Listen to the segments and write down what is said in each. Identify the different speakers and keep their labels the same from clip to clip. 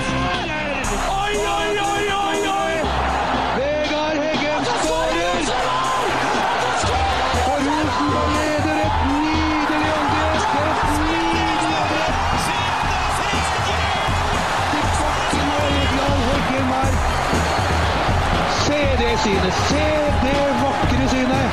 Speaker 1: Oi, oi, oi, oi, oi!
Speaker 2: Vegard Heggen skårer! Og Rosenborg leder et nydelig angrep! Et nydelig angrep! Til bakken og Egeland Heggen her. Se det synet! Se det vakre synet!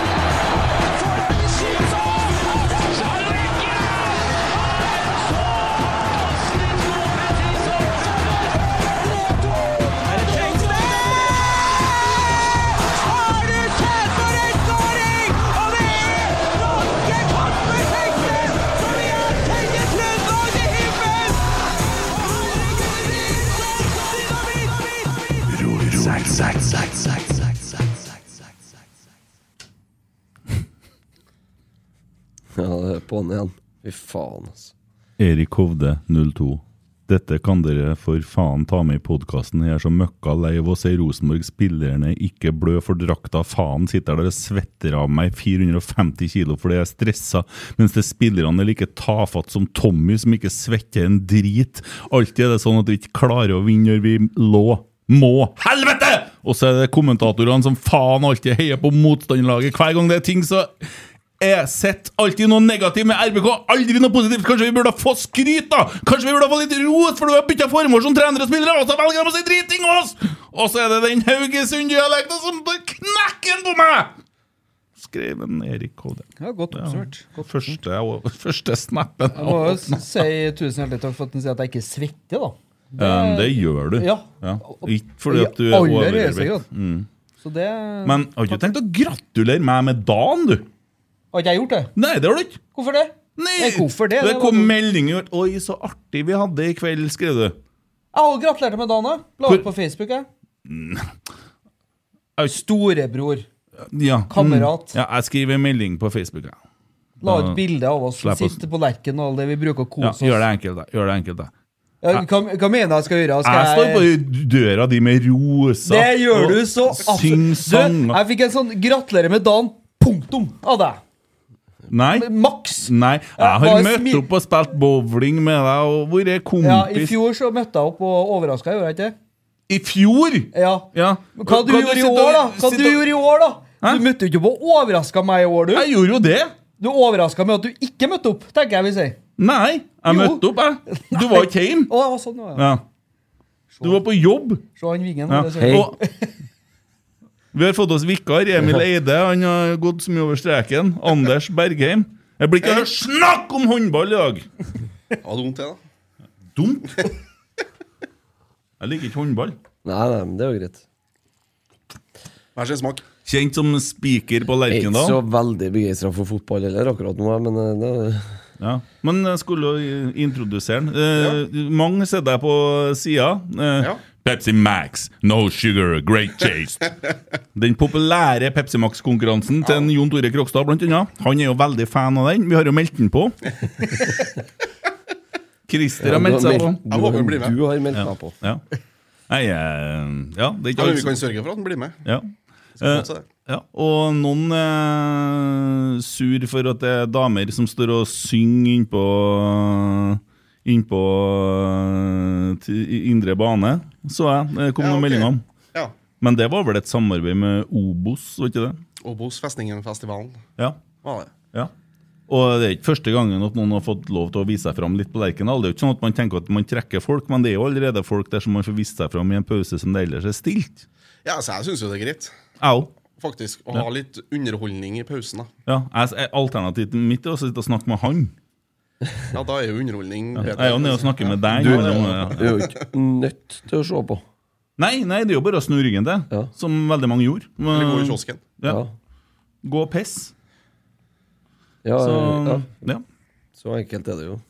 Speaker 3: Ja, det er på'n igjen. Fy faen, altså.
Speaker 4: Erik Hovde, 02. Dette kan dere for faen ta med i podkasten. Jeg er så møkka lei av å se Rosenborg-spillerne ikke blø for drakta. Faen sitter der og svetter av meg 450 kilo fordi jeg er stressa, mens det spillerne er like tafatt som Tommy, som ikke svetter en drit. Alltid er det sånn at vi ikke klarer å vinne når vi lå. Må! Helvete! Og så er det kommentatorene som faen alltid heier på motstanderlaget. Hver gang det er ting, så jeg sett alltid noe negativt med RBK, aldri noe positivt. Kanskje vi burde få skryt, da? Kanskje vi burde få litt ros, for du har bytta formål som trener og spillere, og så velger de å si driting om oss! Og så er det den Haugesund-dialekten som bare knekker den på meg! Skrev en Erik Hovde.
Speaker 5: Ja, godt oppsvart. Godt oppsvart.
Speaker 4: Første, første snappen.
Speaker 5: Jeg må jo si tusen hjertelig takk for at den sier at jeg ikke svetter, da.
Speaker 4: Um, det gjør du.
Speaker 5: Ja.
Speaker 4: Ikke fordi at du
Speaker 5: I
Speaker 4: er
Speaker 5: aller høyeste
Speaker 4: overvektig.
Speaker 5: grad. Så det
Speaker 4: Men har ikke du tenkt å gratulere meg med dagen, du?
Speaker 5: Har ikke jeg gjort det?
Speaker 4: Nei, det har du ikke.
Speaker 5: Hvorfor det?
Speaker 4: Nei,
Speaker 5: hvorfor det?
Speaker 4: det
Speaker 5: var-
Speaker 4: kom melding i hvert- Oi, så artig vi hadde i kveld, skrev du.
Speaker 5: Jeg har gratulert deg med dagen. da. La
Speaker 4: Hvor- Mm.
Speaker 5: ut på Facebook. jeg.
Speaker 4: Au.
Speaker 5: Storebror.
Speaker 4: Ja. mm.
Speaker 5: Kamerat.
Speaker 4: Ja, jeg skriver en melding på Facebook. Ja.
Speaker 5: La ut bilde av oss som
Speaker 4: Slipp oss.
Speaker 5: sitter på Lerken og alt det vi bruker å
Speaker 4: Ja,
Speaker 5: kose oss.
Speaker 4: gjør det enkelt, da. Gjør det enkelt, da.
Speaker 5: Ja, hva, hva mener jeg skal gjøre? Skal
Speaker 4: Jeg står på døra di med roser
Speaker 5: Det gjør
Speaker 4: og
Speaker 5: du så
Speaker 4: Syng
Speaker 5: absolutt. Du,
Speaker 4: sanger.
Speaker 5: jeg fikk en sånn 'gratulerer med dagen', punktum, av deg.
Speaker 4: Nei.
Speaker 5: Maks.
Speaker 4: Nei, jeg har
Speaker 5: bare
Speaker 4: møtt
Speaker 5: smil.
Speaker 4: opp og spilt bowling med deg og vært kompis.
Speaker 5: Ja, I fjor så møtte jeg opp og overraska, gjorde jeg ikke det?
Speaker 4: I fjor?
Speaker 5: Ja.
Speaker 4: Ja.
Speaker 5: Hva du gjorde i
Speaker 4: sitter
Speaker 5: år,
Speaker 4: og-
Speaker 5: da? Hva
Speaker 4: sitter
Speaker 5: du
Speaker 4: og-
Speaker 5: gjorde i år, da?
Speaker 4: Hæ?
Speaker 5: Du møtte jo ikke opp og overraska meg i år, du.
Speaker 4: Jeg gjorde jo det.
Speaker 5: Du overraska med at du ikke møtte opp, tenker jeg vi sier.
Speaker 4: Nei, jeg
Speaker 5: Jo.
Speaker 4: møtte opp, jeg. Du var ikke hjemme.
Speaker 5: Å, ja, sånn, ja.
Speaker 4: Ja. Du var på jobb.
Speaker 5: Se han vingen.
Speaker 4: Ja.
Speaker 5: det ser ut.
Speaker 4: Og, vi har fått oss vikar. Emil Eide han har gått så mye over streken. Anders Bergheim. Jeg blir ikke her og snakk om håndball i dag!
Speaker 6: Hadde vondt, jeg, da.
Speaker 4: Dumt. Jeg liker ikke håndball.
Speaker 3: Nei, nei, men det er jo greit.
Speaker 6: Hver sin smak.
Speaker 4: Kjent som spiker på
Speaker 3: Jeg er ikke så
Speaker 4: Lerkendal.
Speaker 3: veldig begeistra for fotball heller akkurat nå, men eh, det er
Speaker 4: Ja. Men jeg skulle jo eh, introdusere den. Eh, Mange sitter deg på sida. Eh,
Speaker 6: Ja.
Speaker 4: Pepsi Max, no sugar, great taste. Den populære Pepsi Max-konkurransen til en Jon Tore Krokstad, blant annet. Han er jo veldig fan av den. Vi har jo meldt den på. Christer har
Speaker 3: du
Speaker 4: meldt
Speaker 3: har
Speaker 4: seg på.
Speaker 3: meldt-
Speaker 6: Jeg håper han
Speaker 3: du,
Speaker 6: blir med.
Speaker 3: du har meldt deg på.
Speaker 4: Ja. Nei, eh, ja, det er
Speaker 6: Ja,
Speaker 4: ikke
Speaker 6: men vi
Speaker 4: alt
Speaker 6: kan
Speaker 4: som
Speaker 6: sørge for at den blir med. Altså,
Speaker 4: ja.
Speaker 6: Så
Speaker 4: Eh,
Speaker 6: godt, så det.
Speaker 4: ja. Og noen er sur for at det er damer som står og synger innpå Innpå til eh, indre bane, så jeg. Det kom
Speaker 6: Ja,
Speaker 4: noen
Speaker 6: ok.
Speaker 4: meldinger om.
Speaker 6: Ja.
Speaker 4: Men det var vel et samarbeid med Obos, var ikke det?
Speaker 6: Obos Festningenfestivalen.
Speaker 4: Ja.
Speaker 6: Var det.
Speaker 4: ja. Og det er ikke første gangen at noen har fått lov til å vise seg fram litt på Lerkendal. Det er jo ikke sånn at man tenker at man trekker folk, men det er jo allerede folk der som man får vist seg fram i en pause som det ellers er stilt.
Speaker 6: Ja, så jeg syns jo det er greit,
Speaker 4: Jeg òg.
Speaker 6: faktisk, å ha litt underholdning i pausen. da.
Speaker 4: Ja, jeg- alternativet mitt er å sitte og snakke med han.
Speaker 6: Ja, da er jo underholdning
Speaker 4: Jeg er jo sånn- nede og snakker med deg.
Speaker 3: liksom. Du er jo ikke nødt til å se på.
Speaker 4: Nei, nei, det er jo bare å snu ryggen til,
Speaker 3: Ja.
Speaker 4: som veldig mange gjorde. Men-
Speaker 6: Eller gå i kiosken.
Speaker 4: Ja.
Speaker 3: Ja.
Speaker 4: Gå og piss.
Speaker 3: Ja,
Speaker 4: Så,
Speaker 3: ja,
Speaker 4: ja.
Speaker 3: så enkelt er det jo.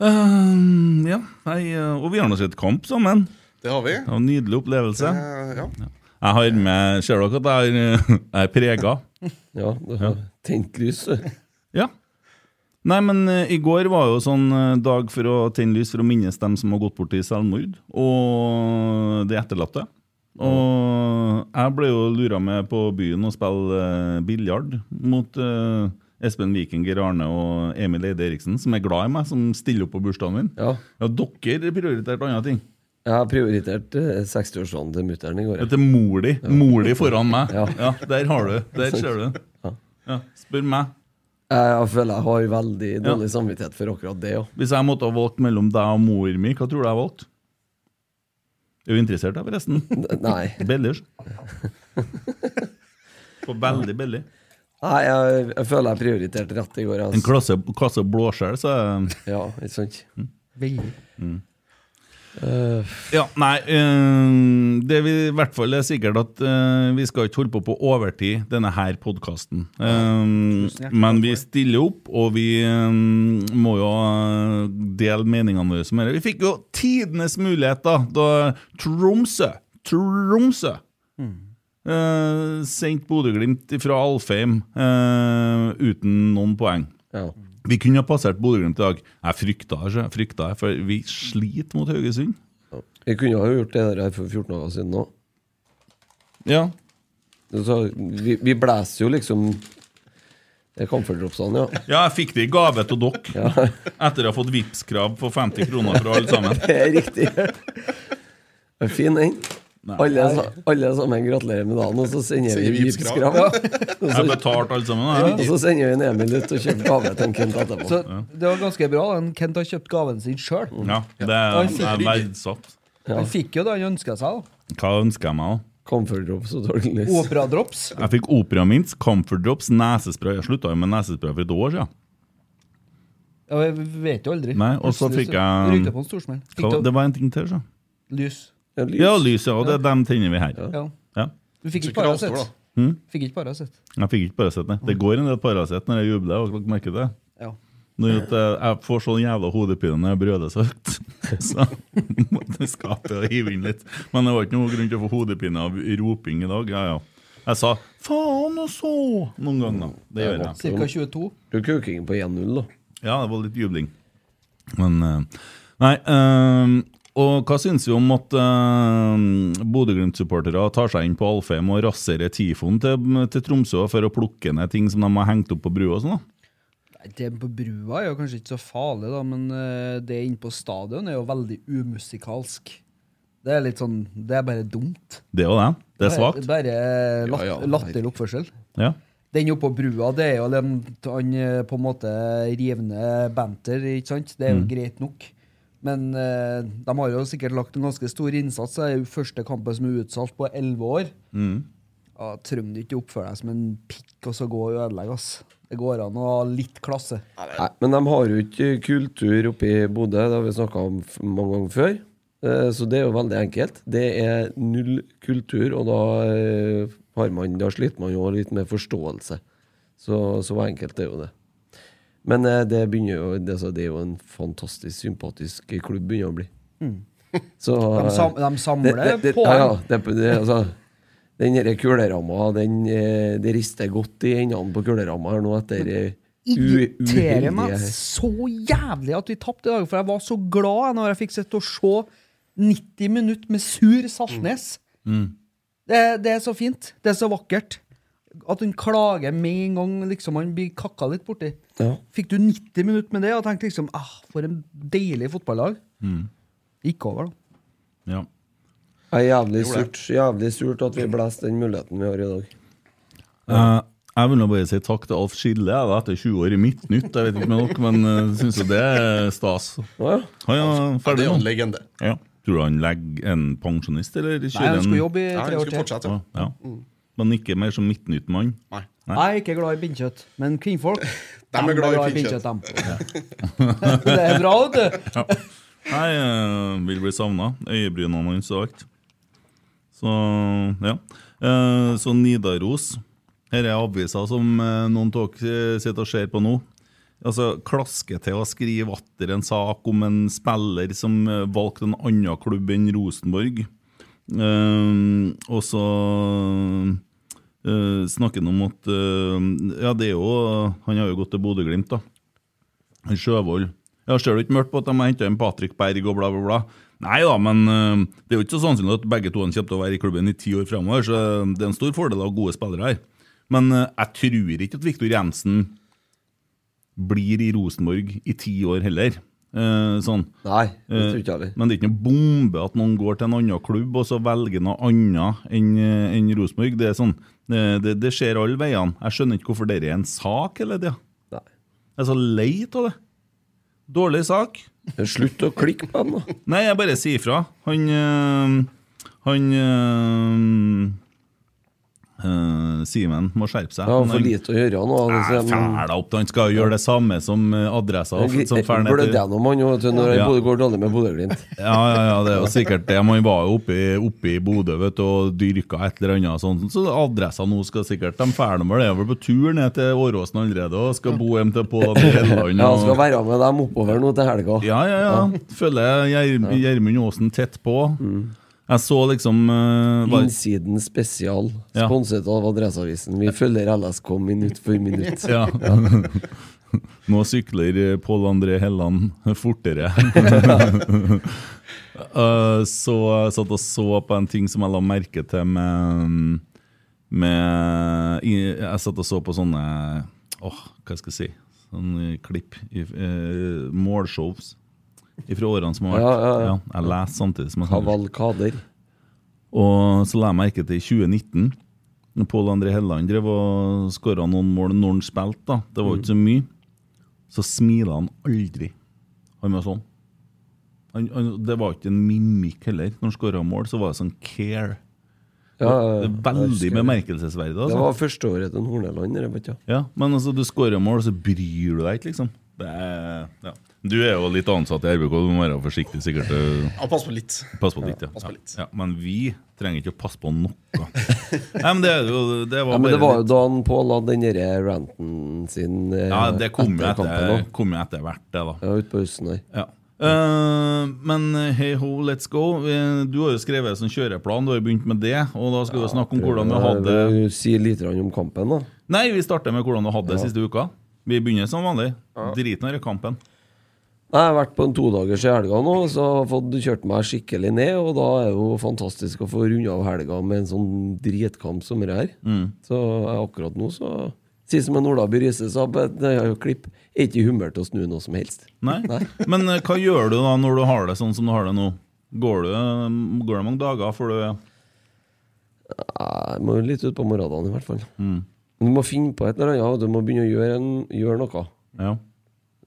Speaker 4: Ehm, ja. Nei, eh, og vi har nå sett kamp sammen.
Speaker 6: Det har vi.
Speaker 4: Det var en nydelig opplevelse.
Speaker 6: Eh, ja.
Speaker 4: Jeg har med, Ser dere at jeg er, jeg er prega?
Speaker 3: Ja, du har tent lys. du.
Speaker 4: Ja. Nei, men eh, i går var jo sånn eh, dag for å tenne lys for å minnes dem som har gått bort i selvmord, og de etterlatte. Og jeg ble jo lura med på byen og spille eh, biljard mot eh, Espen Viken, Geir Arne og Emil Eide Eriksen, som er glad i meg, som stiller opp på bursdagen min.
Speaker 3: Ja.
Speaker 4: dere prioriterte andre ting.
Speaker 3: Jeg har prioritert eh, 60-årsdagen til mutter'n i går. jeg.
Speaker 4: Dette er mor di. Mor di foran meg. Ja.
Speaker 3: Ja.
Speaker 4: der har du Der ser du den. Ja. Spør meg.
Speaker 3: Jeg, jeg føler jeg har veldig
Speaker 4: Ja.
Speaker 3: dårlig samvittighet for akkurat det òg.
Speaker 4: Hvis jeg måtte ha valgt mellom deg og mor mi, hva tror du jeg har valgt? Er du interessert, da, forresten?
Speaker 3: Nei.
Speaker 4: Bellers. På veldig billig.
Speaker 3: Nei, jeg, jeg føler jeg prioriterte rett i går.
Speaker 4: En
Speaker 3: Altså.
Speaker 4: klasse, kasse blåskjell, så jeg-
Speaker 3: Ja, ikke sant?
Speaker 4: Mm.
Speaker 5: Veldig.
Speaker 4: Ja, nei. eh, det vi i hvert fall er sikkert at eh, vi skal ikke holde på på overtid, denne her podkasten.
Speaker 5: hjertelig
Speaker 4: men
Speaker 5: takk
Speaker 4: vi
Speaker 5: for det.
Speaker 4: stiller opp, og vi eh, må jo eh, dele meningene våre med dere. Vi fikk jo tidenes mulighet, da, da Tromsø Tromsø!
Speaker 5: Mm.
Speaker 4: eh, sendte Bodø-Glimt fra Alfheim eh, uten noen poeng.
Speaker 3: Ja.
Speaker 4: Vi kunne ha passert Bodø-Glimt i dag. Jeg frykta det, frykta det, for vi sliter mot Haugesund.
Speaker 3: Vi kunne jo ha gjort det der for 14 dager siden òg.
Speaker 4: Ja.
Speaker 3: Vi, vi blæser jo liksom Det er Camphordropsene, ja.
Speaker 4: ja, jeg fikk det i gave til dere etter å ha fått Vipps-krav på 50 kroner fra alle sammen.
Speaker 3: Det er riktig. Det er fin, den. Alle, sa- alle sammen gratulerer med dagen, og så sender
Speaker 6: Sender
Speaker 3: vi
Speaker 6: vi
Speaker 3: Vipps-krav. Og
Speaker 4: Jeg
Speaker 3: så-
Speaker 4: betalte alle sammen.
Speaker 3: og
Speaker 4: Jeg.
Speaker 3: så sender vi en Emil ut og kjøper gave til en Kent etterpå.
Speaker 5: Så det var ganske bra. den Kent har kjøpt gaven sin sjøl.
Speaker 4: Ja, det er, jeg er verdsatt.
Speaker 5: Han fikk jo det han ønska seg. da.
Speaker 4: Hva ønsker jeg meg, da?
Speaker 3: Camphordrops og dårlig lys.
Speaker 5: Opera-drops.
Speaker 4: Jeg fikk Opera Mints, Comfort Drops, nesespray. Jeg slutta jo med nesespray for et år siden.
Speaker 5: Ja, Jeg vet jo aldri.
Speaker 4: Nei, og så
Speaker 5: Plutselig
Speaker 4: fikk jeg- um,
Speaker 5: Rykte på en storsmell.
Speaker 4: Hva,
Speaker 5: Fikk du
Speaker 4: det var en ting til, så.
Speaker 5: lys?
Speaker 3: Ja, lys.
Speaker 4: Ja, lys, ja. Og det, dem tenner vi her.
Speaker 5: Ja.
Speaker 4: Ja.
Speaker 5: Du fikk
Speaker 6: Så
Speaker 5: ikke
Speaker 6: kravstor, da.
Speaker 5: Paracet. Fikk ikke Paracet.
Speaker 4: Jeg fikk ikke Paracet, nei. Det går en del Paracet når jeg jubler, og dere merker det.
Speaker 5: Ja.
Speaker 4: Når at jeg jeg får sånn jævla hodepine når jeg brøler så høyt. Så måtte jeg skape og hive inn litt. Men det var ikke noen grunn til å få hodepine av roping i dag. Ja, ja. Jeg sa 'faen og så' noen ganger. Det gjør jeg.
Speaker 5: Cirka 22.
Speaker 3: Du kuking på 1-0, da.
Speaker 4: Ja, det var litt jubling. Men eh, Nei. eh, og hva syns vi om at eh, Bodø-Glimt-supportere tar seg inn på Alfheim og raserer Tifoen til, til Tromsø for å plukke ned ting som de har hengt opp på brua og sånn? da?
Speaker 5: Nei, Det på brua er jo kanskje ikke så farlig, da, men eh, det inne på stadion er jo veldig umusikalsk. Det er litt sånn Det er bare dumt.
Speaker 4: Det er jo det. Det er svakt.
Speaker 5: Bare lat,
Speaker 6: Ja, ja.
Speaker 5: latterlig oppførsel.
Speaker 4: Ja.
Speaker 5: Den oppå brua, det er jo den han eh, på en måte rivende banter, ikke sant? Det er
Speaker 4: Mm.
Speaker 5: jo greit nok. Men eh, de har jo sikkert lagt en ganske stor innsats. Det er jo første kampen som er utsatt på elleve år.
Speaker 4: Mm.
Speaker 5: Ja, Trenger du ikke oppføre deg som en pikk og så gå og ødelegge, ass. Det går an å ha litt klasse.
Speaker 3: Nei, men de har jo ikke kultur oppe i Bodø, det har vi snakka om f- mange ganger før. Eh, Så det er jo veldig enkelt. Det er null kultur, og da, eh, har man, da sliter man jo litt med forståelse. Så, så enkelt er jo det. Men eh, det, begynner jo, det, så det er jo en fantastisk sympatisk klubb begynner å bli. Så,
Speaker 5: Mm. De, sam de samler
Speaker 3: det, det, det,
Speaker 5: på
Speaker 3: ja, ja, det, det, altså, Den derre kuleramma, den, eh, det rister godt i endene på kuleramma her nå etter eh, u-
Speaker 5: Irriterer meg
Speaker 3: uheldige-
Speaker 5: så jævlig at vi tapte i dag, for jeg var så glad jeg når jeg fikk sitte og se 90 minutter med sur Saltnes.
Speaker 6: Mm.
Speaker 5: Det, det er så fint. Det er så vakkert. At hun klager med en gang liksom han blir kakka litt borti.
Speaker 3: Ja.
Speaker 5: Fikk du 90 minutter med det og tenkte liksom ah, For en deilig fotballag.
Speaker 6: Mm.
Speaker 5: Gikk over, da.
Speaker 4: ja.
Speaker 3: Det er jævlig surt, jævlig surt at vi blæste den muligheten vi har i dag.
Speaker 4: Eh, jeg vil nå bare si takk til Alf Skille jeg, da, etter 20 år i Midtnytt. Jeg vet ikke med dere, men uh, syns jo det er stas.
Speaker 3: Å ja.
Speaker 4: Han er
Speaker 6: Ja, det
Speaker 4: ferdig
Speaker 6: er jo en
Speaker 4: nå.
Speaker 6: legende.
Speaker 4: Ja. Tror du han legger en pensjonist, eller
Speaker 5: Nei,
Speaker 4: kjører
Speaker 5: han skulle jobbe i
Speaker 6: Ja,
Speaker 5: tre
Speaker 6: han
Speaker 5: år
Speaker 6: skulle
Speaker 5: til.
Speaker 6: fortsette.
Speaker 4: Ja.
Speaker 6: Mm.
Speaker 4: Men ikke mer som Midtnytt-mann.
Speaker 6: Nei.
Speaker 5: Jeg er ikke glad i pinnekjøtt, men kvinnfolk
Speaker 6: er
Speaker 5: dem
Speaker 6: glad i
Speaker 5: dem. det er bra, vet du.
Speaker 4: Nei, eh, vil bli savna. Øyebrynene hans og alt. Så ja. Eh, så Nidaros. Her er avisa som eh, noen av dere sitter og ser på nå. Altså, Klaske til å skrive atter en sak om en spiller som eh, valgte en annen klubb enn Rosenborg. Eh, og så eh, snakker han om at eh, Ja, det er jo Han har jo gått til Bodø-Glimt, da. En Sjøvold. Ja, ser du ikke mørkt på at de har henta inn Patrick Berg og bla, bla, bla? Nei da, men øh, det er jo ikke så sannsynlig at begge to kommer til å være i klubben i ti år framover, eh, så det er en stor fordel av gode spillere her. Men øh, jeg tror ikke at Viktor Jensen blir i Rosenborg i ti år heller. Eh, sånn.
Speaker 3: Nei, det
Speaker 4: Eh,
Speaker 3: tror ikke jeg heller.
Speaker 4: Men det er ikke noe bombe at noen går til en annen klubb og så velger noe annet enn eh, enn Rosenborg. Det er sånn, eh, det, det skjer alle veiene. Jeg skjønner ikke hvorfor dette er en sak hele tida.
Speaker 3: Nei.
Speaker 4: Jeg er så lei av det. Dårlig sak.
Speaker 3: Men Slutt å klikke på dem, da.
Speaker 4: Nei, jeg bare sier ifra. Han øh, Han øh, øh, Simen må skjerpe seg.
Speaker 3: Jeg har
Speaker 4: Han
Speaker 3: for lite å gjøre nå. altså,
Speaker 4: er fæla opp til han skal gjøre det samme som øh, adressa. og f- som fær ned
Speaker 3: Blødde
Speaker 4: til-
Speaker 3: gjennom han jo, vet du, når det
Speaker 4: Ja.
Speaker 3: både går dårlig med Bodø-Glimt.
Speaker 4: Ja, ja, ja, det er jo sikkert det. Man var jo oppe, i- oppe i Bodø vet du, og dyrka et eller annet, sånt, så adressa nå skal sikkert De fæle med det. er vel på tur ned til Åråsen allerede og skal bo hjem til på Helland.
Speaker 3: Ja, han
Speaker 4: og-
Speaker 3: skal være med dem oppover nå til helga.
Speaker 4: Ja, ja, ja. Følger Gjer- Gjermund Aasen tett på.
Speaker 3: Mm.
Speaker 4: Jeg så liksom øh, var-
Speaker 3: Innsiden spesial,
Speaker 4: Ja.
Speaker 3: sponset av Adresseavisen. Vi følger LSK minutt for minutt.
Speaker 4: Ja. Nå sykler eh, Pål André Helland fortere. Eh, så jeg satt og så på en ting som jeg la merke til med, med i, Jeg satt og så på sånne Åh, hva skal jeg si? Sånne klipp. i- eh, Målshows fra årene som har vært.
Speaker 3: Ja, ja, ja.
Speaker 4: jeg leser samtidig som jeg snakker.
Speaker 3: Kavalkader.
Speaker 4: Og så la jeg merke til i 2019 når Pål André Helland drev og skåra noen mål når han spilte, da. det var jo
Speaker 3: Mm.
Speaker 4: ikke så mye, så smila han aldri. Han var sånn. Han, han, det var ikke en mimikk heller. Når han skåra mål, så var det sånn care.
Speaker 3: Ja,
Speaker 4: Det er veldig bemerkelsesverdig.
Speaker 3: Det
Speaker 4: Altså.
Speaker 3: var første året til Horneland. det vet du.
Speaker 4: Ja, men altså, du skårer mål, så bryr du deg ikke, liksom. Det er, ja. Du er jo litt ansatt i RBK, du må være forsiktig sikkert. øh.
Speaker 6: Ja, pass på litt.
Speaker 4: Pass på litt, ja.
Speaker 6: pass på litt.
Speaker 4: ja. ja. Men vi trenger ikke å passe på noe. Nei, men det, er jo- det var
Speaker 3: Ja, men
Speaker 4: bare
Speaker 3: det var jo
Speaker 4: litt-
Speaker 3: da han Pål hadde den derre ranten sin eh,
Speaker 4: Ja, det kom jo
Speaker 3: kampen
Speaker 4: etter,
Speaker 3: også.
Speaker 4: kom jo etter hvert, det, da.
Speaker 3: Ja, ute på høsten der.
Speaker 4: Ja. Eh, men eh, hey ho, let's go. Eh, Du har jo skrevet sånn kjøreplan, du har jo begynt med det. Og da skal vi jo snakke om hvordan vi hadde
Speaker 3: Eh, Si litt grann om kampen, da.
Speaker 4: Nei, vi starter med hvordan vi hadde det siste uka. Vi begynner som vanlig. Driten i denne kampen.
Speaker 3: Nei, Jeg har vært på en todagers i helga nå, så jeg har fått kjørt meg skikkelig ned. Og da er det jo fantastisk å få runde av helga med en sånn dritkamp som det her.
Speaker 4: Mm.
Speaker 3: Så eh, akkurat nå, så Si som en Olaby Riise sa på et eh, klipp, er ikke i humør til å snu noe som helst.
Speaker 4: Nei. Men eh, hva gjør du da når du har det sånn som du har det nå? Går, du, eh, går det mange dager før du
Speaker 3: Nei, må jo litt ut på morgenene i hvert fall. Men du må finne på et eller annet, og du må begynne å gjøre, en, gjøre noe.
Speaker 4: Ja.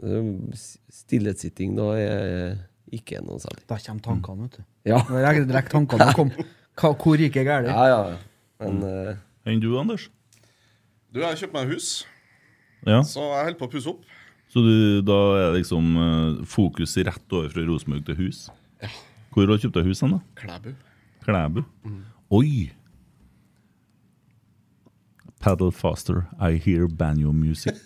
Speaker 3: Eh, s- Stillesitting da er ikke noe særlig.
Speaker 5: Da kommer tankene, vet du.
Speaker 3: Ja,
Speaker 5: Det var egentlig direkt tankene som kom. Hva, hvor gikk jeg galt?
Speaker 3: ja, ja. Men eh,
Speaker 4: Enn du, Anders?
Speaker 6: Du, jeg har kjøpt meg hus,
Speaker 4: Ja.
Speaker 6: så jeg holder på å pusse opp.
Speaker 4: Så du, da er liksom eh, fokus rett over fra Rosenborg til hus? Hvor har du kjøpt deg hus hen, da?
Speaker 6: Klæbu.
Speaker 4: Klæbu?
Speaker 6: Mm.
Speaker 4: Oi! Paddle faster, I hear banjo music.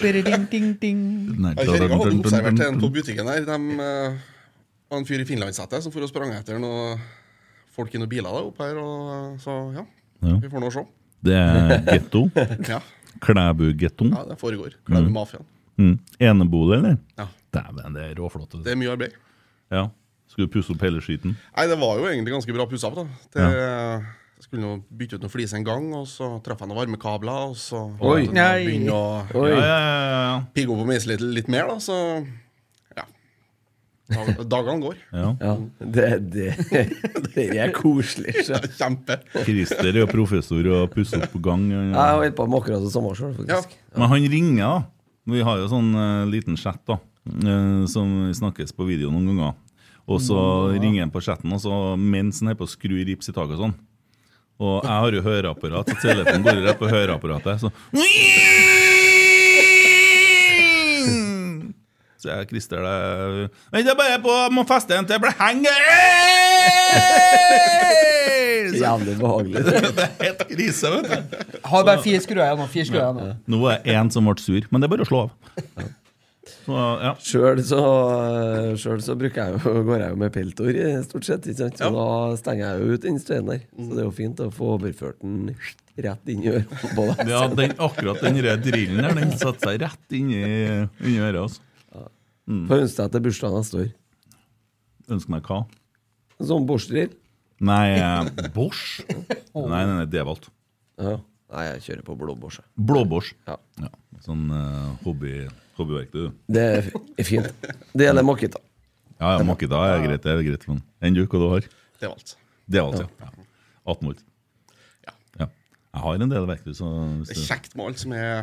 Speaker 5: Ding, ding, ding.
Speaker 4: Nei, da- da-
Speaker 6: Kjerringa
Speaker 4: da-
Speaker 6: hadde observert
Speaker 4: da-
Speaker 6: en
Speaker 4: da-
Speaker 6: på butikken her. De eh, var en fyr i Finlandssetet som for og sprang etter noen folk i noen biler da, opp her. Og, eh, så ja,
Speaker 4: Ja.
Speaker 6: vi får nå se.
Speaker 4: Det er getto.
Speaker 6: Ja,
Speaker 4: Klæbu-gettoen.
Speaker 6: ja det foregår. Klæbu-mafiaen.
Speaker 4: Mm. Enebolig, eller?
Speaker 6: Ja.
Speaker 4: Dæven, det er råflott. altså.
Speaker 6: Det er mye arbeid.
Speaker 4: Ja. Skal du pusse opp hele skiten?
Speaker 6: Nei, det var jo egentlig ganske bra pussa opp, da. Det, Jeg skulle nå bytte ut noen flis en gang, og så traff jeg noen varmekabler, og så
Speaker 3: Oi.
Speaker 6: måtte
Speaker 5: Nei.
Speaker 6: jeg begynne å
Speaker 4: Ja,
Speaker 3: oi.
Speaker 4: ja, ja, ja, ja.
Speaker 6: pigge opp og meise litt, litt mer, da, så ja. Dag- Dagene går.
Speaker 4: ja.
Speaker 3: Ja, det, det, det er koselig. så.
Speaker 6: Ja, Kjempe.
Speaker 4: Christer er jo professor og pusser opp på gang. Ja,
Speaker 3: Jeg
Speaker 4: ja.
Speaker 3: har holdt på med akkurat det samme sjøl, faktisk.
Speaker 4: Men han ringer, da. Vi har jo sånn eh, liten chat da, eh, som snakkes på video noen ganger. Og så ringer han på chatten, og så mens han er på å skru rips i taket og sånn. Og jeg har jo høreapparat, så telefonen går rett på høreapparatet. Så, så jeg Christer det Vent, jeg bare på, jeg må feste en til jeg blir henger! Så,
Speaker 3: Jævlig behagelig.
Speaker 4: det er helt krise, vet du.
Speaker 5: Har bare fire skruer igjen nå. Fire skruer igjen nå.
Speaker 4: Nå var det én som ble sur, men det er bare å slå av. Så, ja.
Speaker 3: Sjøl så, eh, selv så bruker jeg jo, går jeg jo med peltor, eh, stort sett. Ikke sant? Så da stenger jeg jo ut den støyen der. Så det er jo fint å få overført den rett inn i øret på deg.
Speaker 4: ja den, akkurat den røde drillen der, den satte seg rett inn i inni øret. Altså.
Speaker 3: Får ønske deg til bursdagen neste år.
Speaker 4: Ønsker meg hva?
Speaker 3: Sånn borstdrill.
Speaker 4: Nei, eh, Bosch? Nei, nei, nei Devolt.
Speaker 3: Ja. Nei, jeg kjører på blåbårs. jeg.
Speaker 4: Blåbårs.
Speaker 3: Ja.
Speaker 4: Ja. Sånn eh, hobby, hobbyverktøy. du.
Speaker 3: Det er f- er fint. Det gjelder Makita.
Speaker 4: Ja, ja, Makita er greit. Det er greit for han. Enn du, hva du har?
Speaker 6: Det var alt.
Speaker 4: Det var alt, ja. ja. 18 volt.
Speaker 6: Ja.
Speaker 4: Ja. Jeg har en del verktøy, så
Speaker 6: Det
Speaker 4: hvis
Speaker 6: er
Speaker 4: du
Speaker 6: kjekt med alt som er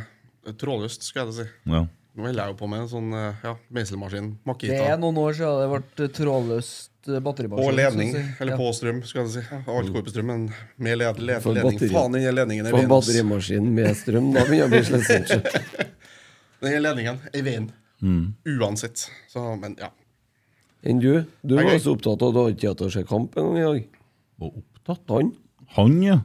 Speaker 6: trådløst, skulle jeg til å si.
Speaker 4: ja.
Speaker 6: Nå holder jeg jo på med en sånn eh, ja, meiselmaskin,
Speaker 5: Det er
Speaker 6: makita
Speaker 5: noen år siden det ble trådløst eh, batterimaskin.
Speaker 6: og ledning.
Speaker 5: så å si.
Speaker 6: Eller på strøm, skulle jeg til å si. Alt går på strøm, men med led, led,
Speaker 3: For
Speaker 6: ledning.
Speaker 3: batteri.
Speaker 6: Faen, den ledningen er
Speaker 3: På
Speaker 6: veien. ass.
Speaker 3: batterimaskin med strøm, da begynner jeg å bli slitsom.
Speaker 6: Den her ledningen er veien.
Speaker 3: Mm.
Speaker 6: Uansett. Så, men ja.
Speaker 3: Enn du? Du
Speaker 6: Jeg
Speaker 3: var
Speaker 6: er-
Speaker 3: så opptatt av at du hadde ikke hatt å se kamp engang i dag.
Speaker 4: Og opptatt.
Speaker 3: Han?
Speaker 4: Han, ja.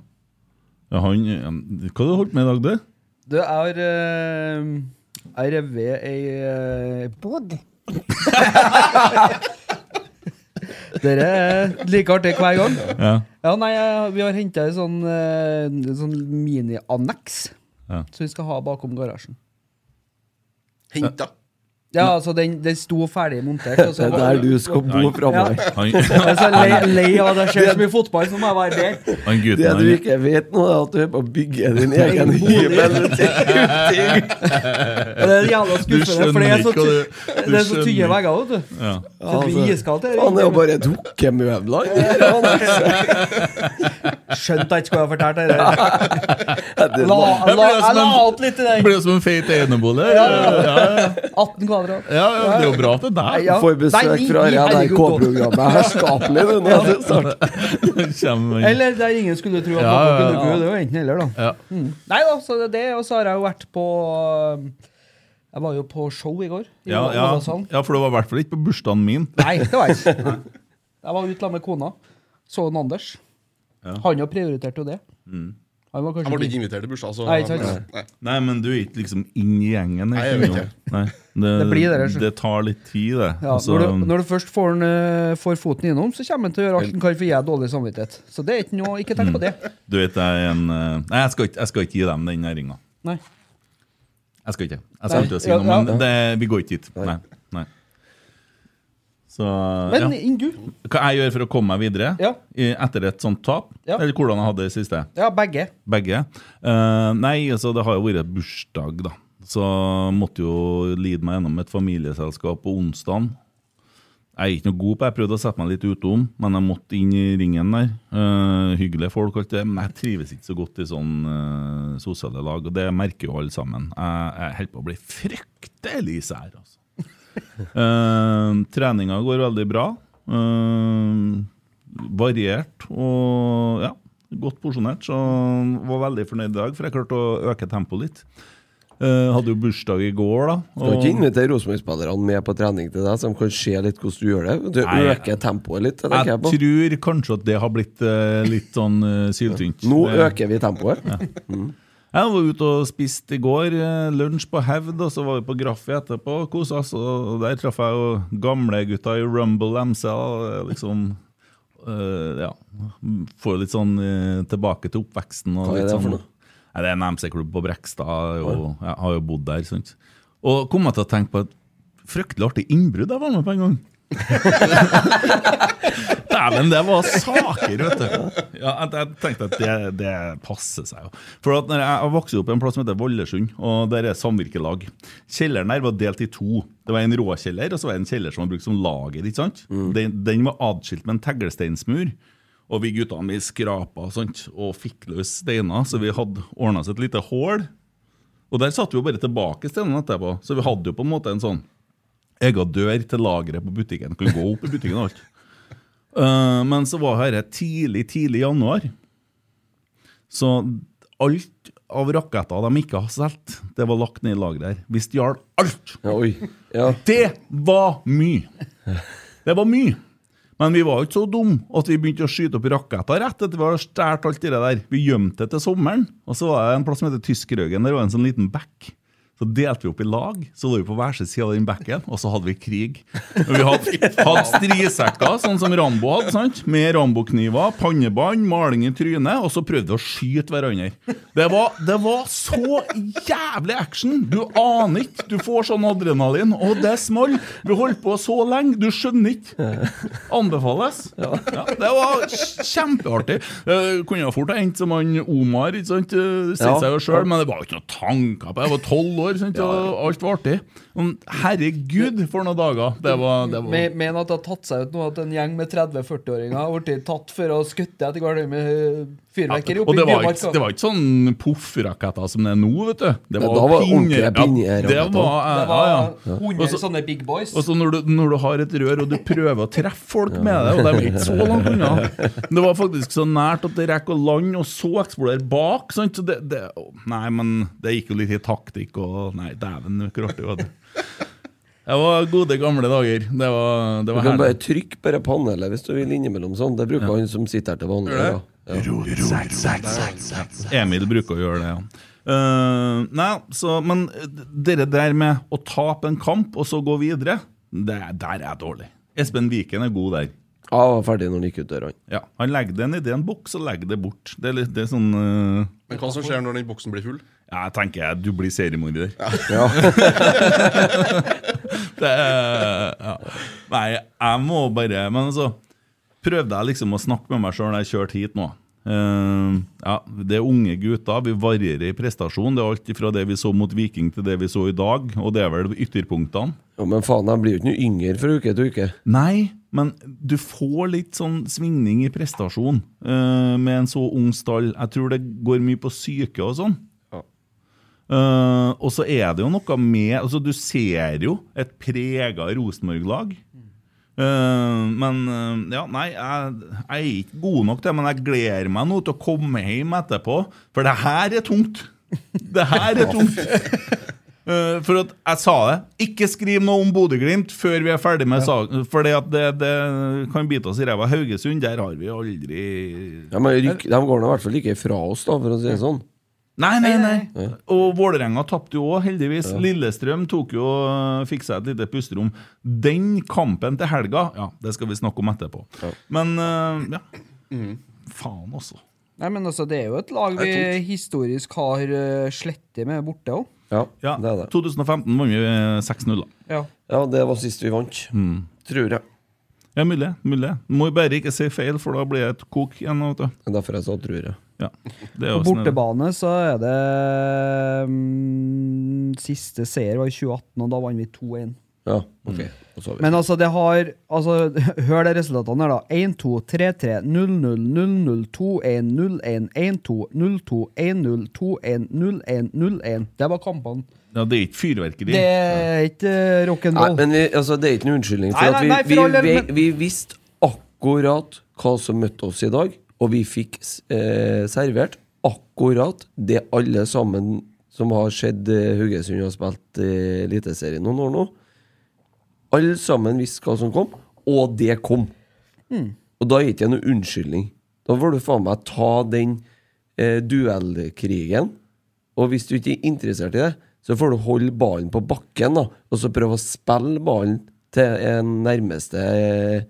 Speaker 4: ja han, ja. Hva har du holdt med i dag, du?
Speaker 5: Du, jeg har eh, Jeg har revet ei eh,
Speaker 7: Bod.
Speaker 5: Dere er like artig hver gang.
Speaker 4: Ja.
Speaker 5: Ja, nei, jeg- vi har henta ei sånn, eh, sånn mini-anneks
Speaker 4: Ja.
Speaker 5: som vi skal ha bakom garasjen.
Speaker 6: Henta.
Speaker 5: Ja, altså, den, den sto ferdig montert. og
Speaker 3: Det
Speaker 5: så
Speaker 3: er
Speaker 5: var-
Speaker 3: der du skal bo
Speaker 4: Nei.
Speaker 3: framover.
Speaker 4: Han,
Speaker 5: Jeg er så lei, lei av at jeg ser så mye fotball, så må jeg være der.
Speaker 4: han gutten
Speaker 3: Det du
Speaker 4: han,
Speaker 3: ikke vet nå, er at du er på å bygge din egen hybel.
Speaker 5: Og det er jævla skuffende, for det er
Speaker 4: skjønner ikke hva
Speaker 5: så, ty- det er så
Speaker 4: skjønner
Speaker 5: tynne
Speaker 4: ikke.
Speaker 5: vegger, vet du.
Speaker 4: Ja.
Speaker 5: Så det blir iskaldt her.
Speaker 3: Han er jo altså, bare dukkemøbler. det her, han.
Speaker 5: Skjønte jeg ikke skulle ha fortalt det. der.
Speaker 3: Det er
Speaker 5: La,
Speaker 3: bare-
Speaker 5: la, jeg la opp litt i den.
Speaker 4: Blir jo som en feit enebolig. Ja, ja,
Speaker 5: 18 kvadrat.
Speaker 4: ja, ja, det er jo bra at det er der.
Speaker 5: Ja.
Speaker 3: Får
Speaker 5: Nei,
Speaker 3: besøk
Speaker 5: ni-
Speaker 3: fra
Speaker 5: ni- herregud,
Speaker 3: NRK-programmet. Herskapelig, du. Nå, det er snart.
Speaker 4: Kjem inn.
Speaker 5: Eller der ingen skulle tro
Speaker 4: Mm.
Speaker 5: at
Speaker 4: Ja,
Speaker 5: noen
Speaker 4: ja,
Speaker 5: kunne bo.
Speaker 4: ja.
Speaker 5: Det var enten eller, da. Mm.
Speaker 4: Ja.
Speaker 5: Nei da, så det er det. Og så har jeg jo vært på um, Jeg var jo på show i går. I
Speaker 4: Ja, ja,
Speaker 5: Ålesand.
Speaker 4: ja, for det var i hvert fall ikke på bursdagen min.
Speaker 5: Nei, det var jeg ikke. Jeg var ute sammen med kona. Så en Anders.
Speaker 4: Ja. Mm.
Speaker 5: Han jo prioriterte jo det. Han var
Speaker 6: Jeg
Speaker 5: kanskje
Speaker 6: ble ikke invitert til bursdag, så
Speaker 5: Nei, ikke sant.
Speaker 6: Nei.
Speaker 4: Nei, men du er ikke liksom inn i gjengen.
Speaker 6: Nei, jeg vet ikke.
Speaker 4: Nei, det,
Speaker 5: Det blir det, det er så-
Speaker 4: det tar litt tid, det.
Speaker 5: ja,
Speaker 4: Altså,
Speaker 5: når, du, når du først får, den, eh, får foten innom, så kommer han til å gjøre alt han kan for jeg har dårlig samvittighet. Så det er ikke noe, ikke
Speaker 4: Mm.
Speaker 5: tenk på det.
Speaker 4: du vet, jeg er en eh, Nei, jeg skal ikke, jeg skal ikke gi dem den næringa.
Speaker 5: Nei.
Speaker 4: Jeg skal ikke. Jeg
Speaker 5: Nei.
Speaker 4: skal ikke si
Speaker 5: Ja,
Speaker 4: noe,
Speaker 5: ja.
Speaker 4: men det, vi går ikke dit. Nei. Nei. Så
Speaker 5: Men
Speaker 4: ja.
Speaker 5: Ingu
Speaker 4: Hva jeg gjør for å komme meg videre
Speaker 5: Ja.
Speaker 4: i- etter et sånt tap?
Speaker 5: Ja.
Speaker 4: Eller hvordan jeg hadde det siste?
Speaker 5: Ja, begge.
Speaker 4: Begge. Eh, nei, altså, det har jo vært bursdag, da. Så måtte jo lide meg gjennom et familieselskap på onsdag. Jeg er ikke noe god på det. Jeg prøvde å sette meg litt utom, men jeg måtte inn i ringen der. Eh, hyggelige folk, og alt det. men jeg trives ikke så godt i sånn eh, sosiale lag, og det merker jo alle sammen. Jeg, jeg holder på å bli fryktelig sær, altså. Eh, treninga går veldig bra. Eh, variert og ja, godt porsjonert. Så var veldig fornøyd i dag, for jeg klarte å øke tempoet litt. Eh, hadde jo bursdag i går, da.
Speaker 3: Skal
Speaker 4: og-
Speaker 3: ikke invitere Rosenborg-spillerne med på trening til deg, så de kan se litt hvordan du gjør det. Du
Speaker 4: Nei,
Speaker 3: øker tempoet litt. det tenker
Speaker 4: jeg
Speaker 3: Jeg på.
Speaker 4: tror kanskje at det har blitt eh, litt sånn eh, syltynt.
Speaker 3: Nå
Speaker 4: Det-
Speaker 3: øker vi tempoet.
Speaker 4: Jeg var ute og spiste i går. eh, Lunsj på Hevd, og så var vi på Graffi etterpå. og Kosa oss. Og der traff jeg jo gamle gutta i Rumble MC. og, eh, Liksom eh, Ja. Får litt sånn eh, tilbake til oppveksten. Og
Speaker 3: Hva er
Speaker 4: litt
Speaker 3: det
Speaker 4: sånn,
Speaker 3: for noe?
Speaker 4: Nei, det er en MC-klubb på Brekstad. Og, jeg har jo bodd der. Sant? Og kom jeg til å tenke på et fryktelig artig innbrudd jeg var med på en gang. Dæven, det var saker, vet du. Ja, jeg, jeg tenkte at det, det passer seg jo. For at når jeg, jeg vokste opp i en plass som heter Vollesund, og der er samvirkelag. Kjelleren der var delt i to. Det var en råkjeller, og så var det en kjeller som var brukt som lager. ikke sant? Den, den var adskilt med en teglsteinsmur. Og vi guttene vi skrapa og sånt, og fikk løs steiner, så vi hadde ordna oss et lite hull. Og der satte vi jo bare tilbake steinene etterpå, så vi hadde jo på en måte en sånn egen dør til lageret på butikken. Kunne gå opp i butikken og alt. Eh, men så var dette tidlig, tidlig i januar. Så alt av raketter de ikke har solgt, det var lagt ned i lageret her. Vi stjal alt!
Speaker 3: Ja, oi. Ja.
Speaker 4: Det var mye! Det var mye. Men vi var jo ikke så dumme at vi begynte å skyte opp raketter rett etter vi hadde stjålet alt det der. Vi gjemte det til sommeren, og så var det en plass som heter Tyskerhaugen. Der var en sånn liten bekk. Så delte vi opp i lag, så lå vi på hver sin side av den bekken, og så hadde vi krig. Og vi hadde, hadde strisekker, sånn som Rambo hadde, sant? med Rambo-kniver, pannebånd, maling i trynet, og så prøvde vi å skyte hverandre. Det var, det var så jævlig action! Du aner ikke. Du får sånn adrenalin, og det smalt. Vi holdt på så lenge, du skjønner ikke. Anbefales. Ja, det var kj- kjempeartig. Eh, kunne jo fort ha endt som han Omar, ikke sant? Eh, Sier
Speaker 3: Ja.
Speaker 4: seg jo selv, men det var jo ikke noe tanker på det. Jeg var tolv år, sant? og alt var artig. Men herregud, for noen dager. Det var, det var
Speaker 5: Men men at det har tatt seg ut nå at en gjeng med 30-40-åringer har blitt tatt for å skutte etter hverandre med eh, fyrverkeri
Speaker 4: og
Speaker 5: oppe
Speaker 4: det
Speaker 5: i
Speaker 4: var,
Speaker 5: Bymarka.
Speaker 4: ikke, det var ikke sånn poffraketter som det er nå, vet du. Det
Speaker 3: Ja, da var det
Speaker 4: pinjer-
Speaker 3: ordentlige pinjeraketter.
Speaker 4: Ja, det var,
Speaker 5: Det
Speaker 4: ja,
Speaker 5: var
Speaker 4: ja.
Speaker 5: 100 sånne big boys.
Speaker 4: Og så når du, når du har et rør og du prøver å treffe folk med det, og de er ikke så langt unna Det var faktisk så nært at det rekker å lande, og så eksplodere bak. Sant? Så det, det, å, nei, men det gikk jo litt i taktikk og Nei, dæven, hvor artig var det? Det var gode, gamle dager. Det var, det
Speaker 3: Du
Speaker 4: var
Speaker 3: kan bare
Speaker 4: herlig.
Speaker 3: trykke på det panelet hvis du vil innimellom sånn. Det bruker han som sitter her til vanlig.
Speaker 6: Gjør
Speaker 3: Ja.
Speaker 6: det?
Speaker 3: Ja.
Speaker 4: Emil bruker å gjøre det, ja. Eh, nei, så, men dere der med å tape en kamp og så gå videre, det, der er jeg dårlig. Espen Viken er god der.
Speaker 3: Ja, var ferdig når han gikk ut døra.
Speaker 4: Ja, Han legger det ned i en boks og legger det bort. Det er, litt, det er sånn eh,
Speaker 6: Men hva som skjer når den boksen blir full?
Speaker 4: ja, Jeg tenker jeg, du blir seriemorder.
Speaker 3: Ja.
Speaker 4: Det er- ja. Nei, jeg må bare Men altså, prøvde jeg liksom å snakke med meg sjøl når jeg kjørte hit nå. Eh, ja, Det er unge gutter. Vi varierer i prestasjon. Det er alt fra det vi så mot Viking, til det vi så i dag. Og det er vel ytterpunktene.
Speaker 3: Jo, men faen, jeg blir jo ikke noe yngre fra uke til uke.
Speaker 4: Nei, men du får litt sånn svingning i prestasjon eh, med en så ung stall. Jeg tror det går mye på syke og sånn. Eh, og så er det jo noe med altså Du ser jo et prega Rosenborg-lag. Eh, men eh, ja, nei, jeg, jeg er ikke god nok til det, men jeg gleder meg nå til å komme hjem etterpå, for det her er tungt. Det her er tungt. Eh, for at jeg sa det. Ikke skriv noe om Bodø-Glimt før vi er ferdig med saken. For det, det kan bite oss i ræva. Haugesund, der har vi aldri
Speaker 3: Ja, men ryk, De går nå i hvert fall ikke fra oss, da, for å si det sånn.
Speaker 4: Nei, nei, nei. Og Vålerenga tapte jo òg, heldigvis. Lillestrøm tok jo eh, fikk seg et lite pusterom. Den kampen til helga, ja, det skal vi snakke om etterpå. Men eh, ja. Faen også.
Speaker 5: Nei, men altså, det er jo et lag vi historisk har uh, slettet med borte òg.
Speaker 3: Ja,
Speaker 4: Ja,
Speaker 3: det er det.
Speaker 4: 2015 vant vi 6-0, da.
Speaker 5: Ja.
Speaker 3: Ja, det var sist vi vant.
Speaker 4: Mm.
Speaker 3: Tror jeg.
Speaker 4: Ja, mulig. mulig. Må jo bare ikke si feil, for da blir det et kok igjen. vet du.
Speaker 3: Det er Derfor jeg sa tror jeg.
Speaker 4: Ja, det er
Speaker 5: På
Speaker 4: jo sånn-
Speaker 5: bortebane så er det mm, Siste seier var i 2018, og da vant vi 2-1.
Speaker 3: Ja, ok.
Speaker 4: Mm.
Speaker 3: Da så vi.
Speaker 5: Men altså, det har altså, Hør de resultatene her, da. 1, 2, 3, 3, 0, 0, 0, 0, 2, 1, 0, 1, 1, 2, 0, 2, 1, 0, 2, 1, 0, 1, 0, 1. Det var kampene.
Speaker 4: Ja, det er ikke fyrverkeri.
Speaker 5: Det er ikke eh,
Speaker 3: Nei,
Speaker 5: rock'n'roll.
Speaker 3: men vi, altså, det er ikke noen unnskyldning.
Speaker 5: Nei,
Speaker 3: For
Speaker 5: nei, nei,
Speaker 3: at
Speaker 5: for
Speaker 3: vi,
Speaker 5: all del,
Speaker 3: vi,
Speaker 5: men-
Speaker 3: vi, vi visste akkurat hva som møtte oss i dag, og vi fikk eh, servert akkurat det alle sammen som har sett eh, Haugesund har spilt eh, Eliteserien noen år nå. Alle sammen visste hva som kom, og det kom. Og da gir ikke jeg noen unnskyldning. Da får du faen meg ta den eh, duellkrigen. Og hvis du ikke er interessert i det, så får du holde ballen på bakken, da. Og så prøve å spille ballen til en nærmeste eh,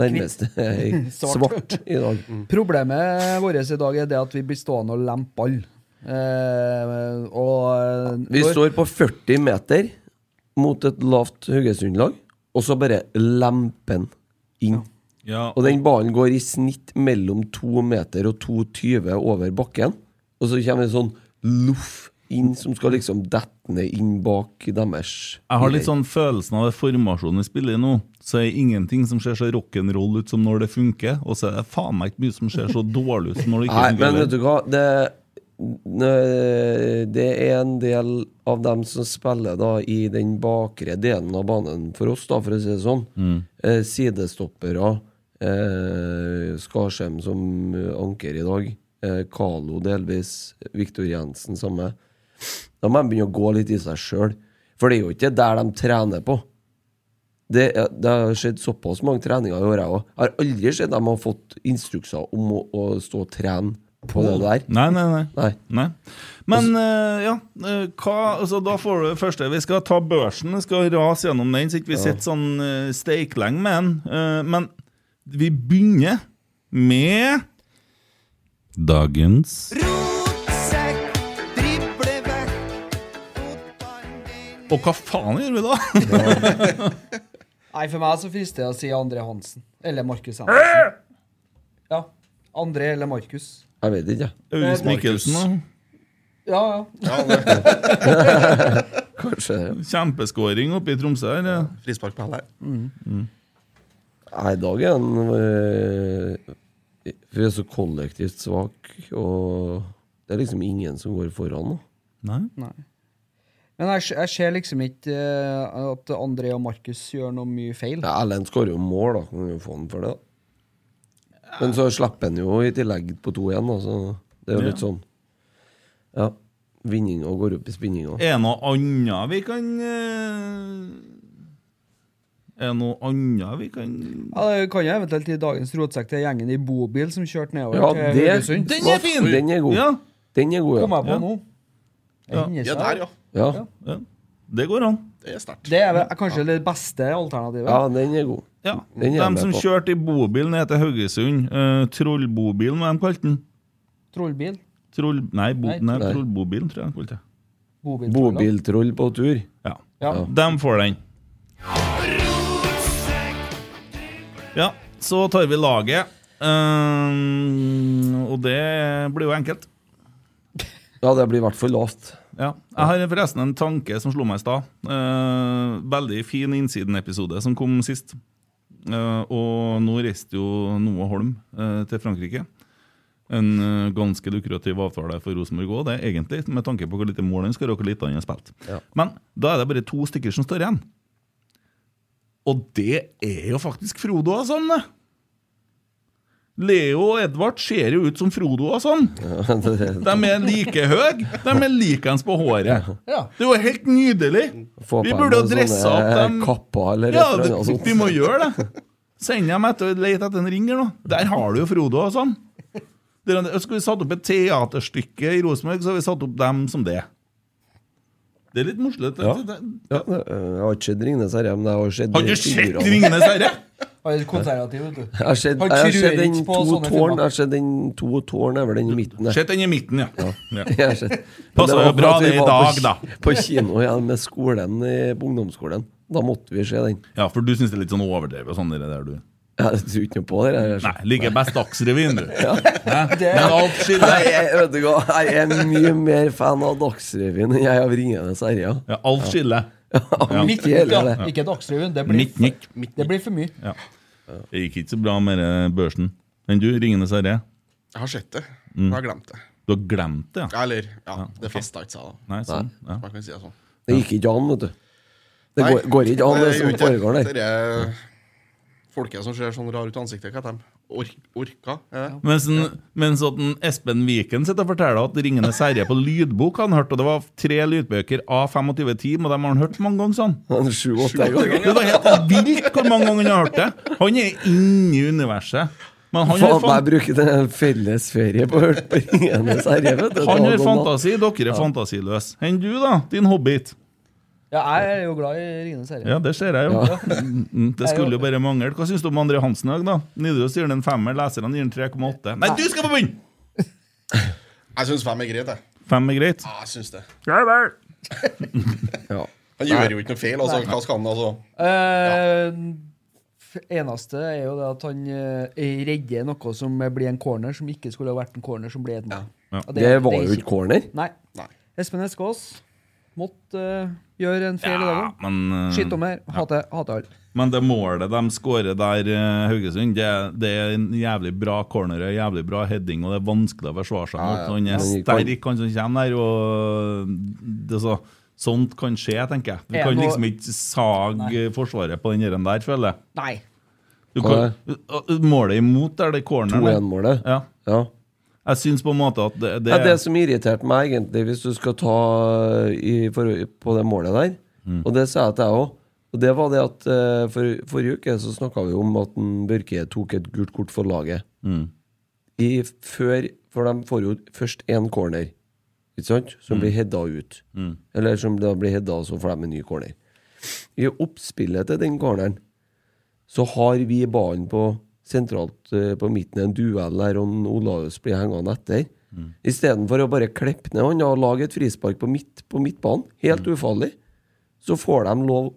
Speaker 3: Nærmeste svart i dag.
Speaker 5: Mm. Problemet vårt i dag er det at vi blir stående og lempe ball. Eh, og eh,
Speaker 3: Vi
Speaker 5: når-
Speaker 3: står på 40 meter mot et lavt Haugesund-lag, og så bare lemper den inn.
Speaker 4: Ja,
Speaker 3: Og den ballen går i snitt mellom 2 meter og 2,20 over bakken. Og så kommer en sånn loff inn som skal liksom dette ned inn bak deres
Speaker 4: jeg har litt sånn følelsen av det formasjonen vi spiller i nå. Så er det ingenting som ser så rock'n'roll ut som når det funker, og så er det faen meg ikke mye som ser så dårlig ut som når det ikke
Speaker 3: Nei, men vet
Speaker 4: funker.
Speaker 3: du hva? Det, nø- det er en del av dem som spiller da i den bakre delen av banen for oss, da, for å si det sånn.
Speaker 4: Mm.
Speaker 3: Eh, sidestoppere. Eh, Skarsheim som eh, anker i dag. Eh, Kalo delvis. Viktor Jensen samme. Da må de begynne å gå litt i seg sjøl. For det er jo ikke der de trener på. Det, er- det har skjedd såpass mange treninger i året òg. Jeg har aldri sett dem har fått instrukser om å, å stå og trene på det der.
Speaker 4: Nei, nei, nei.
Speaker 3: Nei.
Speaker 4: Nei. Men eh, ja, eh, hva, altså, da får du det første Vi skal ta børsen, vi skal rase gjennom den, så ikke vi sitter sånn uh, steiklenge med den. Eh, men vi begynner med Dagens Og hva faen gjør vi da?
Speaker 5: Nei, for meg så frister det å si André Hansen. Eller Markus Henriksen. Ja. André eller Markus.
Speaker 3: Jeg vet ikke, jeg.
Speaker 4: August Mikkelsen, da.
Speaker 5: Ja, ja.
Speaker 6: Ja, det er
Speaker 3: Kanskje
Speaker 4: Kjempeskåring oppe i Tromsø her. ja.
Speaker 6: Frispark på hæl her.
Speaker 3: Nei, i dag er han øh, Vi er så kollektivt svak, og det er liksom ingen som går foran nå.
Speaker 4: Nei.
Speaker 5: Men jeg, jeg ser liksom ikke eh, at André og Markus gjør noe mye feil.
Speaker 3: Ja, Erlend skårer jo mål, da. Kan jo få han for det, da. Men så slipper han jo i tillegg på 2-1, da, så det er jo litt sånn Ja. Vinninga går opp i spinninga.
Speaker 4: Er det noe annet vi kan eh, Er det noe annet vi kan
Speaker 5: Ja, det kan jo eventuelt i dagens rotsekk til gjengen i bobil som kjørte nedover
Speaker 3: Ja,
Speaker 5: til
Speaker 3: det
Speaker 5: Haugesund.
Speaker 4: Den er fin!
Speaker 3: Den er god.
Speaker 4: Ja,
Speaker 3: Den er god,
Speaker 5: Kom
Speaker 3: ja.
Speaker 5: jeg på nå.
Speaker 4: Ja.
Speaker 5: Endelig
Speaker 6: Ja,
Speaker 5: så-
Speaker 6: der, ja.
Speaker 3: Ja,
Speaker 4: ja. Det går an.
Speaker 6: Det er sterkt.
Speaker 5: Det er vel- er kanskje det beste alternativet.
Speaker 3: ja den er god.
Speaker 4: Ja.
Speaker 3: Den er jeg
Speaker 4: De
Speaker 3: med
Speaker 4: som
Speaker 3: på.
Speaker 4: kjørte i bobil ned til Haugesund, eh, trollbobilen, hva de kalte den?
Speaker 5: Trollbil.
Speaker 4: Troll... Nei, bo...
Speaker 5: Nei.
Speaker 4: Nei,
Speaker 3: Nei.
Speaker 4: trollbobilen, tror jeg de kalte det.
Speaker 5: Bobil.
Speaker 3: Bobiltroll på tur.
Speaker 4: Ja.
Speaker 5: Ja.
Speaker 4: De får den. Ja, så tar vi laget. Eh, og det blir jo enkelt.
Speaker 3: Ja, det blir i hvert fall lavt.
Speaker 4: Ja. Jeg har forresten en tanke som slo meg i stad. Eh, veldig fin Innsiden-episode som kom sist. Eh, og nå reiste jo Noah Holm eh, til Frankrike. En eh, ganske lukrativ avtale for Rosenborg òg, egentlig, med tanke på hvor lite mål han skårer, og hvor lite han har spilt.
Speaker 3: Ja.
Speaker 4: Men da er det bare to stykker som står igjen. Og det er jo faktisk Frodo og sånn, det! Leo og Edvard ser jo ut som Frodo og sånn. De er like høye. De er likeens på håret.
Speaker 5: Ja.
Speaker 4: Det var helt nydelig.
Speaker 3: Få
Speaker 4: Vi
Speaker 3: på
Speaker 4: burde
Speaker 3: en
Speaker 4: jo
Speaker 3: sånne
Speaker 4: dresse opp dem.
Speaker 3: Kappa eller
Speaker 4: Ja,
Speaker 3: et
Speaker 4: det,
Speaker 3: eller annet sånt.
Speaker 4: vi må gjøre det. Send dem etter lete etter en ringer nå. Der har du jo Frodo og sånn. Der, er det- skulle vi satt opp et teaterstykke i Rosenborg, så har vi satt opp dem som det. Det er litt morsomt.
Speaker 3: Ja.
Speaker 4: Det- det-
Speaker 3: Ja, det- jeg har ikke sett Ringnes Herre, men jeg har sett
Speaker 4: Har du sett
Speaker 3: figurene.
Speaker 4: Ringenes herre?
Speaker 5: Han er konservativ, vet du.
Speaker 3: Jeg har sett,
Speaker 5: Han
Speaker 3: jeg har
Speaker 5: tror
Speaker 3: sett den
Speaker 5: ikke på
Speaker 3: to
Speaker 5: sånne
Speaker 3: tårn.
Speaker 5: filmer.
Speaker 3: Jeg har sett den to tårn er vel den i midten. der.
Speaker 4: Sett den i midten, ja. ja.
Speaker 3: Jeg har sett. Men det
Speaker 4: Passer
Speaker 3: var
Speaker 4: jo bra
Speaker 3: for at vi
Speaker 4: det i
Speaker 3: var på
Speaker 4: dag,
Speaker 3: ki- På kino ja, med skolen eh, på ungdomsskolen. Da måtte vi se den.
Speaker 4: Ja, for du syns det er litt sånn overdrevet og sånn, det der du
Speaker 3: Jeg tror ikke noe på det. her, Jeg,
Speaker 4: Nei, liker best Dagsrevyen, du.
Speaker 5: Det,
Speaker 4: Men
Speaker 3: Nei,
Speaker 4: alt skiller.
Speaker 3: jeg, vet du hva, jeg er mye mer fan av Dagsrevyen enn jeg er av Ringenes herre. ja.
Speaker 4: Ja, alt skiller. Ja.
Speaker 5: Midt,
Speaker 3: Ikke hele
Speaker 5: ja,
Speaker 3: det.
Speaker 5: ikke Dagsrevyen. Det, blir-
Speaker 4: Nikk, nikk.
Speaker 5: det blir for mye.
Speaker 4: Ja. Det gikk ikke så bra med eh, børsen. Men du, Ringenes herre,
Speaker 6: Jeg har sett det.
Speaker 3: Mm.
Speaker 6: Men jeg har glemt det.
Speaker 4: du har glemt det? ja?
Speaker 6: Eller ja, det festa ikke seg, da.
Speaker 4: Nei, sånn. Ja.
Speaker 6: Man kan si det sånn.
Speaker 3: Det gikk ikke an, vet du. Det
Speaker 6: Nei.
Speaker 3: går, går ikke an, det
Speaker 6: gjør
Speaker 3: som
Speaker 6: ikke
Speaker 3: foregår der.
Speaker 6: Eh, Det er folket som ser sånn rar ut i ansiktet, hva heter de? Ork, orka? Er det?
Speaker 4: Mens, en, mens at en Espen Viken sitter og forteller at Ringenes herre på lydbok han hørte, og det var tre lydbøker A2510, og dem har han hørt mange ganger sånn.
Speaker 3: Sju-åtte ganger.
Speaker 4: Det var helt vilt hvor mange ganger han har hørt det. Han er inne i universet. Men han
Speaker 3: Faen,
Speaker 4: har
Speaker 3: jeg
Speaker 4: fan-
Speaker 3: bruker det en fellesferie på å høre på Ringenes herre. E, vet du. Dag
Speaker 4: han har
Speaker 3: og natt.
Speaker 4: fantasi, dere er fantasiløse. Enn du, da? Din hobbit.
Speaker 5: Ja, jeg er jo glad i Ringenes herre.
Speaker 4: Ja, det ser jeg jo. Mm, mm, Det skulle jo bare mangle. Hva syns du om André Hansen i dag, da? Nidaros gir den en femmer, leserne gir den 3,8. Nei, du skal få begynne!
Speaker 6: Jeg syns fem er greit, jeg.
Speaker 4: Fem er greit.
Speaker 6: Ja, jeg synes det.
Speaker 3: Ja.
Speaker 6: Han gjør jo ikke noe feil. altså, Hva skal han, altså?
Speaker 5: Eh, f- eneste er jo det at han eh, redder noe som blir en corner, som ikke skulle ha vært en corner, som ble et mål.
Speaker 4: Ja.
Speaker 5: Og
Speaker 3: Det var jo
Speaker 5: er
Speaker 3: ikke corner.
Speaker 5: Nei.
Speaker 6: Nei.
Speaker 5: Espen Eskås måtte eh, gjøre en feil i dag
Speaker 4: Ja,
Speaker 5: òg.
Speaker 4: men, eh,
Speaker 5: Skitt om her. Hater hater alle.
Speaker 4: men det målet de skårer der, eh, Haugesund, det, det er en jævlig bra corner, en jævlig bra heading, og det er vanskelig å forsvare seg mot. Han er
Speaker 3: Men-
Speaker 4: sterk, han som kommer der, og eh, det er så, sånt kan skje, tenker jeg. Du
Speaker 5: Jeg
Speaker 4: kan
Speaker 5: må-
Speaker 4: liksom ikke sage forsvaret på den gjeren der, føler jeg.
Speaker 5: Nei.
Speaker 4: Du
Speaker 3: Hva
Speaker 4: kan, målet imot der, det er corneren. der.
Speaker 3: 2-1-målet.
Speaker 4: Ja.
Speaker 3: Ja.
Speaker 4: Jeg syns på en måte at det, det
Speaker 3: Ja, det som irriterte meg, egentlig, hvis du skal ta eh, i, for, på det målet der, og det sa jeg til jeg òg, og det var det at eh, for, forrige uke så snakka vi om at en Børke tok et gult kort for laget. i, før For de får jo først én corner, ikke sant? Som blir hedda ut. Eller som da blir hedda, og så får de en ny corner. I oppspillet til den corneren så har vi ballen på sentralt eh, på midten i en duell der og Olaus blir hengende etter. Istedenfor å bare klippe ned han og lage et frispark på, midt, på midtbanen, helt ufarlig, så får de lov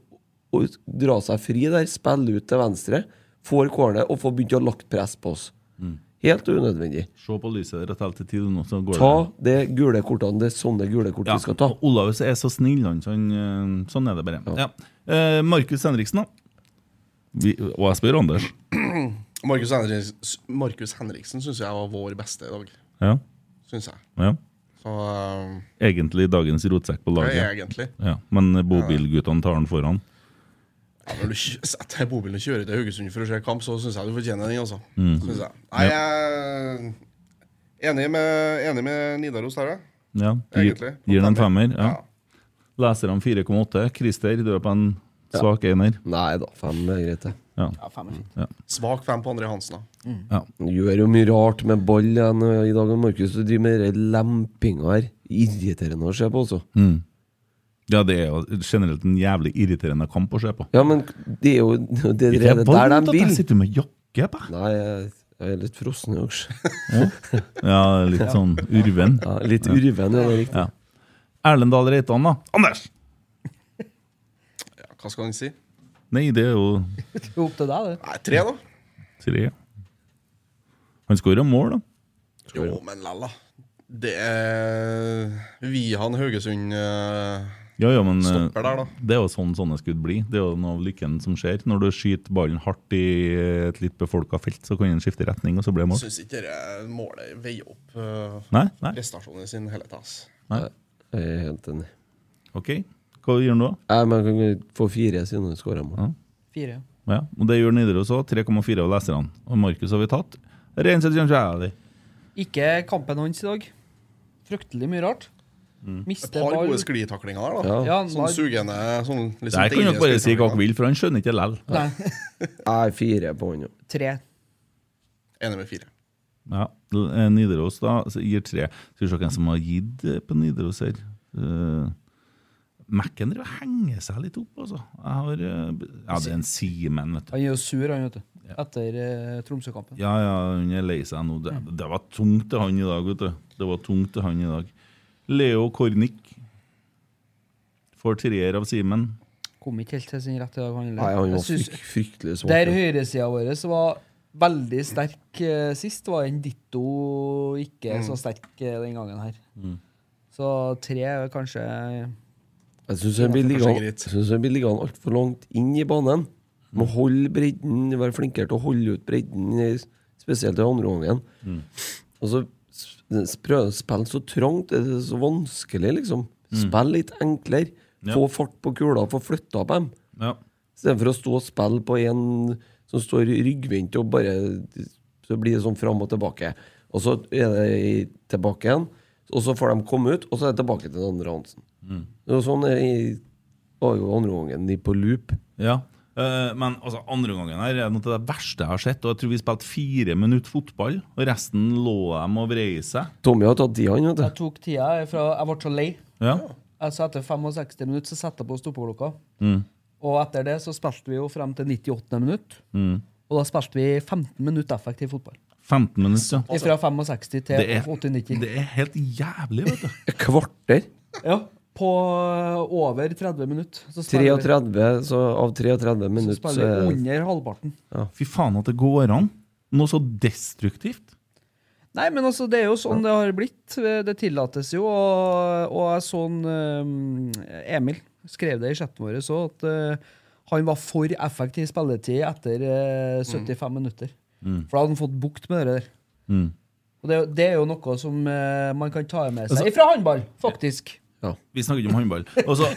Speaker 3: å dra seg fri der, spille ut til venstre, får corner og får begynt å lagt press på oss. Helt unødvendig.
Speaker 4: Se på lyset rett helt til tid, nå, så går
Speaker 3: Ta det gule kortene. Det er sånne gule kort
Speaker 4: Ja,
Speaker 3: vi skal ta.
Speaker 4: og Olaus er så snill, han. så han, eh, sånn er det bare. Ja. Eh, Markus Henriksen, da. Vi, og jeg spør Anders.
Speaker 6: Markus Henriksen, Markus Henriksen syns jeg var vår beste i dag.
Speaker 4: Ja,
Speaker 6: Syns jeg.
Speaker 4: ja.
Speaker 6: Så eh,
Speaker 4: Egentlig dagens rotsekk på
Speaker 6: det er
Speaker 4: laget.
Speaker 6: egentlig
Speaker 4: Ja, men bobilguttene tar han foran.
Speaker 6: ja, Når du kjø- setter deg i bobilen og kjører til Haugesund for å se kamp, så syns jeg du fortjener den, altså.
Speaker 3: Mm.
Speaker 6: Synes jeg. Nei, jeg er enig med, enig med Nidaros der, jeg.
Speaker 4: Ja, gir,
Speaker 6: Egentlig.
Speaker 4: gir han en femmer. Ja.
Speaker 6: Ja.
Speaker 4: Leser han 4,8. Christer, du er på en svak ener.
Speaker 3: Nei da, fem er greit, det.
Speaker 4: Ja.
Speaker 5: Ja, fem er fint.
Speaker 6: Svak fem på André Hansen, da.
Speaker 3: Han gjør jo mye rart med ball igjen eh, i dag. og Markus Du driver med den lempinga her. Irriterende å se på, altså.
Speaker 5: Mm.
Speaker 4: ja, det er jo generelt en jævlig irriterende kamp å se på.
Speaker 3: Ja, men det er jo det, er det der
Speaker 4: vondt
Speaker 3: de
Speaker 4: at jeg
Speaker 3: vil.
Speaker 4: sitter med jakke på!
Speaker 3: Nei, jeg, jeg er litt frossen i års.
Speaker 4: Ja, litt sånn urven.
Speaker 3: Ja, litt urven, ja, det er riktig.
Speaker 4: Ja. Erlend Dahl Reitan, da. Anders!
Speaker 6: Ja, hva skal han si?
Speaker 4: Nei, det er jo
Speaker 5: Det er jo opp til deg, det.
Speaker 6: Nei, tre, da.
Speaker 4: tre. Han skårer mål, da.
Speaker 6: Jo, men lalla. Det er Vihan Haugesund eh,
Speaker 4: Ja, ja, men eh,
Speaker 6: Stopper der, da.
Speaker 4: Det er jo sånn sånne skudd blir. Det er jo noe av lykken som skjer. Når du skyter ballen hardt i et litt befolka felt, så kan den skifte retning, og så blir det mål.
Speaker 6: Syns ikke det målet veier opp eh,
Speaker 4: Nei? nei,
Speaker 6: prestasjonen sin hele tatt. ass.
Speaker 4: nei.
Speaker 3: Jeg er helt enig.
Speaker 4: Ok, hva gjør han da?
Speaker 3: Nei, men jeg kan få fire siden han skåra mål.
Speaker 5: Fire.
Speaker 4: Ja, og Det gjør Nidaros òg. 3,4 av leserne. Og Markus har vi tatt. Reinseth Janjali.
Speaker 5: Ikke kampen hans i dag. Fryktelig mye rart.
Speaker 6: Et
Speaker 5: Mister
Speaker 6: par
Speaker 5: ball.
Speaker 6: gode sklitaklinger der, da.
Speaker 5: Ja,
Speaker 6: Sånn
Speaker 5: nei,
Speaker 6: sugende sånn liksom
Speaker 4: Der kan dere bare si hva dere
Speaker 6: deilige
Speaker 4: vil, for han skjønner ikke lell.
Speaker 5: nei,
Speaker 3: Nei, fire på han, jo.
Speaker 5: tre.
Speaker 6: sklitaklinger. Enig med fire.
Speaker 4: Ja, eh, Nidaros da så gir tre. Skal vi se hvem som har gitt eh, på Nidaros her. Uh, Mac-en driver og henger seg litt opp, altså. Jeg har, eh, b- ja, det er en Simen, vet du.
Speaker 5: Han er jo sur, han, vet du. Etter eh, Tromsø-kampen.
Speaker 4: Ja, ja, hun er lei seg nå. Det, det var tungt til han i dag, vet du. Det var tungt til han i dag. Leo Kornic får treer av Simen.
Speaker 5: Kom ikke helt til sin rett i dag. Han,
Speaker 3: Nei, han
Speaker 5: Jeg
Speaker 3: var
Speaker 5: synes-
Speaker 3: frykt, fryktelig
Speaker 5: Der
Speaker 3: svak.
Speaker 5: høyresida vår var veldig sterk eh, sist, var en ditto ikke så sterk eh, den gangen her. Så tre er kanskje
Speaker 3: Jeg syns han blir
Speaker 6: Kanskje
Speaker 3: liggende
Speaker 6: greit.
Speaker 3: jeg synes han blir liggende altfor langt inn i banen. Må holde bredden, være flinkere til å holde ut bredden, i- spesielt i andre gangen. Og så s- s- prøve å spille så trangt, det er så vanskelig, liksom. Spill litt enklere.
Speaker 4: Ja.
Speaker 3: Få fart på kula, få flytta på dem.
Speaker 4: Ja.
Speaker 3: Istedenfor å stå og spille på en som står ryggvendt og bare Så blir det sånn fram og tilbake. Og så er det i- tilbake igjen, og så får de komme ut, og så er det tilbake til den andre Hansen. Det var sånn er i- var jo andre gangen de på loop.
Speaker 4: Ja. Eh, men altså, andre gangen her er noe av det verste jeg har sett. Og jeg tror vi spilte fire minutter fotball, og resten lå dem og vrei seg.
Speaker 3: Tommy har tatt de, han,
Speaker 5: Jeg
Speaker 3: vet du.
Speaker 5: tok tida fra Jeg ble så lei.
Speaker 4: Ja.
Speaker 5: Altså Etter 65 minutter så setter jeg på stoppeklokka.
Speaker 4: Mm.
Speaker 5: Og etter det så spilte vi jo frem til 98. minutt.
Speaker 4: Mm.
Speaker 5: Og da spilte vi 15 minutter effektiv fotball.
Speaker 4: 15 minutter, ja.
Speaker 3: Altså,
Speaker 5: Fra 65 til
Speaker 4: Det er,
Speaker 5: 80-90.
Speaker 4: det er helt jævlig, vet du.
Speaker 3: Et kvarter.
Speaker 5: Ja, på eh, over 30 minutter. Så spiller vi-
Speaker 3: 33, så av 33
Speaker 5: så
Speaker 3: minutter så
Speaker 5: spiller
Speaker 3: er
Speaker 5: vi
Speaker 3: det
Speaker 5: under halvparten.
Speaker 4: Fy faen at det går an. Noe så destruktivt.
Speaker 5: Nei, men altså, det er jo sånn det har blitt. Det tillates jo. Og, og jeg så en, eh, Emil skrev det i chatten vår så at eh, han var for effektiv spilletid etter eh, 75 minutter. For da hadde han fått bukt med det der.
Speaker 3: Mm.
Speaker 5: Og det, er jo- det er jo noe som eh, man kan ta med seg fra håndball, faktisk.
Speaker 4: Vi snakker ikke om håndball. Altså,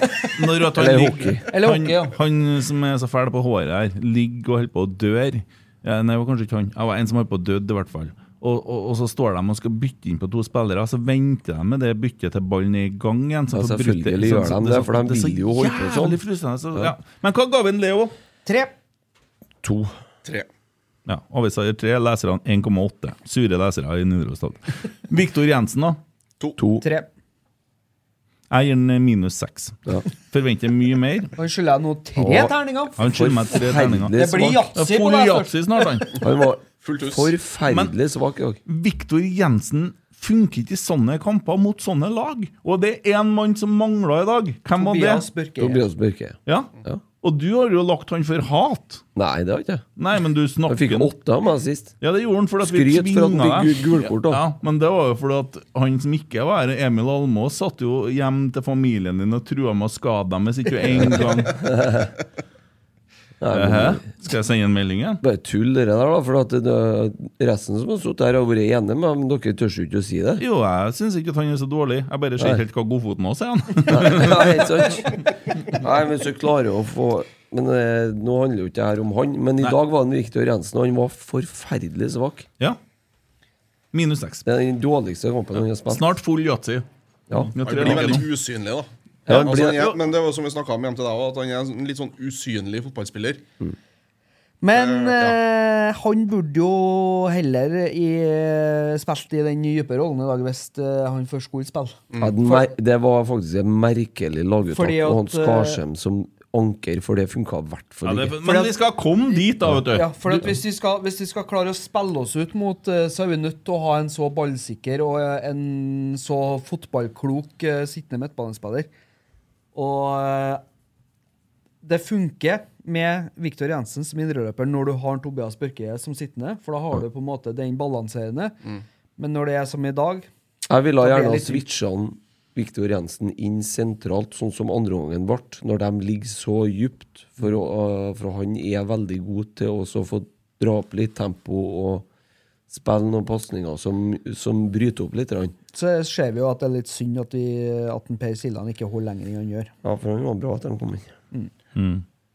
Speaker 4: når at han,
Speaker 3: Eller
Speaker 4: ligger-
Speaker 3: hockey.
Speaker 5: Eller hockey, ja.
Speaker 4: han, han som er så fæl på håret her, ligger og holder på å dør. Ja, nei, det var kanskje ikke han. Jeg var en som holdt på å døde, i hvert fall. Og, og, og så står de og skal bytte inn på to spillere, så venter de med det byttet til ballen er i gang igjen. så
Speaker 3: Ja,
Speaker 4: får
Speaker 3: selvfølgelig
Speaker 4: bryte-
Speaker 3: gjør
Speaker 4: så- så-
Speaker 3: de det, for de
Speaker 4: så
Speaker 3: vil jo holde på sånn.
Speaker 4: jævlig frustrerende, så- Ja. Men hva ga vi en Leo?
Speaker 5: Tre.
Speaker 3: to.
Speaker 6: Tre.
Speaker 4: Ja, Avisa gir tre, leserne 1,8. Sure lesere i Nidarosdalen. Viktor Jensen, da?
Speaker 6: To.
Speaker 5: Tre.
Speaker 4: Jeg gir den minus seks.
Speaker 3: Ja.
Speaker 4: Forventer mye mer.
Speaker 5: Han skylder jeg nå tre
Speaker 3: Å.
Speaker 5: terninger.
Speaker 4: Han skylder meg tre terninger.
Speaker 5: Det blir
Speaker 3: svak.
Speaker 5: yatzy på
Speaker 4: Får du
Speaker 5: deg. først.
Speaker 4: yatzy snart, han?
Speaker 3: Han var
Speaker 6: Fullt hus.
Speaker 3: forferdelig svak i dag.
Speaker 4: Viktor Jensen funker ikke i sånne kamper mot sånne lag. Og det er én mann som mangla i dag. Hvem var det?
Speaker 5: Tobias Børke.
Speaker 3: Tobias Børke.
Speaker 4: Ja.
Speaker 3: Ja.
Speaker 4: Og du har jo lagt han for hat.
Speaker 3: Nei, det har ikke jeg.
Speaker 4: Nei, men du
Speaker 3: Han
Speaker 4: snakker
Speaker 3: fikk åtte av meg sist.
Speaker 4: Ja, det gjorde han fordi at vi
Speaker 3: Skryt for at han
Speaker 4: tvinga
Speaker 3: fikk
Speaker 4: deg.
Speaker 3: gu- gult kort, da.
Speaker 4: Ja, men det var jo fordi at han som ikke var her, Emil Almås, satt jo hjem til familien din og trua med å skade dem hvis ikke du en gang Hæ? Skal jeg sende en melding igjen?
Speaker 3: Bare tull, det der, da. For at det, det- resten som har sittet her, har vært enige med men dere tør jo ikke å si det.
Speaker 4: Jo, jeg syns ikke at han er så dårlig. Jeg bare ser
Speaker 3: Nei.
Speaker 4: helt hva godfoten hans er. han.
Speaker 3: Nei, ikke sant? Nei, men så klarer jeg å få Men eh, nå handler jo ikke det her om han. Men i dag var det Viktor Jensen, og han var forferdelig svak.
Speaker 4: Ja. Minus seks.
Speaker 3: Det er den dårligste kampen han har spilt.
Speaker 4: Snart full yatzy.
Speaker 3: Ja.
Speaker 4: Jeg
Speaker 6: Han
Speaker 4: tror
Speaker 6: blir
Speaker 4: jeg
Speaker 6: veldig
Speaker 4: nok-
Speaker 6: usynlig, da.
Speaker 3: Ja, han
Speaker 6: altså,
Speaker 3: blir-
Speaker 6: han er, men det var som vi snakka om hjem til deg også, at han er en litt sånn usynlig fotballspiller.
Speaker 5: Men
Speaker 6: Eh,
Speaker 5: eh, han burde jo heller i, eh, spilt i den dype rollen i dag, hvis eh, han først skulle spille.
Speaker 3: Ja, den mer, det var faktisk et merkelig laguttak.
Speaker 5: Fordi at, eh,
Speaker 3: Og han Skarsheim som anker, for det funka i hvert
Speaker 4: Ja,
Speaker 3: fall
Speaker 4: det,
Speaker 3: ikke.
Speaker 4: men vi skal komme dit, da, vet du.
Speaker 5: Ja, for at hvis, vi skal, hvis vi skal klare å spille oss ut mot eh, så er vi nødt til å ha en så ballsikker og eh, en så fotballklok eh, sittende midtbanespiller. Og eh, det funker med Viktor Jensen som indreløper når du har Tobias Børke som sittende, for da har du på en måte den balanserende. Men når det er som i dag
Speaker 3: Jeg ville
Speaker 5: Da blir
Speaker 3: gjerne
Speaker 5: jeg
Speaker 3: ha
Speaker 5: litt-
Speaker 3: switcha Viktor Jensen inn sentralt, sånn som andreomgangen ble, når de ligger så dypt. For, å- eh, for han er veldig god til også å få dra opp litt tempo og spille noen pasninger som, som bryter opp litt. grann.
Speaker 5: så ser vi jo at det er litt synd at, vi, at en Per Siljan ikke holder lenger enn han gjør.
Speaker 3: Ja, for han var bra at de kom inn.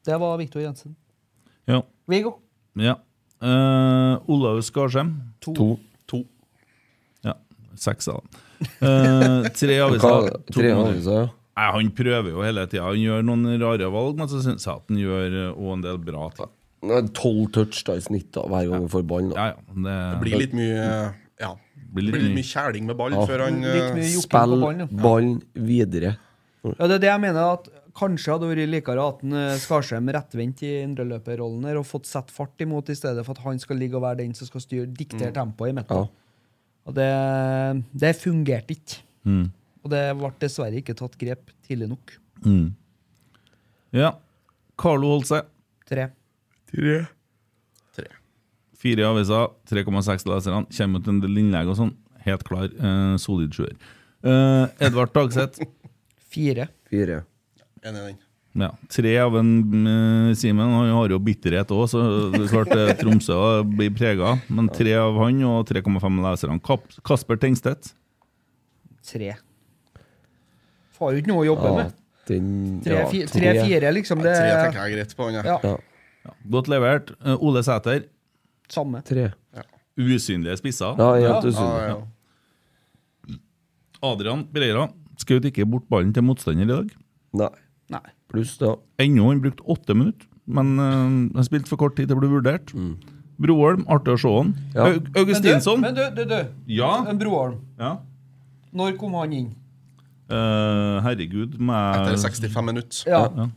Speaker 5: Det var Viktor Jensen.
Speaker 4: Ja.
Speaker 5: Viggo.
Speaker 4: ja. Eh, Olaug Skarsheim.
Speaker 3: To.
Speaker 6: To.
Speaker 4: Ja. Seks, da. Eh, tre
Speaker 3: Hva,
Speaker 4: aviser. to
Speaker 3: tre
Speaker 4: måneder.
Speaker 3: anelser, ja.
Speaker 4: Nei, han prøver jo hele tida. Han gjør noen rare valg, men så syns jeg at han gjør eh, også en del bra ting.
Speaker 3: Nå er det Tolv touch da, i snitt da, hver gang han får ballen. da.
Speaker 4: Ja, ja. Det,
Speaker 6: Blir litt mye Ja. Blir litt, mye kjæling med ball før han eh,
Speaker 5: Litt mye jokking på
Speaker 3: Spill
Speaker 5: ballen. ja.
Speaker 3: ballen videre.
Speaker 5: Ja, det er det jeg mener at kanskje hadde vært likere at en, eh, Skarsheim rettvendt i indreløperrollen her og fått satt fart imot, i stedet for at han skal ligge og være den som skal styre, diktere tempoet i midten.
Speaker 3: Ja.
Speaker 5: Og det, det fungerte ikke.
Speaker 3: Mm.
Speaker 5: Og det ble dessverre ikke tatt grep tidlig nok.
Speaker 4: Ja. Carlo Holse.
Speaker 5: Tre.
Speaker 6: Tre.
Speaker 4: Fire aviser, 3,6 leserne. Kommer ut en del innlegg og sånn. Helt klar. Eh, solid sjuer. Eh, Edvard Dagseth.
Speaker 5: Fire.
Speaker 3: Fire.
Speaker 6: Enig i den.
Speaker 4: Ja, Tre av en eh, Simen. Han har jo bitterhet òg, så det er klart eh, Tromsø blir prega. Men tre av han og 3,5 leserne. Kap Kasper Tengstedt.
Speaker 5: Tre. Får jo ikke noe å jobbe
Speaker 3: Ja,
Speaker 5: med.
Speaker 3: den ja,
Speaker 5: Tre-fire, tre, fire, liksom. Det
Speaker 6: Tre
Speaker 5: er
Speaker 6: tenker jeg er greit på. han
Speaker 5: ja,
Speaker 6: jeg.
Speaker 4: Ja, godt levert. Eh, Ole Sæter.
Speaker 5: samme.
Speaker 3: Tre.
Speaker 4: Usynlige spisser.
Speaker 3: Ja, helt
Speaker 6: Ja,
Speaker 3: usynlig.
Speaker 6: ja.
Speaker 4: Adrian Breira skjøt ikke bort ballen til motstander i dag.
Speaker 3: Nei.
Speaker 5: Nei.
Speaker 3: Pluss, da.
Speaker 4: Ennå han brukte åtte minutter, men eh, han spilte for kort tid til å bli vurdert. Broholm, artig å se han.
Speaker 3: Mm. Ja.
Speaker 4: Aug- Augustinsson.
Speaker 5: Men du, men du, du, du.
Speaker 4: Ja.
Speaker 5: En Broholm.
Speaker 4: ja.
Speaker 5: Når kom han inn?
Speaker 4: Eh, herregud, må
Speaker 6: Etter
Speaker 4: jeg
Speaker 6: 65 minutter.
Speaker 5: Ja.
Speaker 4: Ja.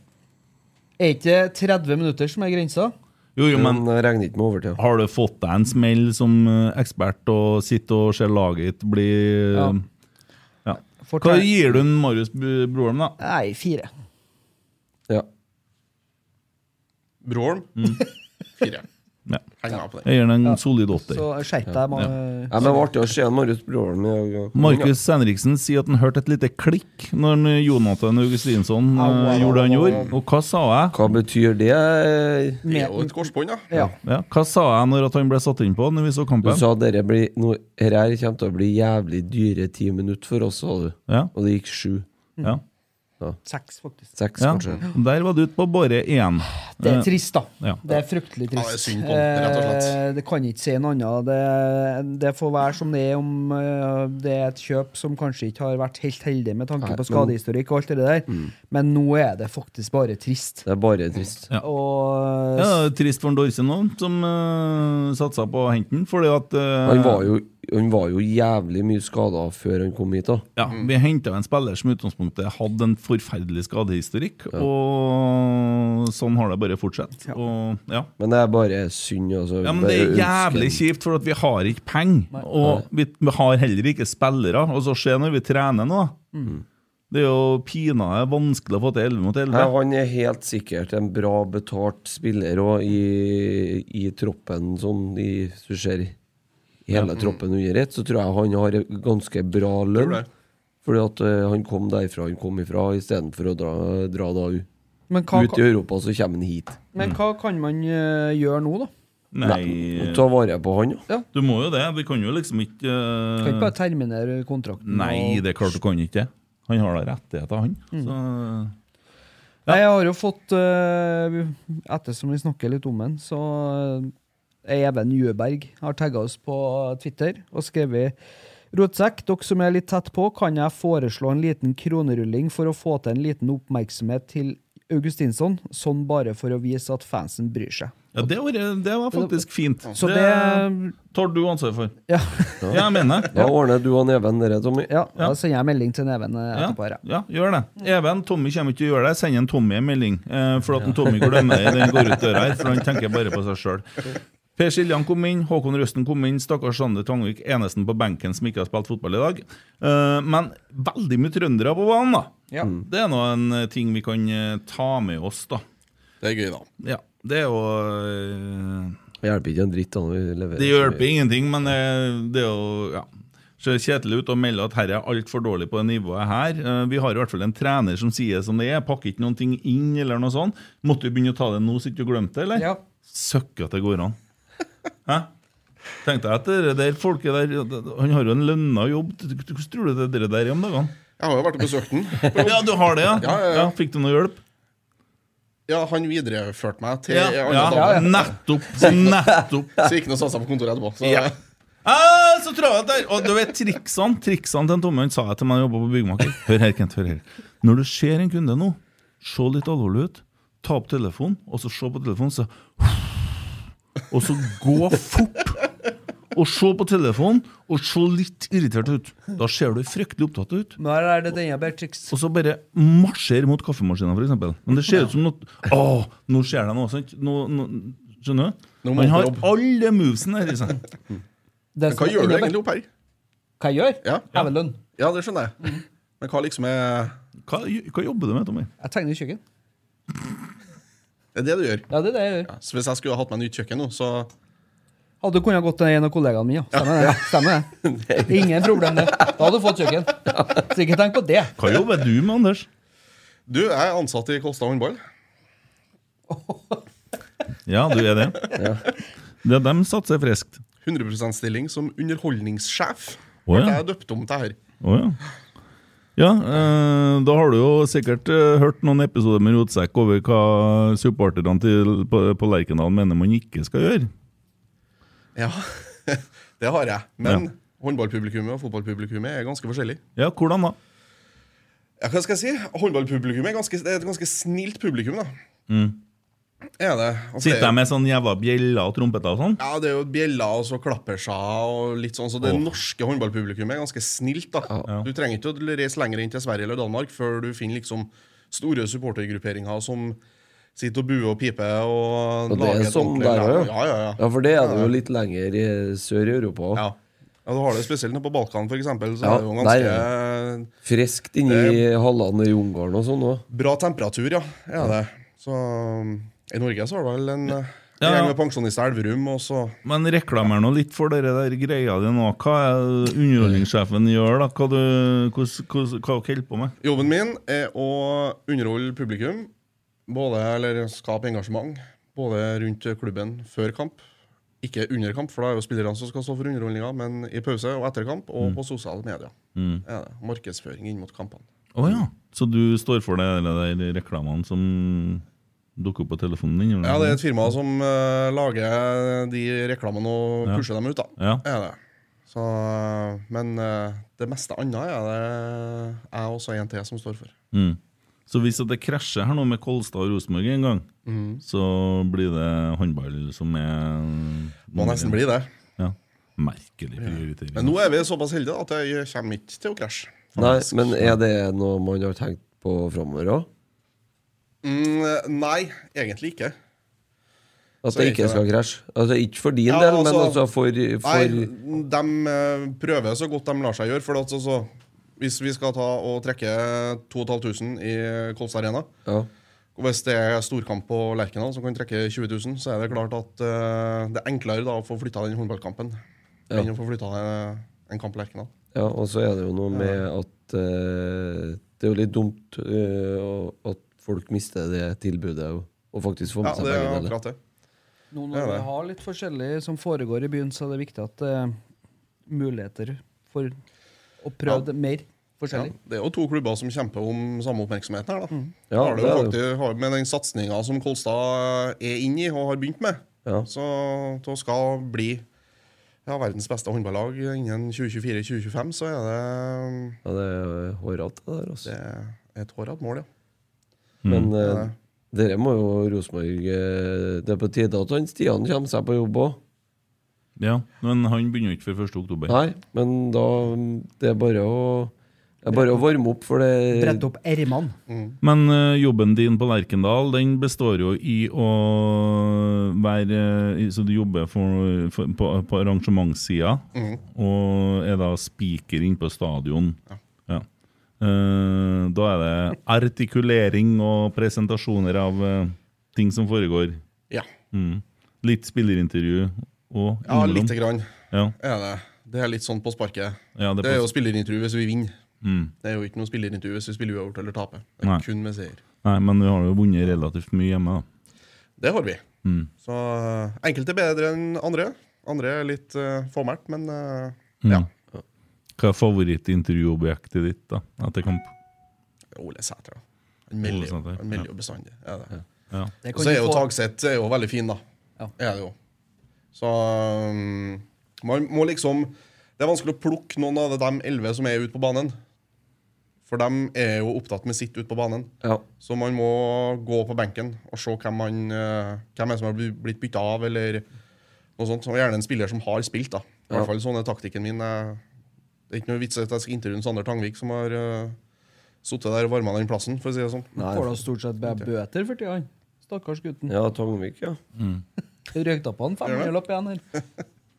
Speaker 5: Er ikke 30 minutter som er grensa?
Speaker 4: Jo, jo, men
Speaker 3: Men jeg regner ikke med overtid.
Speaker 4: har du fått deg en smell som eh, ekspert og sitter og ser laget ditt bli
Speaker 5: Ja.
Speaker 4: ja. Hva
Speaker 5: Fortell-
Speaker 4: gir du en Marius B- Broholm, da?
Speaker 5: Nei, fire.
Speaker 3: Ja.
Speaker 6: Broholm. Fire.
Speaker 4: Mm. Ja.
Speaker 6: Henger meg på den.
Speaker 4: Jeg gir den en solid åtter.
Speaker 5: Så skjerp deg. Man,
Speaker 3: Nei, men det var artig å se han Marius Broholm i dag.
Speaker 4: Markus Henriksen sier at han hørte et lite klikk når han, eh, Jonathan Augustinsson eh, gjorde det han gjorde. Og hva sa jeg?
Speaker 3: Hva betyr det?
Speaker 6: Det er jo et korsbånd, da.
Speaker 5: ja.
Speaker 4: Ja, hva sa jeg når at han ble satt inn på når vi så
Speaker 3: Du
Speaker 4: kampen?
Speaker 3: sa at dette blir noe- her her kommer til å bli jævlig dyre ti minutter for oss, sa du.
Speaker 4: Ja,
Speaker 3: Og det gikk sju.
Speaker 4: ja.
Speaker 5: Seks, faktisk.
Speaker 3: Seks,
Speaker 4: Ja.
Speaker 3: kanskje.
Speaker 4: Der var du ute på bare én.
Speaker 5: Det
Speaker 4: Eh,
Speaker 5: er trist, da.
Speaker 4: ja.
Speaker 5: Det er fryktelig
Speaker 6: Ja,
Speaker 5: trist.
Speaker 6: det er synd på den, rett og slett.
Speaker 5: Eh, Det kan ikke si noe annet. Det, det får være som det er om eh, det er et kjøp som kanskje ikke har vært helt heldig med tanke
Speaker 3: Nei,
Speaker 5: på skadehistorikk og alt det der, men nå er det faktisk bare trist.
Speaker 3: Det er bare trist.
Speaker 4: Ja.
Speaker 5: Og
Speaker 4: Ja, det er Trist for en Dorsen òg, som uh, satsa på å hente den. Fordi at eh,
Speaker 3: Han var jo, han var jo jævlig mye skada før han kom hit, da.
Speaker 4: ja, Vi henta en spiller som i utgangspunktet hadde en forferdelig skadehistorikk. Og sånn har det bare fortsatt. Og, ja.
Speaker 3: Men det er bare synd, altså.
Speaker 4: Ja, men Det er
Speaker 3: Bare ønsker-
Speaker 4: jævlig kjipt, for at vi har ikke penger. Og vi vi har heller ikke spillere. Og så se når vi trener nå.
Speaker 5: Mm.
Speaker 4: Det er jo pinadø vanskelig å få til 11 mot 11.
Speaker 3: Nei, han er helt sikkert en bra betalt spiller òg i, i troppen, sånn i, hvis du ser hele troppen under ett, så tror jeg han har en ganske bra lønn.
Speaker 6: det.
Speaker 3: Fordi at eh, han kom derfra han kom ifra, istedenfor å dra, dra da u-
Speaker 5: Men hva,
Speaker 3: ut i Europa, så kommer han hit.
Speaker 5: men
Speaker 4: Mm.
Speaker 5: hva kan man eh, gjøre nå, da?
Speaker 4: Nei,
Speaker 3: Ta vare på han, da.
Speaker 4: du må jo det. Vi kan jo liksom ikke eh,
Speaker 5: Kan ikke bare terminere kontrakten?
Speaker 4: Nei,
Speaker 5: og-
Speaker 4: det er klart du kan ikke det. Han har da rettigheter, han.
Speaker 5: Mm.
Speaker 4: Så,
Speaker 5: Nei, jeg har jo fått eh, Ettersom vi snakker litt om den, så eh, Even Jueberg har tagga oss på Twitter og skrevet Rotsekk, dere som er litt tett på, kan jeg foreslå en liten kronerulling for å få til en liten oppmerksomhet til Augustinsson, sånn bare for å vise at fansen bryr seg.
Speaker 4: ja, det var, det var faktisk fint.
Speaker 5: Så det
Speaker 4: tar du ansvar for.
Speaker 5: Ja,
Speaker 4: Ja, jeg mener det.
Speaker 3: Da ordner du og Even det, Tommy.
Speaker 5: ja da sender jeg melding til Neven eh,
Speaker 4: Ja,
Speaker 5: etterpå. her, Ja.
Speaker 4: ja, gjør det. Even, Tommy kommer ikke til å gjøre det. Send en Tommy en melding. Eh, for at en Tommy glemmer det, den går ut døra her, for han tenker bare på seg sjøl. Per Siljan kom inn, Håkon Røsten kom inn, stakkars Sander Tangvik, eneste på benken som ikke har spilt fotball i dag. Eh, men veldig mye trøndere på banen, da.
Speaker 5: Ja. Mm.
Speaker 4: Det er nå en eh, ting vi kan eh, ta med oss, da.
Speaker 6: Det er gøy, da.
Speaker 4: Ja, det er jo eh,
Speaker 3: Det hjelper ikke en dritt. da, når vi leverer
Speaker 4: Det
Speaker 3: så mye.
Speaker 4: hjelper ingenting, men det, det er jo ja. Ser kjedelig ut å melde at her er altfor dårlig på det nivået her. Eh, Vi har i hvert fall en trener som sier som det er. Pakker ikke noen ting inn, eller noe sånt. Måtte du begynne å ta det nå, så ikke du glemte det, eller?
Speaker 5: Ja.
Speaker 4: Søkke at det går an. Hæ? Tenkte jeg at det der folket der Han har jo en lønna jobb. Hvordan tror du det der, der er om dagene?
Speaker 6: Jeg har jo vært og besøkt den.
Speaker 4: Ja, du har det, ja?
Speaker 6: Ja, ja, ja.
Speaker 4: Fikk du noe hjelp?
Speaker 6: Ja, han videreførte meg til
Speaker 4: Ja,
Speaker 6: en annen
Speaker 4: ja.
Speaker 6: dame.
Speaker 4: Nettopp! Nettopp!
Speaker 6: Så jeg gikk han og satte seg på kontoret etterpå. Så
Speaker 4: Ja. Ah, så travelt der! Og du vet triksene triksene til en Tommy han sa jeg til meg da jeg jobba på byggmaker. Hør her, Kent. hør her Når du ser en kunde nå, se litt alvorlig ut. Ta opp telefonen, og så se på telefonen, så Og så gå fort. Og se på telefonen, og se litt irritert ut. Da ser du fryktelig opptatt ut.
Speaker 5: Nå er det denne Bertrix.
Speaker 4: Og så bare marsjer mot kaffemaskinen, for eksempel Men det ser ut som noe Å, nå ser jeg noe, sant? Nå, nå, skjønner du?
Speaker 6: Nå må
Speaker 4: Han har
Speaker 6: han på
Speaker 4: alle movesene der. Liksom.
Speaker 6: Men hva gjør du egentlig opp her?
Speaker 5: Hva jeg gjør?
Speaker 6: Ja.
Speaker 5: Jeg har vel lønn.
Speaker 6: Ja, det skjønner
Speaker 5: Mm.
Speaker 6: jeg. Men hva liksom er
Speaker 4: Hva, hva jobber du med, Tommy?
Speaker 5: Jeg tegner i kjøkken.
Speaker 6: Det er det du gjør.
Speaker 5: Ja, det er det jeg gjør.
Speaker 6: Så hvis jeg skulle ha hatt meg nytt kjøkken nå, så
Speaker 5: Hadde du kunnet gått til en av kollegaene mine, ja. Stemmer det. Stemmer det. Ingen problem, det. Da hadde du fått kjøkken. Så ikke tenk på det.
Speaker 4: Hva jobber du med, Anders?
Speaker 6: Du, jeg er ansatt i Kolstad håndball.
Speaker 4: Ja, du er det. Det er dem satser friskt.
Speaker 6: 100 %-stilling som underholdningssjef.
Speaker 4: Å,
Speaker 6: Ble
Speaker 4: ja.
Speaker 6: jeg døpt om til her.
Speaker 4: Å ja. Ja, eh, da har du jo sikkert eh, hørt noen episoder med rotsekk over hva supporterne til, på, på Lerkendal mener man ikke skal gjøre.
Speaker 6: Ja, det har jeg. Men
Speaker 4: Ja.
Speaker 6: håndballpublikummet og fotballpublikummet er ganske forskjellig.
Speaker 4: Ja, hvordan da?
Speaker 6: Ja, hva skal jeg si? Håndballpublikummet er, ganske, det er et ganske snilt publikum, da. Mm. Er det. Altså, det er-
Speaker 4: Sitter jeg med sånn jævla bjeller og trompeter og sånn?
Speaker 6: Ja, det er jo bjeller og så klappersjer og litt sånn. Så det
Speaker 4: Åh.
Speaker 6: norske håndballpublikummet er ganske snilt, da. Du trenger ikke å reise lenger inn til Sverige eller Danmark før du finner liksom store supportergrupperinger som sitter og buer og piper og,
Speaker 3: Og det er
Speaker 6: lager et
Speaker 3: sånn
Speaker 6: ordentlig
Speaker 3: der
Speaker 6: lag.
Speaker 3: òg,
Speaker 6: Ja, ja, ja.
Speaker 3: Ja, for det er det jo litt lenger i sør i Europa.
Speaker 6: ja. ja, du har det spesielt nede på Balkan, for eksempel. Så
Speaker 3: Ja,
Speaker 6: er det jo
Speaker 3: der
Speaker 6: ganske
Speaker 3: Friskt inni hallene i Ungarn og sånn òg.
Speaker 6: bra temperatur, ja. Er det. Så um, i Norge så har du vel en eh,
Speaker 4: Ja, ja.
Speaker 6: gjeng med pensjonister i Elverum, og så
Speaker 4: Men reklamer nå litt for dere der greia di nå. Hva er det underholdningssjefen gjør, da? Hva du hvordan- hvordan- hva dere holder på med?
Speaker 6: Jobben min er å underholde publikum, både, eller skape engasjement, både rundt klubben før kamp, ikke under kamp, for da er jo spillerne som skal stå for underholdninga,
Speaker 4: Mm.
Speaker 6: men i pause og etter kamp, og på sosiale medier. Er det. Markedsføring inn mot kampene.
Speaker 4: Å ja. Så du står for det, eller de reklamene som dukker opp på telefonen din? eller
Speaker 6: Ja, det
Speaker 4: noe
Speaker 6: er et firma som eh, lager de reklamene og
Speaker 4: Ja.
Speaker 6: pusher dem ut, da.
Speaker 4: Ja.
Speaker 6: Er det. Så, eh, men eh, det meste annet er det jeg også en til som står for.
Speaker 4: Mm. Så hvis at det krasjer her nå med Kolstad og Rosenborg en gang,
Speaker 6: Mhm.
Speaker 4: så blir det håndball som er
Speaker 3: Mm.
Speaker 6: Må nesten bli det.
Speaker 4: Ja. Merkelig prioritering.
Speaker 6: Men nå er vi såpass heldige da, at det kommer ikke til å krasje.
Speaker 3: Nei, men er det noe man har tenkt på framover òg?
Speaker 6: Mm, nei, egentlig ikke.
Speaker 3: At
Speaker 6: Så
Speaker 3: det ikke
Speaker 6: ikke
Speaker 3: skal krasje? Altså ikke for din
Speaker 6: Ja,
Speaker 3: del, men
Speaker 6: altså-
Speaker 3: altså for, for
Speaker 6: Nei, de eh, prøver så godt de lar seg gjøre. For at, altså, hvis vi skal ta og trekke 2500 i Kolstad Arena
Speaker 3: ja.
Speaker 6: og Hvis det er storkamp på Lerkendal som kan trekke 20 000, så er det klart at eh, det er enklere da å få flytta den håndballkampen
Speaker 3: Ja.
Speaker 6: enn å få flytta en kamp på Lerkendal.
Speaker 3: ja, og så er det jo noe med at eh, det er jo litt dumt eh, og- at folk mister det tilbudet og, og faktisk får
Speaker 6: Ja,
Speaker 3: med seg
Speaker 6: det er
Speaker 3: begge deler.
Speaker 6: akkurat det.
Speaker 5: Nå
Speaker 6: Det
Speaker 5: når
Speaker 6: er
Speaker 5: vi
Speaker 6: det.
Speaker 5: har litt forskjellig som foregår i byen, så er det viktig at eh, muligheter for å prøve det mer
Speaker 6: Ja,
Speaker 5: forskjellig.
Speaker 6: det er jo to klubber som kjemper om samme oppmerksomheten her, da.
Speaker 3: Ja,
Speaker 6: har det
Speaker 3: det
Speaker 6: jo
Speaker 3: er det.
Speaker 6: faktisk, har, med den satsinga som Kolstad er inne i og har begynt med,
Speaker 3: Ja.
Speaker 6: så til å skal bli ja, verdens beste håndballag innen 2024-2025, så er det,
Speaker 3: Ja, det er hårete, det der. Altså.
Speaker 6: det er et hårete mål, ja.
Speaker 3: Men eh,
Speaker 6: Mm. Ja.
Speaker 3: dere må jo Rosenborg eh, Det er på tide at han Stian kommer seg på jobb òg.
Speaker 4: Ja, men han begynner jo ikke før 1. oktober.
Speaker 3: Nei, men da Det er bare å det er bare å varme opp for det.
Speaker 5: Brette opp ermene.
Speaker 4: Men eh, jobben din på Lerkendal den består jo i å være eh, i- Så du jobber for, for, på, på arrangementssida
Speaker 6: Mhm.
Speaker 4: og er da spiker inne på stadion. Ja. Eh, da er det artikulering og presentasjoner av eh, ting som foregår.
Speaker 6: Ja,
Speaker 4: Mm. Litt spillerintervju og
Speaker 6: ja
Speaker 4: innimellom.
Speaker 6: lite grann
Speaker 4: Ja,
Speaker 6: er det. Det er litt sånn på sparket.
Speaker 4: ja, det
Speaker 6: Det er
Speaker 4: er
Speaker 6: jo
Speaker 4: pass-
Speaker 6: spillerintervju hvis vi vinner.
Speaker 4: Mm.
Speaker 6: Det er jo ikke noe spillerintervju hvis vi spiller uavgjort eller taper. Det er
Speaker 4: Nei.
Speaker 6: kun med seier.
Speaker 4: Nei, men du har jo vunnet relativt mye hjemme, da.
Speaker 6: Det har vi.
Speaker 4: Mm.
Speaker 6: Så eh, enkelte er bedre enn andre. Andre er litt uh, fåmælt, men eh,
Speaker 4: Mm.
Speaker 6: Ja.
Speaker 4: Hva er favorittintervjuobjektet ditt da, etter kamp?
Speaker 6: Ole Sæter. da. Han melder jo-
Speaker 4: Ole Sæter,
Speaker 6: han melder jo bestandig. Er det.
Speaker 4: Ja.
Speaker 5: Det
Speaker 6: Og
Speaker 5: kan
Speaker 6: så er
Speaker 5: du
Speaker 6: jo
Speaker 5: få-
Speaker 6: Tagseth er jo veldig fin, da.
Speaker 5: Ja.
Speaker 6: Er det jo. Så um, man må liksom Det er vanskelig å plukke noen av de elleve som er ute på banen. For de er jo opptatt med sitt ute på banen.
Speaker 3: Ja.
Speaker 6: Så man må gå på benken og se hvem, man, eh, hvem er som har bli- blitt bytta av, eller noe sånt. Og gjerne en spiller som har spilt, da. I
Speaker 3: Ja.
Speaker 6: hvert fall sånn er taktikken min. Jeg, det er ikke noe vits i at jeg skal intervjue en Sander Tangvik, som har uh, sittet der og varma den plassen, for å si det sånn.
Speaker 3: Nei.
Speaker 5: Får da stort sett bare bøter for tida, han. Stakkars gutten.
Speaker 3: ja, Tangvik, ja.
Speaker 5: Røykte på han 500-lapp igjen her.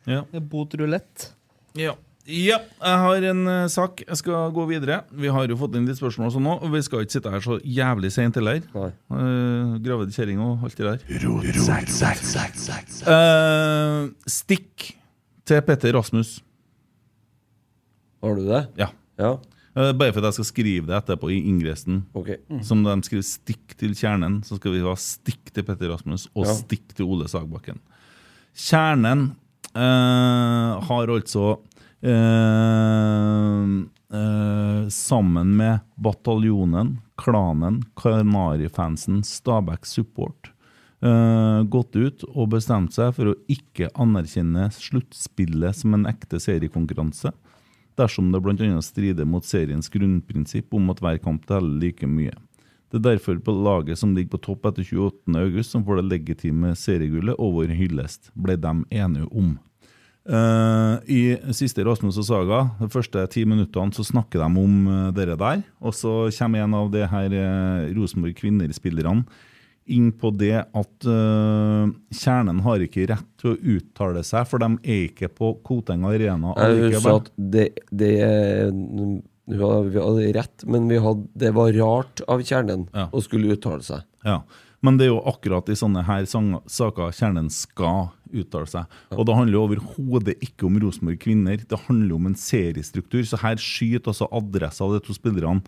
Speaker 4: Ja.
Speaker 5: Det er Bot rulett.
Speaker 4: Ja. ja. Jeg har en eh, sak. Jeg skal gå videre. Vi har jo fått inn litt spørsmål og sånn nå, og vi skal ikke sitte her så jævlig seint heller.
Speaker 3: Nei.
Speaker 4: Uh, Gravide kjerring og alt det der. Eh, stikk til Petter Rasmus.
Speaker 3: Har du det?
Speaker 4: Ja.
Speaker 3: Ja.
Speaker 4: Eh, bare for at jeg skal skrive det etterpå i ingressen.
Speaker 3: Ok.
Speaker 4: Som de skriver 'stikk til kjernen', så skal vi ha 'stikk til Petter Rasmus' og
Speaker 3: Ja.
Speaker 4: 'stikk til Ole Sagbakken'. Kjernen eh, har altså eh, eh, Sammen med Bataljonen, Klanen, Kanarifansen, Stabæk Support eh, gått ut og bestemt seg for å ikke anerkjenne sluttspillet som en ekte seriekonkurranse dersom det bl.a. strider mot seriens grunnprinsipp om at hver kamp teller like mye. Det er derfor på laget som ligger på topp etter 28.8, som får det legitime seriegullet og vår hyllest, ble de enige om. Eh, I siste Rasmus og Saga, de første ti minuttene, så snakker de om eh, dere der. Og så kommer en av det her eh, Rosenborg kvinner-spillerne inn på det at eh, kjernen har ikke rett til å uttale seg, for de er ikke på Koteng Arena.
Speaker 3: Jeg
Speaker 4: allikevel.
Speaker 3: husker at det, det er- hun hadde, vi hadde rett, men vi hadde, det var rart av kjernen
Speaker 4: Ja.
Speaker 3: å skulle uttale seg.
Speaker 4: Ja. Men det er jo akkurat i sånne her sang- saker kjernen skal uttale seg. Og det handler jo overhodet ikke om Rosenborg kvinner, det handler om en seriestruktur. Så her skyter altså adressa av de to spillerne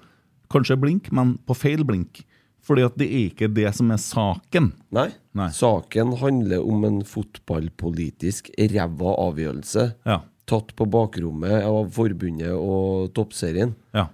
Speaker 4: kanskje blink, men på feil blink. Fordi at det er ikke det som er saken.
Speaker 3: Nei.
Speaker 4: Nei.
Speaker 3: Saken handler om en fotballpolitisk ræva avgjørelse
Speaker 4: Ja.
Speaker 3: tatt på bakrommet av forbundet og toppserien.
Speaker 4: Ja.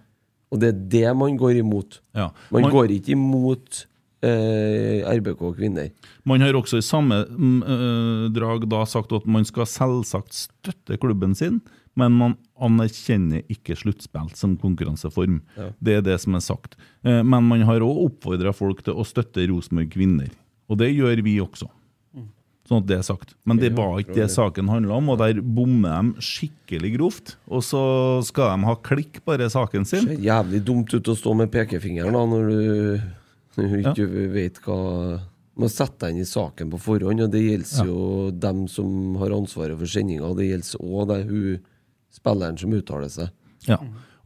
Speaker 3: Og det er det man går imot.
Speaker 4: Ja.
Speaker 3: Man,
Speaker 4: Man-
Speaker 3: går ikke imot eh, RBK kvinner.
Speaker 4: Man har også i samme mm, øh, drag da sagt at man skal selvsagt støtte klubben sin, men man anerkjenner ikke sluttspill som konkurranseform. Det er det som er sagt. Eh, Men man har òg oppfordra folk til å støtte Rosenborg kvinner. Og det gjør vi også. Sånn at det er sagt. Men det var ikke det saken handla om, og der bommer de skikkelig grovt. Og så skal de ha klikk, bare saken sin.
Speaker 3: Det ser jævlig dumt ut å stå med pekefingeren da, når du, når du ikke vet hva Man setter deg inn i saken på forhånd, og det gjelder jo dem som har ansvaret for sendinga. Det gjelder òg hun spilleren som uttaler seg.
Speaker 4: Ja.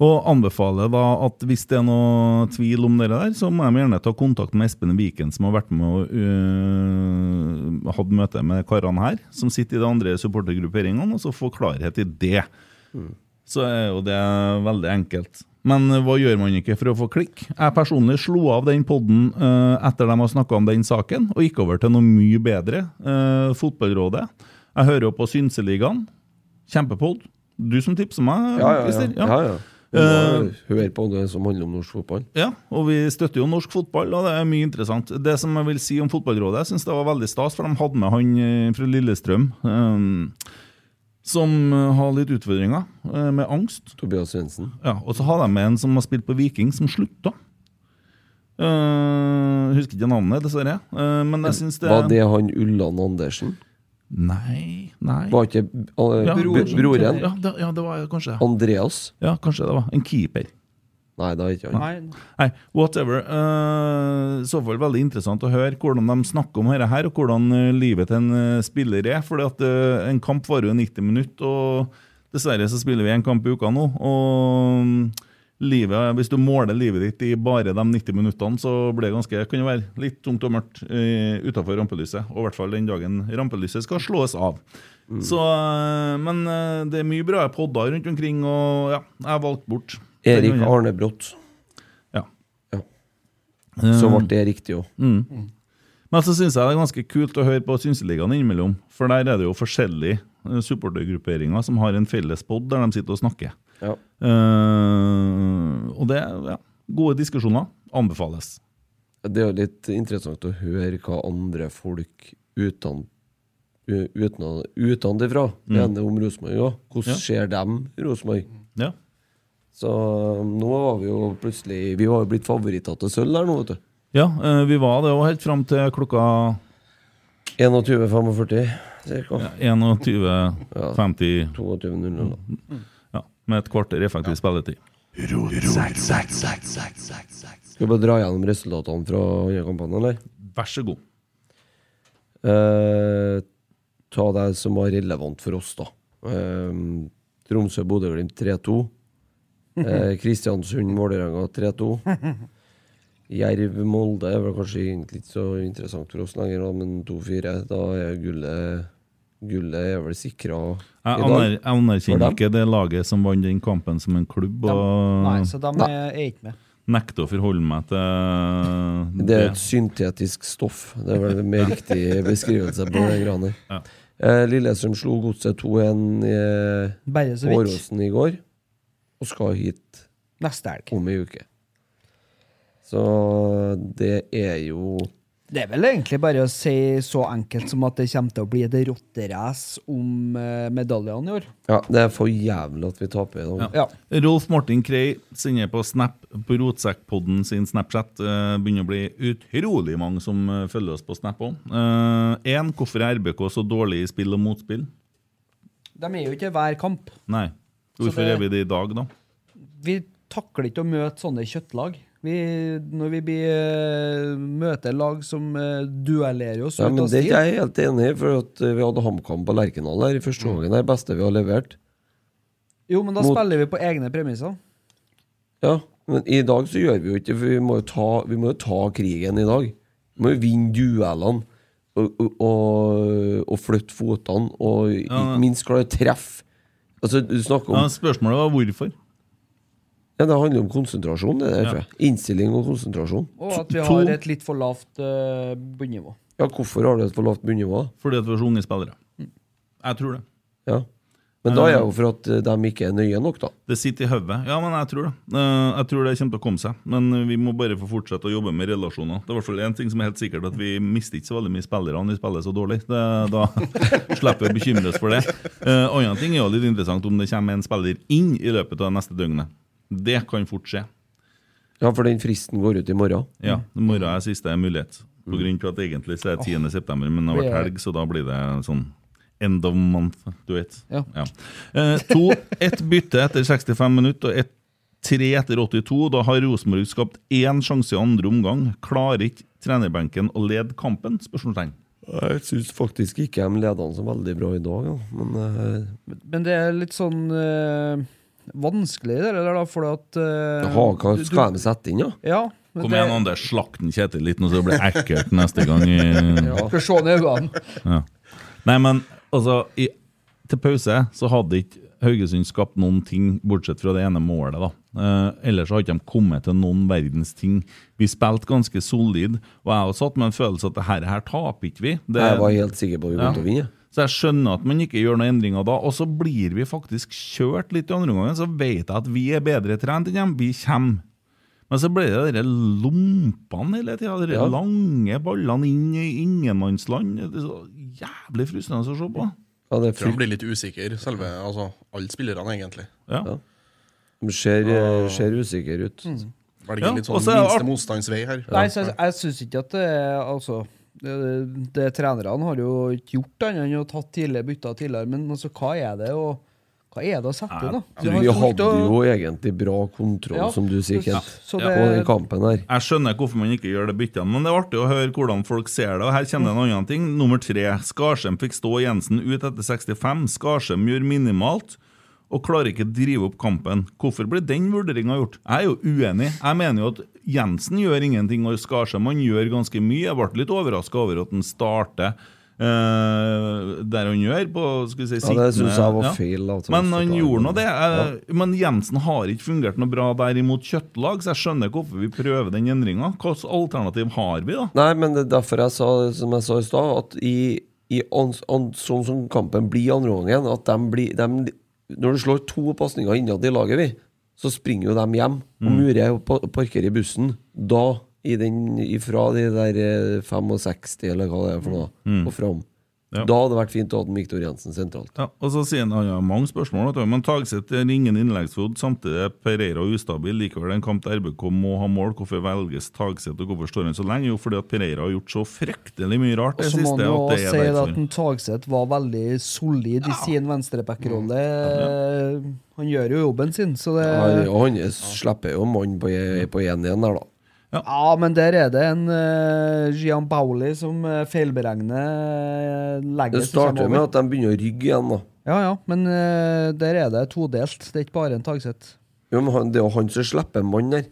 Speaker 4: Og anbefaler da at hvis det er noe tvil om dere der, så må de gjerne ta kontakt med Espen Viken, som har vært med og øh, hatt møte med karene her, som sitter i de andre supportergrupperingene, og så få klarhet i det. Så er jo det veldig enkelt. Men hva gjør man ikke for å få klikk? Jeg personlig slo av den podden øh, etter de har snakka om den saken, og gikk over til noe mye bedre. øh, fotballrådet. Jeg hører jo på Synseligaen. Kjempepod. Du som tipser meg, Christer.
Speaker 3: ja. Eh. ja, ja. Du må høre på det som handler om norsk fotball.
Speaker 4: Eh, Ja, og vi støtter jo norsk fotball, og det er mye interessant. Det som jeg vil si om Fotballrådet, jeg syns det var veldig stas, for de hadde med han eh, fra Lillestrøm. eh, som eh, har litt utfordringer eh, med angst.
Speaker 3: Tobias Svendsen.
Speaker 4: Ja, og så har de med en som har spilt på Viking, som slutta. Eh, husker ikke navnet, dessverre. Eh, men jeg syns det
Speaker 3: Var det han Ulland Andersen?
Speaker 4: Nei, nei.
Speaker 3: Var ikke eh,
Speaker 4: Ja,
Speaker 3: bro- broren?
Speaker 4: Ja, det, ja, det var kanskje
Speaker 3: Andreas?
Speaker 4: Ja, kanskje det var. En keeper.
Speaker 3: Nei, det er ikke han.
Speaker 4: Nei, whatever. Eh, I så fall veldig interessant å høre hvordan de snakker om dette her, og hvordan eh, livet til en eh, spiller er. Fordi at eh, en kamp varer jo 90 minutter, og dessverre så spiller vi en kamp i uka nå. Og mm, livet, hvis du måler livet ditt i bare de 90 minuttene, så blir det ganske, kan det være litt tungt og mørkt uh, utafor rampelyset. Og i hvert fall den dagen rampelyset skal slås av. Så, eh, men eh, det er mye bra podder rundt omkring, og ja, jeg valgte bort.
Speaker 3: Erik Arnebrott.
Speaker 4: Ja.
Speaker 3: Ja. Så ble det riktig òg.
Speaker 4: Men så syns jeg det er ganske kult å høre på Synseligaen innimellom. For der er det jo forskjellige eh, supportergrupperinger som har en felles pod der de sitter og snakker.
Speaker 3: Ja.
Speaker 4: Eh, og det er ja, gode diskusjoner. Anbefales.
Speaker 3: Det er jo litt interessant å høre hva andre folk uten, u- uten, utenfra mener om Rosenborg òg. Hvordan
Speaker 4: Ja.
Speaker 3: ser dem Rosenborg?
Speaker 4: Ja.
Speaker 3: Så um, nå var vi jo plutselig Vi var jo blitt favoritter til sølv der nå, vet du.
Speaker 4: ja eh, vi var det òg helt fram til klokka
Speaker 3: 21.45 ca.
Speaker 4: 21.50
Speaker 3: 22.00. da.
Speaker 4: ja, med et kvarter effektiv spilletid.
Speaker 3: Skal vi bare dra gjennom resultatene fra andre kampene, eller?
Speaker 4: Vær så god.
Speaker 3: Eh, ta det som var relevant for oss, da. Eh, Tromsø-Bodø-Glimt 3-2. Eh, Kristiansund-Vålerenga 3-2. Jerv-Molde er vel kanskje egentlig ikke så interessant for oss lenger, da, men 2-4. Da er gullet Gullet er vel sikra i
Speaker 4: Jeg
Speaker 3: dag.
Speaker 4: aner- jeg anerkjenner
Speaker 3: For dem?
Speaker 4: ikke det laget som vant den kampen som en klubb,
Speaker 5: Nei,
Speaker 4: og
Speaker 5: så de er er ikke med.
Speaker 4: nekter å forholde meg til
Speaker 3: Det er et syntetisk stoff. Det er vel en mer riktig beskrivelse på det greiene der.
Speaker 4: Ja.
Speaker 3: Eh, Lillestrøm slo Godset 2-1 i
Speaker 5: Bare så vidt.
Speaker 3: Åråsen i går, og skal hit
Speaker 5: Neste helg.
Speaker 3: om ei uke. Så det er jo
Speaker 5: Det er vel egentlig bare å si så enkelt som at det kommer til å bli et rotterace om eh, medaljene i år.
Speaker 3: Ja, det er for jævlig at vi taper i dag.
Speaker 5: Ja.
Speaker 4: Rolf Martin Krei sender på Snap på Rotsekkpodden sin Snapchat. Eh, begynner å bli utrolig mange som eh, følger oss på Snap òg. Én, hvorfor er RBK så dårlig i spill og motspill?
Speaker 5: De er jo ikke hver kamp.
Speaker 4: Nei.
Speaker 5: Så
Speaker 4: Hvorfor
Speaker 5: det-
Speaker 4: er vi det i dag, da?
Speaker 5: Vi takler ikke å møte sånne kjøttlag. Vi, når vi blir, eh, møter lag som eh, duellerer oss
Speaker 3: Ja,
Speaker 5: ut
Speaker 3: men
Speaker 5: av
Speaker 3: Det er
Speaker 5: stil
Speaker 3: ikke jeg helt enig i, for at eh, vi hadde HamKam på Lerkendal her i første
Speaker 4: Mm.
Speaker 3: gangen. Det er det beste vi har levert.
Speaker 5: Jo, men da
Speaker 3: mot-
Speaker 5: spiller vi på egne premisser.
Speaker 3: Ja, Men i dag så gjør vi jo ikke det, for vi må jo ta, vi må jo ta krigen i dag. Vi må jo vinne duellene og, og, og, og flytte føttene, og
Speaker 4: Ja,
Speaker 3: ikke
Speaker 4: men-
Speaker 3: minst klare å treffe. Altså, du snakker om
Speaker 4: Ja, spørsmålet var hvorfor.
Speaker 3: Ja, det handler om konsentrasjon, det der, tror jeg. Innstilling og konsentrasjon.
Speaker 5: Og at vi
Speaker 4: To-
Speaker 5: har et litt for lavt uh, bunnivå.
Speaker 3: Ja, hvorfor har du et for lavt bunnivå? da?
Speaker 4: Fordi at vi har så unge spillere. Jeg tror det.
Speaker 3: Ja. Men da er det jo for at eh, de ikke er nøye nok, da.
Speaker 4: Det sitter i hodet. Ja, men jeg tror det. Eh, Jeg tror det kommer til å komme seg. Men eh, vi må bare få fortsette å jobbe med relasjoner. Det er i hvert fall én ting som er helt sikkert, at vi mister ikke så veldig mye spillere når vi spiller så dårlig. Det, da slipper vi å bekymre oss for det. Uh, annen ting er jo litt interessant om det kommer en spiller inn i løpet av det neste døgnet. Det kan fort skje.
Speaker 3: Ja, for den fristen går ut i morgen.
Speaker 5: Mm.
Speaker 4: Ja, i morgen er siste mulighet. På grunn til at egentlig så er det 10. september, men det har
Speaker 5: Det
Speaker 4: vært
Speaker 5: er-
Speaker 4: helg, så da blir det sånn end of month, du vet.
Speaker 5: Ja.
Speaker 4: Eh, to, ett bytte etter 65 minutter, og ett tre etter 82. Da har Rosenborg skapt én sjanse i andre omgang. Klarer ikke trenerbenken å lede kampen? Spørsmålstegn.
Speaker 3: Jeg syns faktisk ikke de leder han så veldig bra i dag, ja. men eh,
Speaker 5: Men det er litt sånn eh, vanskelig, det der, da, fordi at eh,
Speaker 3: ha, hva
Speaker 5: du-
Speaker 3: skal de sette inn, da?
Speaker 5: Ja. men
Speaker 4: Kom
Speaker 5: det-
Speaker 4: igjen, Anders. Slakt den Kjetil litt nå, så det blir ekkelt neste gang. eh. I,
Speaker 5: Skal se ned i øynene.
Speaker 4: Nei, men altså i, Til pause så hadde ikke Haugesund skapt noen ting, bortsett fra det ene målet. da. Eh, ellers så hadde de kommet til noen verdens ting. Vi spilte ganske solid, og jeg har satt med en følelse at det her, her taper ikke vi. Det,
Speaker 3: Jeg var helt sikker på at vi kom
Speaker 4: Ja.
Speaker 3: til å vinne.
Speaker 4: så jeg skjønner at man ikke gjør noen endringer da. Og så blir vi faktisk kjørt litt i andre omgang, så vet jeg at vi er bedre trent enn dem. Vi kommer. Men så ble det de lompene hele tida. De
Speaker 3: Ja.
Speaker 4: lange ballene inn i ingenmannsland. Det er så jævlig frustrerende å se på.
Speaker 3: Ja, det er
Speaker 6: Jeg tror han
Speaker 3: frykt.
Speaker 6: blir litt usikker, selve altså, alle spillerne, egentlig.
Speaker 4: Ja.
Speaker 3: Ja. De ser, eh, ser usikre ut.
Speaker 6: Velger
Speaker 4: Ja,
Speaker 6: litt sånn
Speaker 4: og så er det art-
Speaker 6: minste motstandsvei her.
Speaker 5: Nei, så jeg, jeg syns ikke at det er Altså, det, det trenerne har jo ikke gjort annet enn å tatt tidligere bytter tidligere, men altså, hva er det å Hva er det å sette inn, da?
Speaker 4: altså,
Speaker 5: Du har
Speaker 3: Vi
Speaker 5: fulgt
Speaker 3: hadde
Speaker 5: og-
Speaker 3: jo egentlig bra kontroll,
Speaker 5: Ja.
Speaker 3: som du sier, Kent,
Speaker 5: Så
Speaker 3: på den
Speaker 5: det,
Speaker 3: kampen her.
Speaker 4: Jeg skjønner hvorfor man ikke gjør det byttene, men det er artig å høre hvordan folk ser det. Og her kjenner jeg en annen ting. Nummer tre. Skarsheim fikk stå Jensen ut etter 65. Skarsheim gjør minimalt og klarer ikke drive opp kampen. Hvorfor ble den vurderinga gjort? Jeg er jo uenig. Jeg mener jo at Jensen gjør ingenting, og Skarsheim han gjør ganske mye. Jeg ble litt overraska over at han starter eh, der han gjør, på skal vi si,
Speaker 3: Ja, det
Speaker 4: sittende-
Speaker 3: syns jeg var
Speaker 4: Ja.
Speaker 3: feil. at
Speaker 4: Men han
Speaker 3: forklarer.
Speaker 4: gjorde nå det. Eh, Men Jensen har ikke fungert noe bra der imot kjøttlag, så jeg skjønner ikke hvorfor vi prøver den endringa. Hvilket alternativ har vi, da?
Speaker 3: Nei, men det er derfor jeg sa som jeg sa i stad, at i, i ans, an, sånn som kampen blir i andre omgangen at dem blir, dem, Når du slår to pasninger innad i laget, vi, så springer jo dem hjem. Og murer og pa- parkerer i bussen. Da, i den, ifra de der eh, 65, eller hva det er for noe, og fram.
Speaker 4: Ja.
Speaker 3: Da hadde det vært fint å ha den Viktor Jensen sentralt.
Speaker 4: Ja, og så sier han, han har mange spørsmål, vet du, men Tagseth er ingen innleggsfot. Samtidig er Pereira ustabil. Likevel en kamp der RBK må ha mål. Hvorfor velges Tagseth, og hvorfor står han så lenge? Jo, fordi at Pereira har gjort så fryktelig mye rart
Speaker 5: og
Speaker 4: det
Speaker 5: så må
Speaker 4: siste.
Speaker 5: man jo
Speaker 4: at det
Speaker 5: også
Speaker 4: er
Speaker 5: si det
Speaker 4: derfor.
Speaker 5: at en Tagseth var veldig solid i sin venstrebackrolle. Han gjør jo jobben sin, så det
Speaker 3: Han, og han slipper jo mannen på e- på 1-1 der, da.
Speaker 5: Ja, men der er det en eh, Gian Bauli som eh, feilberegner uh, legget
Speaker 3: Det starter med at de begynner å rygge igjen, da.
Speaker 5: Ja, ja, men eh, der er det todelt. Det er ikke bare en Tagseth.
Speaker 3: Jo, men han, det er jo han som slipper mannen der.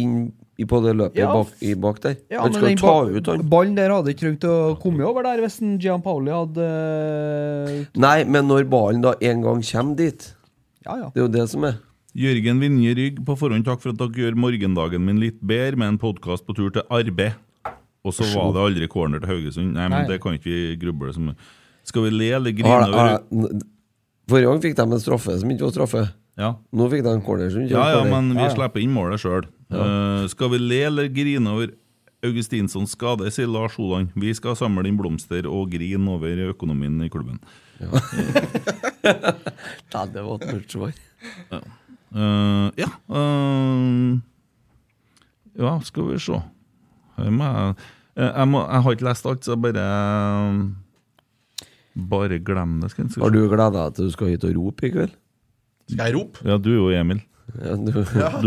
Speaker 3: Inn i- på det løpet
Speaker 5: Ja,
Speaker 3: bak,
Speaker 5: f-
Speaker 3: i bak der.
Speaker 5: Ja,
Speaker 3: han
Speaker 5: men
Speaker 3: skal
Speaker 5: den
Speaker 3: ta
Speaker 5: ba-
Speaker 3: ut han.
Speaker 5: Ballen der hadde ikke trengt å komme over der hvis en Gian Pauli hadde eh,
Speaker 3: Nei, men når ballen da en gang kommer dit,
Speaker 5: Ja, ja.
Speaker 3: det er jo det som er.
Speaker 4: Jørgen Vinje Rygg, på forhånd takk for at dere gjør morgendagen min litt bedre med en podkast på tur til arbeid. Og så var det aldri corner til Haugesund. Nei, men
Speaker 5: Nei.
Speaker 4: det kan ikke vi gruble som Skal vi le eller grine
Speaker 3: Har-
Speaker 4: over
Speaker 3: har- n- Forrige gang fikk de en straffe som ikke var straffe.
Speaker 4: ja.
Speaker 3: Nå fikk de en corner som ikke
Speaker 4: ja,
Speaker 3: var
Speaker 4: ja,
Speaker 3: corner.
Speaker 4: men vi
Speaker 5: Ja, ja.
Speaker 4: slipper inn målet sjøl. skal vi le eller grine over Augustinssons skade, sier Lars Holand. Vi skal samle inn blomster og grine over økonomien i klubben.
Speaker 3: Ja, det var et mørkt svar.
Speaker 4: Eh, ja eh, Ja, skal vi se. Her må jeg, eh, jeg, må, jeg har ikke lest alt, så jeg bare eh, Bare glem det. Skal jeg, skal
Speaker 3: Har
Speaker 4: jeg se.
Speaker 3: du gleda deg til du skal hit og rope i kveld?
Speaker 6: Skal jeg rope?
Speaker 4: Ja, du er jo Emil.
Speaker 3: Ja, du,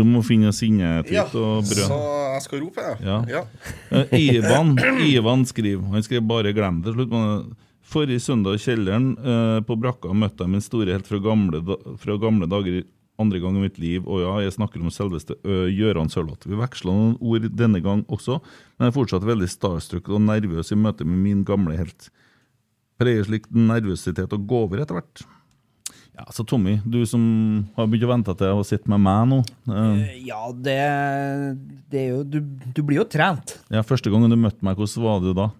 Speaker 4: Du må finne sinnetut og
Speaker 6: så
Speaker 4: brød.
Speaker 6: jeg skal rope, jeg.
Speaker 4: Ja.
Speaker 6: Ja.
Speaker 4: Eh, Ivan, Ivan skriver Han skrev 'bare glem det'. Slutt med det. Forrige søndag i kjelleren eh, på brakka møtte jeg min store helt fra gamle, da- fra gamle dager. Andre gang i mitt liv, og ja, jeg snakker om selveste ø, Gøran Sørloth. Vi veksla noen ord denne gang også, men jeg er fortsatt veldig starstruck og nervøs i møte med min gamle helt. Pleier slik nervøsitet å gå over etter hvert. Ja, Så Tommy, du som har begynt å vente til å sitte med meg nå. eh,
Speaker 5: Ja, det, det er jo du, du blir jo trent.
Speaker 4: ja, Første gangen du møtte meg, hvordan var du da?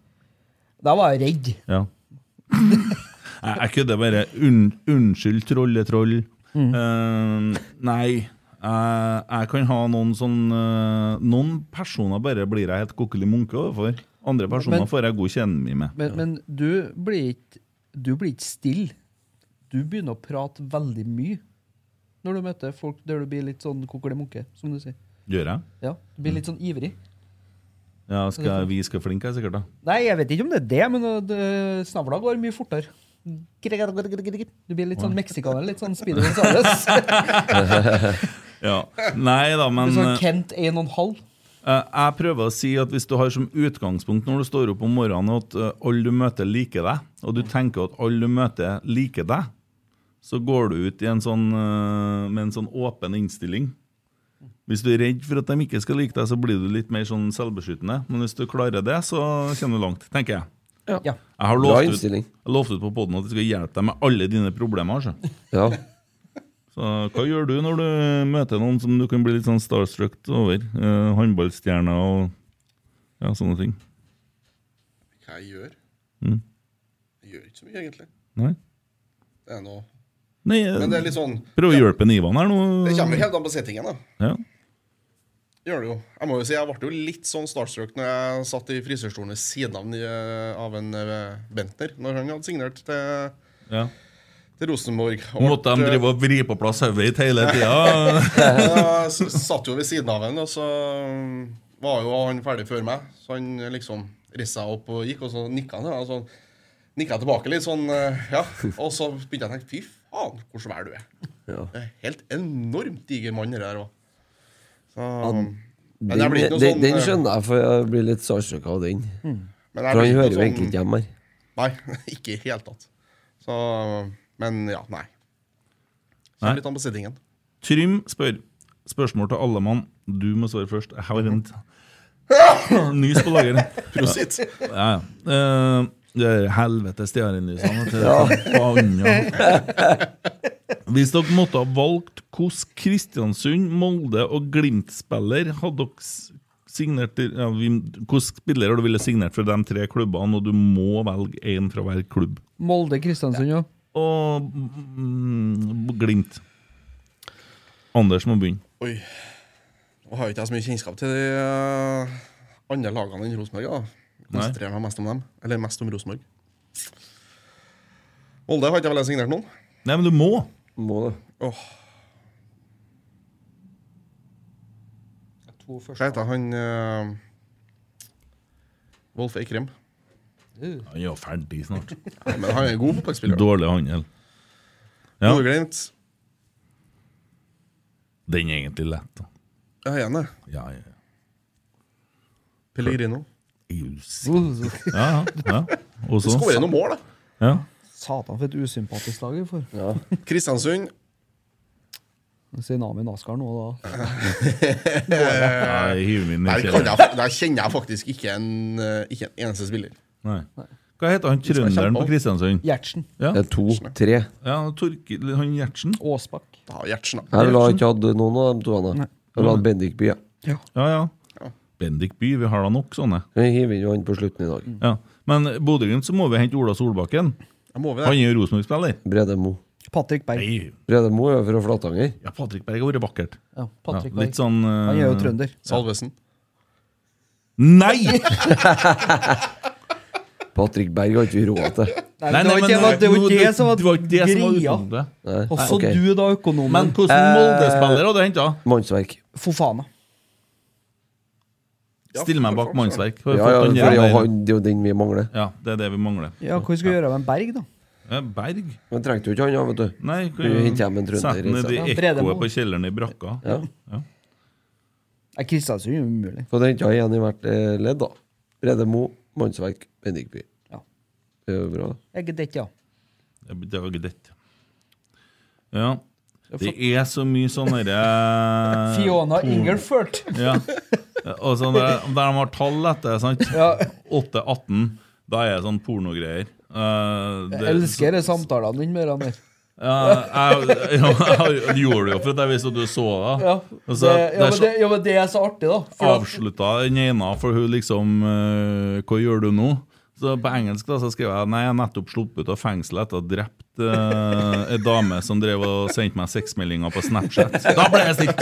Speaker 5: Da var jeg redd.
Speaker 4: Ja. Jeg jeg kødder bare. Un, unnskyld, trolletroll. Eh, nei, jeg- jeg kan ha noen sånn eh, Noen personer bare blir jeg helt kokkelig munke overfor. Andre personer
Speaker 5: Men-
Speaker 4: får jeg god kjennemi med.
Speaker 5: Men, men du blir ikke Du blir ikke stille. Du begynner å prate veldig mye når du møter folk der du blir litt sånn kokkelemunke, som du sier.
Speaker 4: Gjør jeg?
Speaker 5: Ja, Du blir litt sånn ivrig.
Speaker 4: Ja, skal jeg vi skal flinke, jeg, sikkert. da
Speaker 5: Nei, jeg vet ikke om det er det, men uh, det- snavla går mye fortere.
Speaker 3: Mm.
Speaker 5: Du blir litt sånn meksikaner, litt sånn Speedy Gonzales.
Speaker 4: ja. Nei da, men
Speaker 5: Sånn
Speaker 4: eh,
Speaker 5: Kent 1,5.
Speaker 4: Eh, Jeg prøver å si at hvis du har som utgangspunkt når du står opp om morgenen at eh, alle du møter liker deg, og du tenker at alle du møter liker deg, så går du ut i en sånn, eh, med en sånn åpen innstilling. Hvis du er redd for at de ikke skal like deg, så blir du litt mer sånn selvbeskyttende. Men hvis du klarer det, så kommer du langt, tenker jeg.
Speaker 5: Ja.
Speaker 4: Jeg har
Speaker 3: Bra
Speaker 4: lovt ut,
Speaker 3: innstilling.
Speaker 4: jeg lovte ut på poden at jeg skal hjelpe deg med alle dine problemer. altså.
Speaker 3: Ja.
Speaker 4: Så hva gjør du når du møter noen som du kan bli litt sånn starstruck over? Eh, håndballstjerner og ja, sånne ting.
Speaker 6: Hva jeg gjør?
Speaker 4: Mm.
Speaker 6: Jeg gjør ikke så mye, egentlig.
Speaker 4: Nei?
Speaker 6: Det er noe.
Speaker 4: Nei eh,
Speaker 6: Men det er litt sånn
Speaker 4: Prøv å hjelpe en Ivan her nå.
Speaker 6: Det
Speaker 4: Mm.
Speaker 6: kommer helt an på settingen, da.
Speaker 4: Ja.
Speaker 6: Gjør det jo. Jeg må jo si, jeg ble jo litt sånn starstruck når jeg satt i frisørstolen ved siden av, en, eh, av en eh, Bentner, når han hadde signert til,
Speaker 4: Ja.
Speaker 6: til Rosenborg.
Speaker 4: Måtte de drive og vri på plass hodet ditt hele tida?
Speaker 6: Jeg s- satt jo ved siden av han, og så mm, var jo han ferdig før meg. Så han eh, liksom reiste seg opp og gikk, og så nikka han. Og så nikka jeg tilbake litt sånn, eh, ja. Og så begynte jeg å tenke fy faen, hvor svær du er.
Speaker 3: Ja.
Speaker 6: Det er helt enormt diger mann, det der òg. Men jeg
Speaker 3: Den,
Speaker 6: blir ikke noe
Speaker 3: den,
Speaker 6: sånn,
Speaker 3: den
Speaker 6: eh,
Speaker 3: skjønner jeg, for jeg blir litt starstruck av den.
Speaker 6: Men jeg
Speaker 3: For
Speaker 6: blir
Speaker 3: han
Speaker 6: noe
Speaker 3: hører jo
Speaker 6: sånn-
Speaker 3: egentlig ikke hjemme her.
Speaker 6: Nei, ikke i det hele tatt. Så, men ja, nei.
Speaker 4: Nei.
Speaker 6: Kommer litt an på sittingen.
Speaker 4: Trym spør. Spørsmål til alle mann. Du må svare først. Jeg har en nys på lageret.
Speaker 6: Prosit!
Speaker 4: Ja, ja. Eh, det er helvetes stearinlysene. vet du. Forbanna. Hvis dere måtte ha valgt hvordan Kristiansund, Molde og Glimt-spiller hadde dere s- signert til- ja, vi- Hvilken spiller du ville signert for de tre klubbene, og du må velge én fra hver klubb?
Speaker 5: Molde, Kristiansund, ja.
Speaker 4: Og mm, Glimt. Anders må begynne.
Speaker 6: Oi. Nå har jo ikke jeg så mye kjennskap til de eh, andre lagene enn Rosenborg. da. Jeg Konsentrerer meg mest om dem. Eller mest om Rosenborg. Molde har ikke jeg vel signert noen.
Speaker 4: Nei, men du må!
Speaker 3: Må det.
Speaker 6: Åh,
Speaker 5: To
Speaker 6: hva
Speaker 5: første.
Speaker 6: heter han eh, Wolf Eikrem.
Speaker 4: Han er jo ferdig snart.
Speaker 6: Men han er god fotballspiller. da.
Speaker 4: Dårlig handel. Ja.
Speaker 6: Nordglimt.
Speaker 4: Den er egentlig lett. da.
Speaker 6: Jeg er enig.
Speaker 4: Ja, ja, ja.
Speaker 6: Pellegrino.
Speaker 4: Er du s-
Speaker 5: Uh,
Speaker 4: Ja, ja. ja. Og så-
Speaker 6: Skårer noen mål, da.
Speaker 4: Ja.
Speaker 5: Satan, for et usympatisk lag vi får.
Speaker 6: Kristiansund.
Speaker 5: Sinami Naskar nå, da.
Speaker 4: Nei, hiv meg
Speaker 6: Der,
Speaker 4: ned i
Speaker 6: kan
Speaker 4: kjelleren.
Speaker 6: jeg, der kjenner jeg faktisk ikke en, eh, ikke en eneste spiller.
Speaker 4: Nei. Hva heter han trønderen på Kristiansund?
Speaker 5: Gjertsen.
Speaker 3: Det er to, tre.
Speaker 4: Ja, Torkil, han Gjertsen?
Speaker 5: Aasbakk.
Speaker 6: Da har Gjertsen, da.
Speaker 3: Jeg ville ha ikke hatt noen av de to. Anna. Jeg ville hatt Bendik Bye.
Speaker 4: Ja, ja. Bendik By, vi har da nok sånne.
Speaker 3: Vi hiver inn han på slutten i dag.
Speaker 4: Ja. Men Bodø-Glimt, så må vi hente Ola Solbakken.
Speaker 6: Jeg må vi
Speaker 4: Han
Speaker 6: det.
Speaker 4: er jo Rosenborg-spiller.
Speaker 3: Brede Mo.
Speaker 5: Patrick Berg.
Speaker 4: Nei,
Speaker 3: Brede Mo er jo fra Flatanger.
Speaker 4: Ja, Patrick Berg har vært vakkert.
Speaker 5: Ja,
Speaker 4: Ja,
Speaker 5: Patrick Berg.
Speaker 4: litt sånn eh,
Speaker 5: Han er jo trønder.
Speaker 6: Salvesen.
Speaker 4: Nei!
Speaker 3: Patrick Berg har ikke vi råd til.
Speaker 4: Nei,
Speaker 5: Nei, det var
Speaker 4: nei,
Speaker 5: ikke
Speaker 4: men, eh,
Speaker 5: det, det, var
Speaker 4: jo,
Speaker 5: ikke det som var
Speaker 4: det var ikke det som var
Speaker 5: greia.
Speaker 4: utgangspunktet.
Speaker 3: Nei,
Speaker 5: Og så
Speaker 3: ok.
Speaker 5: du, da, økonomen.
Speaker 4: Men hvordan Molde-spiller hadde henta?
Speaker 3: Mannsverk.
Speaker 5: Fofana.
Speaker 4: Still meg bak mannsverk. Har vi
Speaker 3: Ja,
Speaker 4: fått
Speaker 3: ja,
Speaker 4: han
Speaker 3: for
Speaker 4: der?
Speaker 3: ja, han, det er jo den vi mangler.
Speaker 4: Ja, det er det vi mangler.
Speaker 5: Ja, hva skal vi gjøre med en Berg, da?
Speaker 4: Ja, Berg?
Speaker 3: Men trengte jo ikke han, ja, vet du.
Speaker 4: Nei,
Speaker 3: Kan jo hente hjem en trønder
Speaker 4: sette ned
Speaker 3: i
Speaker 4: det
Speaker 5: stedet. Bredemo.
Speaker 4: ekkoet på kjelleren i brakka.
Speaker 3: Ja.
Speaker 5: Nei, Kristiansund er jo umulig.
Speaker 3: Så det henta igjen i hvert eh, ledd, da. Brede Mo, mannsverk, Bendik Bye.
Speaker 5: Ja.
Speaker 3: Det er jo bra. da.
Speaker 5: Jeg gidder ikke, ja.
Speaker 4: Jeg blir daget dett. Ja. Det er så mye sånne der-
Speaker 5: Fiona Ingelfurt.
Speaker 4: Ja. Og sånn der, der de har tall etter, sant?
Speaker 5: Ja.
Speaker 4: 8-18. Da er det sånn pornogreier. Uh,
Speaker 5: Jeg elsker de samtalene dine med Raner.
Speaker 4: Ja, jeg, ja, jeg gjorde det jo for at jeg visste at du så det.
Speaker 5: Ja,
Speaker 4: Og
Speaker 5: det,
Speaker 4: så- det
Speaker 5: ja,
Speaker 4: er
Speaker 5: men
Speaker 4: så-
Speaker 5: det, ja, men det er så artig, da. For at-
Speaker 4: avslutta den ene, for hun liksom eh, Hva gjør du nå? Så på engelsk da, så skrev jeg Nei, jeg har nettopp sluppet ut av fengsel etter å ha drept uh, ei dame som drev og sendte meg sexmeldinger på Snapchat. Da ble jeg sint!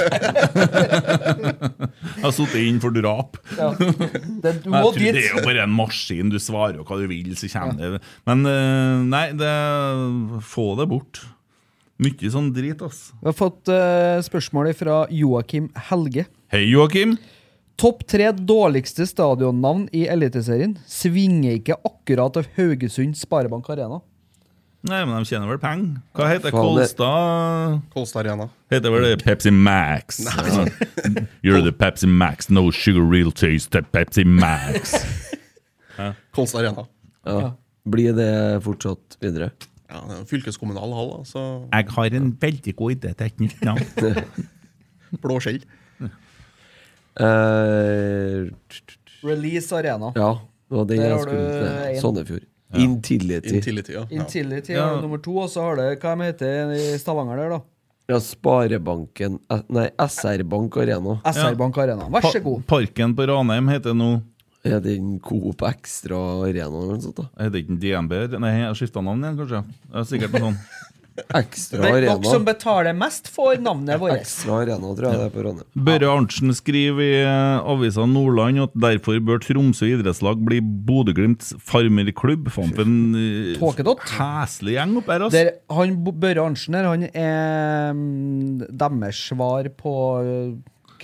Speaker 4: jeg har sittet inn for drap.
Speaker 5: Ja. Det, du
Speaker 4: Men
Speaker 5: må
Speaker 4: jeg tror
Speaker 5: dit.
Speaker 4: det er jo bare en maskin. Du svarer jo hva du vil, så kommer det Men eh, nei, det, få det bort. Mye sånn drit, ass.
Speaker 5: Vi har fått eh, spørsmål fra Joakim Helge.
Speaker 4: Hei, Joakim.
Speaker 5: Topp tre dårligste stadionnavn i Eliteserien svinger ikke akkurat av Haugesund Sparebank Arena.
Speaker 4: Nei, men de tjener vel penger. Hva heter
Speaker 3: Faen, det-
Speaker 4: Kolstad?
Speaker 6: Kolstad Arena.
Speaker 4: Heter vel det Pepsi Max? Ja. You're the Pepsi Max, no sugar, real taste, the Pepsi Max.
Speaker 6: Kolstad Arena.
Speaker 3: Ja. Blir det fortsatt videre?
Speaker 6: Ja, det er jo fylkeskommunal hall, da, så
Speaker 4: Jeg har en veldig god idé til et nytt navn.
Speaker 6: blå skjell.
Speaker 3: Eh, t- t- t-
Speaker 5: Release Arena.
Speaker 3: ja, det var den
Speaker 5: Der
Speaker 3: jeg
Speaker 5: har du
Speaker 3: skulle til.
Speaker 5: en.
Speaker 3: Sandefjord. Intility.
Speaker 6: Intility, ja. ja.
Speaker 5: Intility
Speaker 4: Ja.
Speaker 5: er nummer to, og så har det hva de heter i Stavanger der, da.
Speaker 3: Ja, Sparebanken eh, Nei, SR Bank Arena.
Speaker 5: SR Bank Arena. Vær så god.
Speaker 4: Parken på Ranheim heter nå
Speaker 3: Er den Coop Extra Arena eller noe sånt? da?
Speaker 4: Heter ikke den DNB? Nei, jeg har skifta navn igjen, kanskje. Det er sikkert noe sånn.
Speaker 3: Ekstra
Speaker 5: Men
Speaker 3: Arena.
Speaker 5: dere som betaler mest, får navnet vårt.
Speaker 3: Ekstra Arena, tror jeg det er på Ranheim.
Speaker 4: Børre Arntzen skriver i eh, avisa Nordland at derfor bør Tromsø idrettslag bli Bodø-Glimts farmerklubb. Faen, for en eh,
Speaker 5: Tåkedott.
Speaker 4: heslig gjeng opp her, altså.
Speaker 5: Der, han, Bo- Børre Arntzen her, han er mm, deres svar på eh,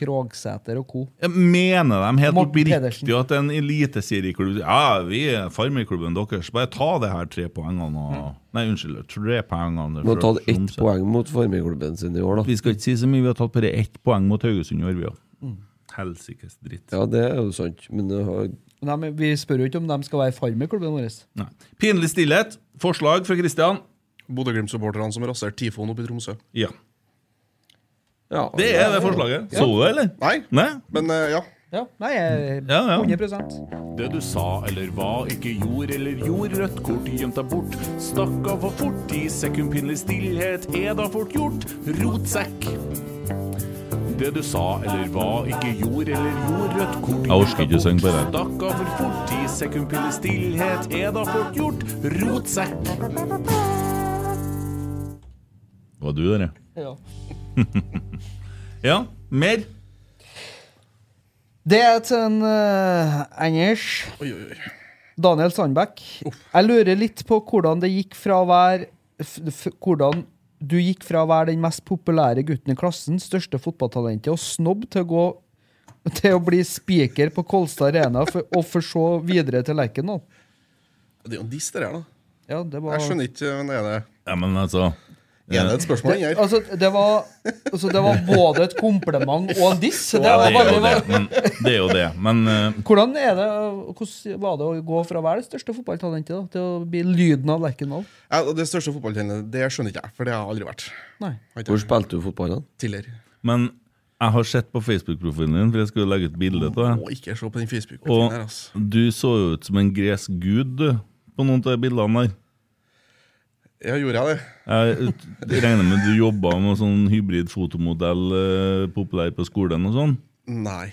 Speaker 5: Krogsæter og co.
Speaker 4: Jeg mener de helt
Speaker 5: Morten
Speaker 4: oppriktig
Speaker 5: Pedersen.
Speaker 4: at en eliteserieklubb Ja, vi er farmerklubben deres. Bare ta det her tre poengene og
Speaker 5: Mm.
Speaker 4: Nei, unnskyld, tre poengene.
Speaker 3: Må
Speaker 4: fra
Speaker 3: ta ett
Speaker 4: Tromsø.
Speaker 3: poeng mot formingsklubben sin i år, da.
Speaker 4: Vi skal ikke si så mye. Vi har tatt bare ett poeng mot Haugesund i år, vi òg.
Speaker 5: Mm.
Speaker 4: Helsikes dritt.
Speaker 3: Ja, det er jo sant, men det har
Speaker 5: Men de, vi spør jo ikke om de skal være farmerklubben vår.
Speaker 4: Nei. Pinlig stillhet. Forslag fra Kristian.
Speaker 6: Bodø-Glimt-supporterne som raserte Tifoen oppe i Tromsø.
Speaker 4: Ja.
Speaker 3: ja,
Speaker 4: Det er det forslaget. Så du det, eller?
Speaker 6: Nei,
Speaker 4: Nei?
Speaker 6: men eh, ja.
Speaker 5: Ja, nei, jeg,
Speaker 4: Ja, ja.
Speaker 5: 100
Speaker 7: Det du sa eller hva, ikke gjorde eller gjorde, rødt kort gjemt deg bort. Stakk av for fort i sekundpinnelig stillhet, er da fort gjort, rotsekk. Det du sa eller hva, ikke gjorde eller gjorde, rødt kort
Speaker 4: Jeg orker ikke å synge på det.
Speaker 7: Stakk av for fort i sekundpinnelig stillhet, er da fort gjort, rotsekk.
Speaker 4: Var du der, ja?
Speaker 5: Ja.
Speaker 4: Ja. Mer?
Speaker 5: Det er til en eh, Anders.
Speaker 6: Oi, oi, oi.
Speaker 5: Daniel Sandbekk. Jeg lurer litt på hvordan det gikk fra å være f f Hvordan du gikk fra å være den mest populære gutten i klassen, største fotballtalentet og snobb til å gå til å bli spiker på Kolstad Arena for, og for så videre til Lerkendal.
Speaker 6: Det er jo en diss, det her, da.
Speaker 5: Ja, det var
Speaker 6: Jeg skjønner ikke, men er det,
Speaker 4: Ja, men altså
Speaker 6: er det et spørsmål inni her?
Speaker 5: Altså, det var, altså, det var både et kompliment og en diss. Det
Speaker 4: Ja,
Speaker 5: var
Speaker 4: det er jo
Speaker 5: veldig-
Speaker 4: det. Men, det er jo det. Men eh,
Speaker 5: Hvordan er det, hvordan var det å gå fra å være det største fotballtalentet da, til å bli lyden av Lerkendal?
Speaker 6: Ja, Det største fotballtrenet, det skjønner ikke jeg, for det har jeg aldri vært.
Speaker 5: Nei.
Speaker 6: Har ikke
Speaker 3: Hvor
Speaker 6: jeg
Speaker 3: spilte du fotball? da?
Speaker 6: tidligere.
Speaker 4: Men jeg har sett på Facebook-profilen din, for jeg skulle legge ut bilde av deg.
Speaker 6: Må ikke se på den
Speaker 4: Og
Speaker 6: facebook profilen her, altså.
Speaker 4: du så jo ut som en gresk gud du, på noen av de bildene der.
Speaker 6: Ja, gjorde jeg det?
Speaker 4: Jeg ut- regner med du jobba med sånn hybrid fotomodell eh, populær på skolen og sånn.
Speaker 6: Nei.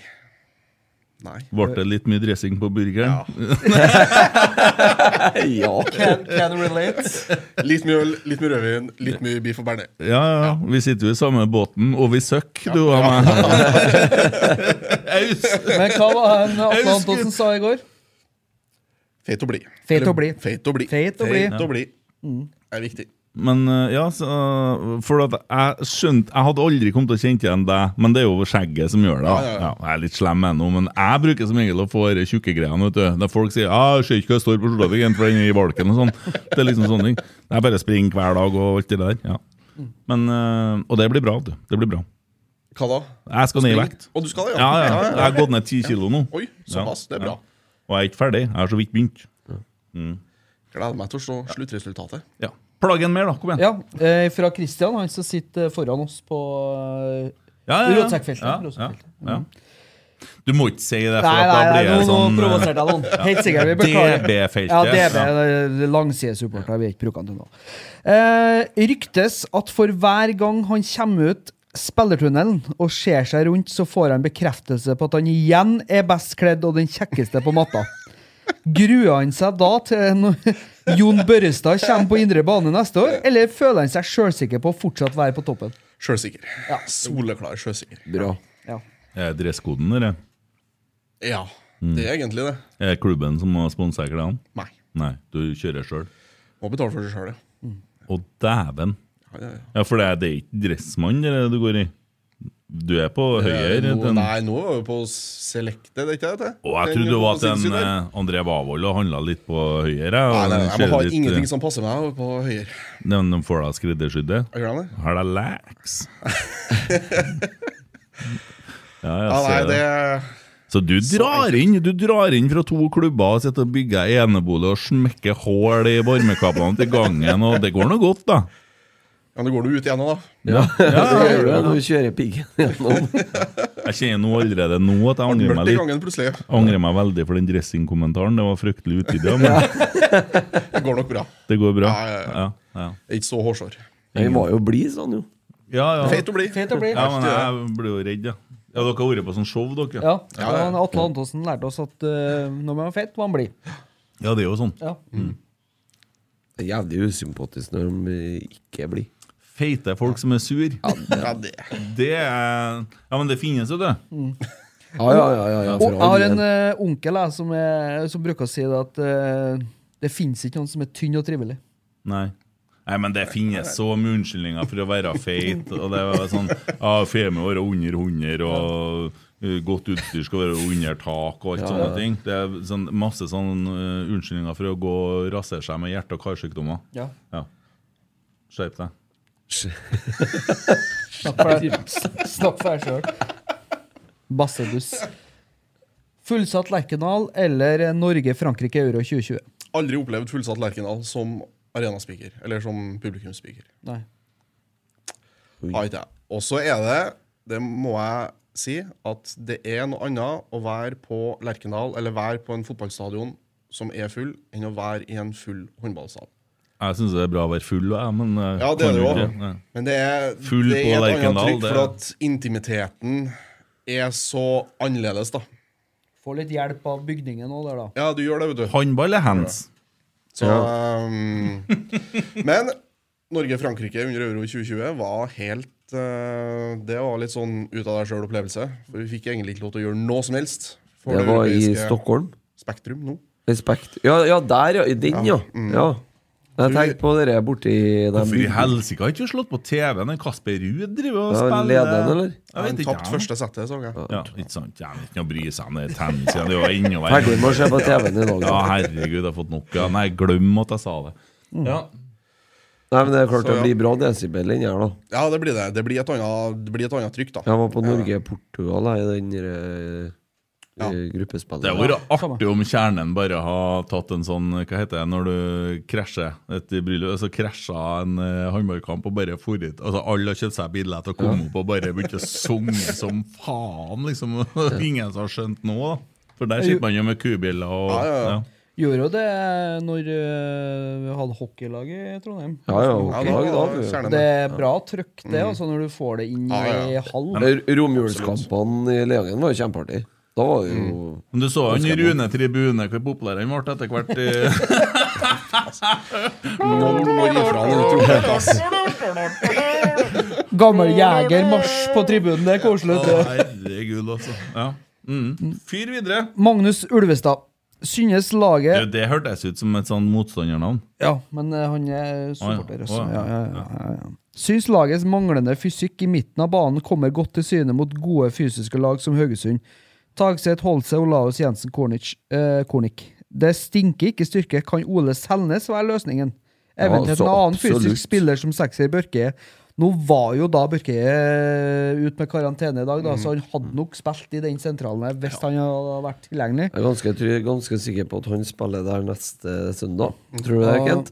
Speaker 6: Nei.
Speaker 4: Ble det litt mye dressing på burgeren?
Speaker 3: Ja.
Speaker 5: Can, relate?
Speaker 6: Litt mye øl, litt mye rødvin, litt mye beef og bearnés.
Speaker 4: Ja, ja. ja. Vi sitter jo i samme båten, og vi søkk, du og meg. Aus!
Speaker 5: Men hva var han Atle
Speaker 4: Jeg husker-
Speaker 5: Antonsen sa i går?
Speaker 6: Feit å bli.
Speaker 5: Feit å
Speaker 6: Eller,
Speaker 5: bli.
Speaker 6: Feit å bli.
Speaker 5: Feit å bli.
Speaker 6: å bli. Det er viktig.
Speaker 4: Men eh, ja, så, for at jeg skjønte Jeg hadde aldri kommet til å kjenne igjen deg, men det er jo skjegget som gjør det. da.
Speaker 6: Ja, ja,
Speaker 4: Ja,
Speaker 6: ja.
Speaker 4: jeg er litt slem ennå, men jeg bruker som regel å få de tjukke greiene. vet du. Der folk sier ah, 'Jeg ser ikke hva det står på skjorta di, for den er i valken' og sånn. Det er liksom sånne ting. Jeg bare springer hver dag og alt det der. ja. Men, eh, Og det blir bra, du. Det blir bra.
Speaker 6: Hva da?
Speaker 4: Jeg skal ned i vekt.
Speaker 6: Og du skal det,
Speaker 4: Ja, ja. Jeg har gått ned ti kilo nå.
Speaker 6: Oi, såpass. Det er bra.
Speaker 4: Ja. Og jeg er ikke ferdig. Jeg har så vidt begynt.
Speaker 6: Gleder meg til å se sluttresultatet.
Speaker 4: Ja. Plagg en mer, da. Kom igjen.
Speaker 5: Ja, eh, fra Kristian, han som sitter foran oss på eh,
Speaker 4: Ja, ja, ja.
Speaker 5: Rotsekkfeltet,
Speaker 4: Ja,
Speaker 5: Rotsekkfeltet.
Speaker 4: Ja,
Speaker 6: Mm.
Speaker 4: ja. Du må ikke si det, for at
Speaker 5: Nei, nei,
Speaker 4: da
Speaker 5: nei,
Speaker 4: blir
Speaker 5: nå,
Speaker 4: jeg
Speaker 5: nå
Speaker 4: sånn eh,
Speaker 5: provoserte jeg noen. Helt sikkert. Vi beklager.
Speaker 4: DB-feltet.
Speaker 5: Ja, DB. Ja. Langsidesupporter. Vi har ikke brukt den til noe. Eh, ryktes at for hver gang han kommer ut spillertunnelen og ser seg rundt, så får han bekreftelse på at han igjen er best kledd og den kjekkeste på matta. Gruer han seg da til når Jon Børrestad kommer på indre bane neste år, eller føler han seg sjølsikker på å fortsatt være på toppen?
Speaker 6: Sjølsikker. Soleklar sjølsikker.
Speaker 3: Bra.
Speaker 5: Ja.
Speaker 4: eh, Er det dresskoden, eller?
Speaker 6: Ja,
Speaker 4: Mm.
Speaker 6: det er egentlig det.
Speaker 4: Er det klubben som har sponsa klærne?
Speaker 6: Nei.
Speaker 4: Nei, du kjører sjøl.
Speaker 6: Må betale for seg sjøl, ja.
Speaker 4: Å, dæven!
Speaker 6: Ja, ja, ja.
Speaker 4: Ja, for det er, det er ikke dressmann det er det du går i. Du er på høyre.
Speaker 6: Nå-
Speaker 4: Den,
Speaker 6: Eh, Nei, nå var vi på Selected, er det ikke det?
Speaker 4: og jeg trodde det var til en eh, André Wavold og handla litt på høyre.
Speaker 6: Nei,
Speaker 4: og
Speaker 6: nei,
Speaker 4: den
Speaker 6: jeg må ha
Speaker 4: kjører litt,
Speaker 6: ingenting
Speaker 4: eh,
Speaker 6: som passer meg på høyre.
Speaker 4: Den de får da skreddersydde.
Speaker 6: Jeg Gjør han det?
Speaker 4: Har deg lax. Ja, jeg
Speaker 6: Ja, nei,
Speaker 4: ser
Speaker 6: det
Speaker 4: det. Så du drar inn du drar inn fra to klubber og sitter og bygger enebolig og smekker hull i varmekablene til gangen, og det går nå godt, da.
Speaker 6: Ja, nå går du ut igjen nå, da.
Speaker 3: Det gjør du når du kjører piggen gjennom.
Speaker 4: Jeg kjenner nå allerede nå at jeg angrer meg
Speaker 6: Mørkt i
Speaker 4: litt.
Speaker 6: gangen plutselig.
Speaker 4: angrer meg veldig for den dressingkommentaren. Det var fryktelig utidig, men
Speaker 6: Det går nok bra.
Speaker 4: det går bra.
Speaker 6: Ja, ja, ja.
Speaker 4: Ja, ja.
Speaker 6: Jeg er Ikke så hårsår.
Speaker 3: Vi var jo blid, sa han jo.
Speaker 4: ja, ja.
Speaker 6: Feit å bli.
Speaker 5: Fint å bli.
Speaker 4: ja men jeg blir jo redd, ja. ja. Dere har vært på sånn show, dere?
Speaker 5: Ja, men Atle Antonsen lærte oss at eh, når man er feit, må man bli.
Speaker 4: Ja, det er jo sånn.
Speaker 5: Ja.
Speaker 3: Det er Jævlig usympatisk når de ikke er blid.
Speaker 4: Feite folk som er sur.
Speaker 6: Ja, det.
Speaker 4: Det er Ja, men det finnes jo, det.
Speaker 3: Ja, ja, ja. ja, ja
Speaker 5: Og
Speaker 3: for
Speaker 5: jeg
Speaker 3: all
Speaker 5: har en
Speaker 3: del.
Speaker 5: eh, onkel jeg, som, er, som bruker å si det at eh, det fins ikke noen som er tynn og trivelig.
Speaker 4: Nei. Nei, men det finnes så mye unnskyldninger for å være feit. Og det var sånn ja, Femi være under 100, og uh, godt utstyr skal være under tak, og alt sånne ting. Det er sånn, masse sånn uh, unnskyldninger for å gå og rasere seg med hjerte- og karsykdommer.
Speaker 5: Ja.
Speaker 4: Ja. Skjerp deg.
Speaker 5: Snakk for deg s- snakk for deg sjøl. Bassebuss. Fullsatt Lerkendal eller Norge-Frankrike Euro 2020?
Speaker 6: Aldri opplevd fullsatt Lerkendal som arenaspiker, eller som publikumsspiker.
Speaker 5: Nei.
Speaker 6: Har ikke jeg. Og så er det, det må jeg si, at det er noe annet å være på Lerkendal, eller være på en fotballstadion som er full, enn å være i en full håndballsal.
Speaker 4: Jeg syns det er bra å være full, jeg, men uh,
Speaker 6: Ja, det
Speaker 4: kan
Speaker 6: er det
Speaker 4: jo
Speaker 6: jo.
Speaker 4: ikke. Nei.
Speaker 6: Men det er,
Speaker 4: Full
Speaker 6: det
Speaker 4: på
Speaker 6: er et
Speaker 4: Lerkendal,
Speaker 6: annet trykk,
Speaker 4: det-
Speaker 6: for at intimiteten er så annerledes, da.
Speaker 5: Får litt hjelp av bygningen òg der, da.
Speaker 6: Ja, du gjør det, vet du.
Speaker 4: Håndball er hands.
Speaker 6: Så, um, men Norge-Frankrike under euro 2020 var helt eh, Det var litt sånn ut av deg sjøl-opplevelse. For vi fikk egentlig ikke lov til å gjøre noe som helst. For
Speaker 3: Det var i
Speaker 6: europeiske
Speaker 3: Stockholm.
Speaker 6: Spektrum nå.
Speaker 3: Respekt. Ja, ja der, ja. I den, ja.
Speaker 5: Mm.
Speaker 3: ja. Jeg tenkte på dere borti dem.
Speaker 4: Hvorfor i helsike har ikke vi slått på TV-en? Kasper Ruud driver og
Speaker 3: Ja,
Speaker 4: spiller
Speaker 3: lederen, eller?
Speaker 4: Jeg
Speaker 6: Han
Speaker 4: vet ikke.
Speaker 6: tapte
Speaker 4: jeg.
Speaker 6: første settet, så jeg.
Speaker 4: Ja, ikke sant. Jeg vet ikke å bry seg om det er tennis igjen. Det er jo enda verre.
Speaker 3: Ferdig med å se på TV-en i dag.
Speaker 4: Ja,
Speaker 3: da.
Speaker 4: herregud, jeg har fått nok. Ja. Nei, glem at jeg sa det. Ja.
Speaker 3: Nei, men det er klart
Speaker 6: Så,
Speaker 3: det
Speaker 6: ja.
Speaker 3: blir bra desibel inni her, da.
Speaker 6: Ja, det blir det. Det blir et annet, det blir et annet trykk, da.
Speaker 3: Jeg var på Norge-Portugal jeg, i den der, eh,
Speaker 6: Ja.
Speaker 4: Det
Speaker 3: gruppespillet.
Speaker 4: hadde vært artig om kjernen bare har tatt en sånn Hva heter det når du krasjer et bryllup? Altså krasja en eh, håndballkamp og bare for ut. Altså, alle har kjøpt seg billett og kom opp og bare begynte å synge som faen, liksom. Ingen som har skjønt noe, da. For der sitter man jo med kubiller og
Speaker 6: Ja, ja, ja.
Speaker 4: ja.
Speaker 5: Gjorde jo det når øh, vi hadde hockeylag i Trondheim.
Speaker 3: Ja, ja,
Speaker 6: Ja,
Speaker 3: ok,
Speaker 6: da
Speaker 3: da,
Speaker 6: var
Speaker 3: du.
Speaker 6: kjernen
Speaker 5: Det
Speaker 6: med.
Speaker 5: er bra trøkk, det, altså, når du får det inn
Speaker 6: Ja, ja, ja.
Speaker 5: i hall.
Speaker 3: Men Eh, Romjulskampene i Leangen var jo kjempeartig. Da var det jo
Speaker 6: Mm.
Speaker 4: Men du så han i Rune Tribune, hvor populær han ble etter hvert. eh.
Speaker 6: Noen må gi fra når du tror det, ass.
Speaker 5: Gammel jegermarsj på tribunen, det er koselig.
Speaker 4: Å, herregud, altså. Ja. Mm. Fyr videre.
Speaker 5: Magnus Ulvestad. Synes
Speaker 4: Du,
Speaker 5: laget
Speaker 4: det hørtes ut som et sånn motstandernavn.
Speaker 5: Ja, men øh, han er supporter,
Speaker 4: Å, ja.
Speaker 5: også.
Speaker 4: Å, ja.
Speaker 5: Ja, ja, ja, ja, ja. Syns lagets manglende fysikk i midten av banen kommer godt til syne mot gode fysiske lag som Haugesund. Tagseth, Holse, Olaus Jensen, Kornic. eh, Kornic. Det stinker ikke styrke. Kan Ole Selnes være løsningen? Eventuelt
Speaker 3: altså,
Speaker 5: en annen
Speaker 3: absolutt.
Speaker 5: fysisk spiller som sekser Børke. Nå var jo da Børke eh, ut med karantene i dag,
Speaker 4: Mhm.
Speaker 5: da, så han hadde nok spilt i den sentralen her hvis han hadde vært tilgjengelig.
Speaker 3: Jeg er ganske, try- ganske sikker på at han spiller der neste søndag.
Speaker 6: Mm.
Speaker 3: Tror du det, Kent?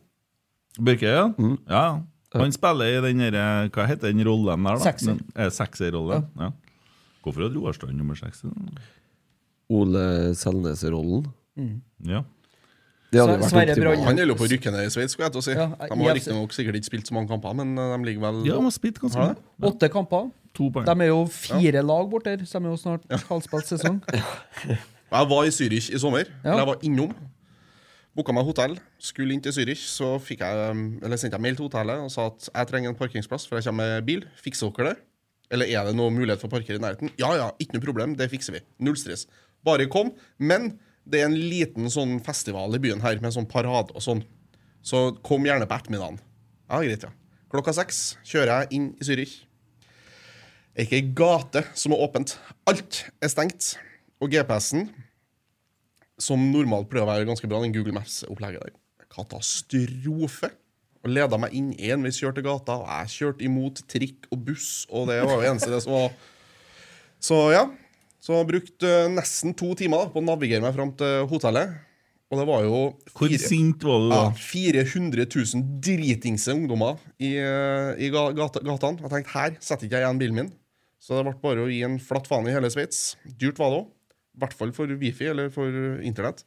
Speaker 4: Børke, ja. ja. Han spiller i den derre Hva heter den rollen der, da?
Speaker 5: Sekser.
Speaker 4: Den- eh, Sekserrollen. Ja. Hvorfor hadde Roar Strand nummer seks?
Speaker 3: Ole Selnes-rollen.
Speaker 4: Ja.
Speaker 3: Det hadde jo
Speaker 5: Sverre
Speaker 3: vært optimalt.
Speaker 5: Brann.
Speaker 6: Han gjelder jo på rykkene i Sveits, skulle jeg til å si.
Speaker 5: Ja,
Speaker 6: De har
Speaker 5: jeg-
Speaker 6: riktignok sikkert ikke spilt så mange kamper, men eh, de ligger vel
Speaker 4: ja, han har spilt ganske
Speaker 6: Har
Speaker 4: mye.
Speaker 6: det?
Speaker 5: Åtte kamper.
Speaker 4: To poeng.
Speaker 5: De er jo fire lag bort der, så de er jo snart halvspilt sesong.
Speaker 6: Jeg var i Zürich i sommer.
Speaker 5: Ja.
Speaker 6: Eller jeg var innom. Booka meg hotell. Skulle inn til Zürich, så fikk jeg, um, eller sendte jeg mail til hotellet og sa at jeg trenger en parkeringsplass, for jeg kommer med bil. Fikser dere det? Eller er det noe mulighet for å parkere i nærheten? Ja ja, ikke noe problem, det fikser vi. Null stress. Bare kom. Men det er en liten sånn festival i byen her, med sånn parade og sånn. Så kom gjerne på ettermiddagen. Ja, greit, ja. Klokka seks kjører jeg inn i Zürich. Det er ikke ei gate som er åpent. Alt er stengt. Og GPS-en, som normalt pleier å være ganske bra, den Google Maps-opplegget der, katastrofe. Og leda meg inn en vi kjørte gata, og jeg kjørte imot trikk og buss, og det var jo eneste det som var Så ja. Så jeg brukte nesten to timer da, på å navigere meg fram til hotellet. Og det var jo
Speaker 4: Hvor
Speaker 6: fire-
Speaker 4: sint var du da?
Speaker 6: ja, 400 000 dritingse ungdommer i, eh, i ga- gata, gatene. Jeg tenkte her setter ikke jeg igjen bilen min. Så det ble bare å gi en flatt faen i hele Sveits. Dyrt var det òg. I hvert fall for Wifi eller for eh, internett.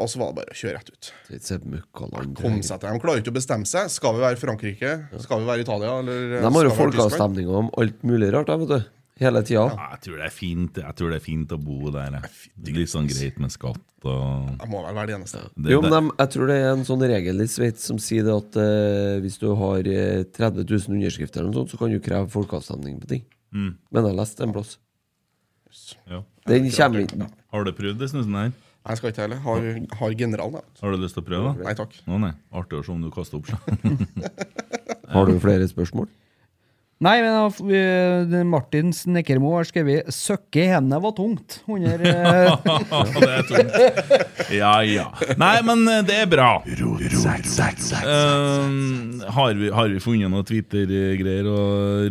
Speaker 6: Og så var det bare å kjøre rett ut.
Speaker 3: Det er ikke så møkkaland.
Speaker 6: Kom seg til dem. Klarer ikke å bestemme seg. Skal vi være Frankrike? Skal vi være Italia? Eller eh,
Speaker 3: De har jo
Speaker 6: skal vi være Tyskland?
Speaker 3: folkeavstemninger om alt mulig rart, da, vet du. Hele tida.
Speaker 4: Ja, Ah, Jeg tror det er fint Jeg tror det er fint å bo der. jeg. Litt sånn greit med skatt og
Speaker 6: Jeg må vel være det eneste.
Speaker 4: det,
Speaker 3: Jo, men
Speaker 4: det,
Speaker 3: dem- jeg tror det er en sånn regel i Sveits som sier det at eh, hvis du har eh, 30 000 underskrifter, eller noe sånt, så kan du kreve folkeavstemning på ting. Men jeg leste en plass.
Speaker 4: ja.
Speaker 3: Den kommer ikke
Speaker 4: Har du prøvd det snusen her?
Speaker 6: Nei, Jeg skal ikke heller. Har, har generalen, jeg.
Speaker 4: Har du lyst til å prøve? da?
Speaker 6: Nei takk.
Speaker 4: Å nei, Artig å se om du kaster opp. sjø.
Speaker 3: Har du flere spørsmål?
Speaker 5: Nei, men da f- vi- uh, Martin Snekkermo har skrevet 'Søkke i hendene var tungt'. Under, eh,
Speaker 4: det er tungt. Ja, ja. Nei, men eh, det er bra. Eh, har, vi, har vi funnet noen Twitter-greier å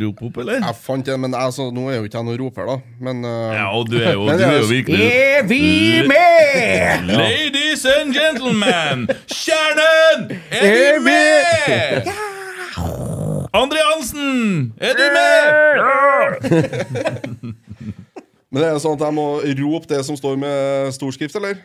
Speaker 4: rope opp, eller?
Speaker 6: Jeg fant det, men altså, nå er jo ikke jeg noen roper, da. Men eh,
Speaker 4: Ja, og du er jo,
Speaker 6: Men
Speaker 4: du
Speaker 6: det er
Speaker 4: er jo
Speaker 6: jo-
Speaker 4: virkelig
Speaker 5: er vi med?!
Speaker 4: Ladies and gentlemen! Kjernen! Er
Speaker 5: Er
Speaker 4: du
Speaker 5: vi-
Speaker 4: med? Andre Hansen! Er du med?
Speaker 6: Men det er jo sånn at jeg må rope det som står med storskrift, eller?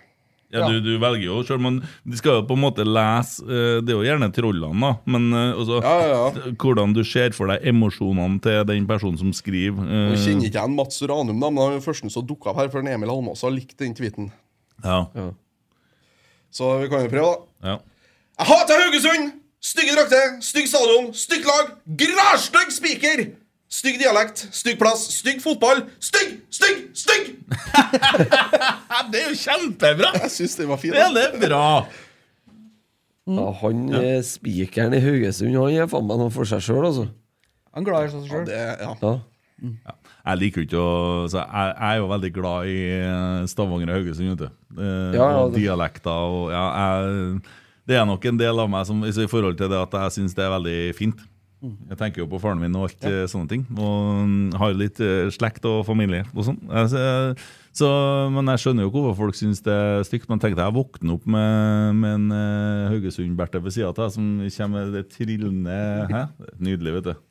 Speaker 4: Ja, du, du velger jo selv, men de skal jo på en måte lese eh, Det er jo gjerne trollene, da. Men eh, altså,
Speaker 6: Ja, ja, ja.
Speaker 4: hvordan du ser for deg emosjonene til den personen som skriver. eh,
Speaker 6: Nå kjenner ikke jeg en Mats Ranum, da, men han er jo førsten som dukka opp her, for den Emil Almås har likt den tweeten.
Speaker 4: ja,
Speaker 6: Så vi kan jo prøve, da.
Speaker 4: ja.
Speaker 6: Jeg hater Haugesund! Stygge drakter, stygg stadion, stygt lag, grasstygg spiker! Stygg dialekt, stygg plass, stygg fotball. Stygg, stygg, stygg!
Speaker 4: ja, det er jo kjempebra!
Speaker 6: Jeg syns den var fin.
Speaker 4: Ja,
Speaker 6: da.
Speaker 4: det er bra!
Speaker 5: Mm.
Speaker 3: Ja, han eh, spikeren i Haugesund, han er faen meg noe for seg sjøl, altså.
Speaker 5: Han klarer seg sjøl.
Speaker 6: Det, ja.
Speaker 3: Ja.
Speaker 4: Jeg liker jo ikke å så jeg, jeg er jo veldig glad i eh, Stavanger og Haugesund, vet du. Eh,
Speaker 3: Ja, ja,
Speaker 4: og
Speaker 3: det-
Speaker 4: dialekter og Ja, jeg, det er nok en del av meg som altså, i forhold til det at jeg syns det er veldig fint. Jeg tenker jo på faren min og alt eh, sånne ting. Og mm, har litt eh, slekt og familie og sånn. Jeg- så jeg- så, men jeg skjønner jo ikke hvorfor folk syns det er stygt. Men tenkte jeg våkner opp med, med en eh, Haugesund-Berthe ved sida av som kommer med det trillende Hæ? Nydelig, vet du.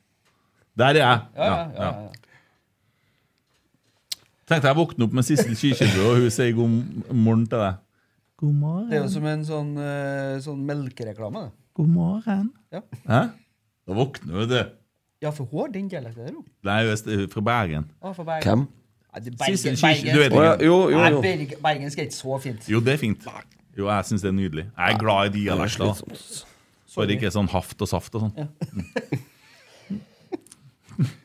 Speaker 4: Der er jeg! ja, ja. Tenkte jeg våkne opp med Sissel Kyrkjebø, og hun sier god morgen til deg. God
Speaker 5: Det er jo
Speaker 4: morgen.
Speaker 5: som en sånn, eh, sånn melkereklame. det.
Speaker 4: God morgen.
Speaker 5: Ja.
Speaker 4: Hæ? Da våkner hun, du.
Speaker 5: Ja, for hun har den dialekten der, hun.
Speaker 4: Nei, hun er st- fra Bergen.
Speaker 5: Ja, for Bergen.
Speaker 3: Hvem?
Speaker 5: Nei, det er
Speaker 4: Sissel
Speaker 5: Bergen,
Speaker 4: Kyrkje, du vet
Speaker 5: Bergen.
Speaker 3: Å ja,
Speaker 4: ikke.
Speaker 3: jo, jo,
Speaker 5: Nei,
Speaker 3: jo.
Speaker 5: Berg- Bergensk er ikke så fint.
Speaker 4: Jo, det er fint. Jo, jeg syns det er nydelig. Jeg er glad i dialekter. da.
Speaker 3: Slitsomt.
Speaker 4: Bare ikke sånn haft og saft og sånn.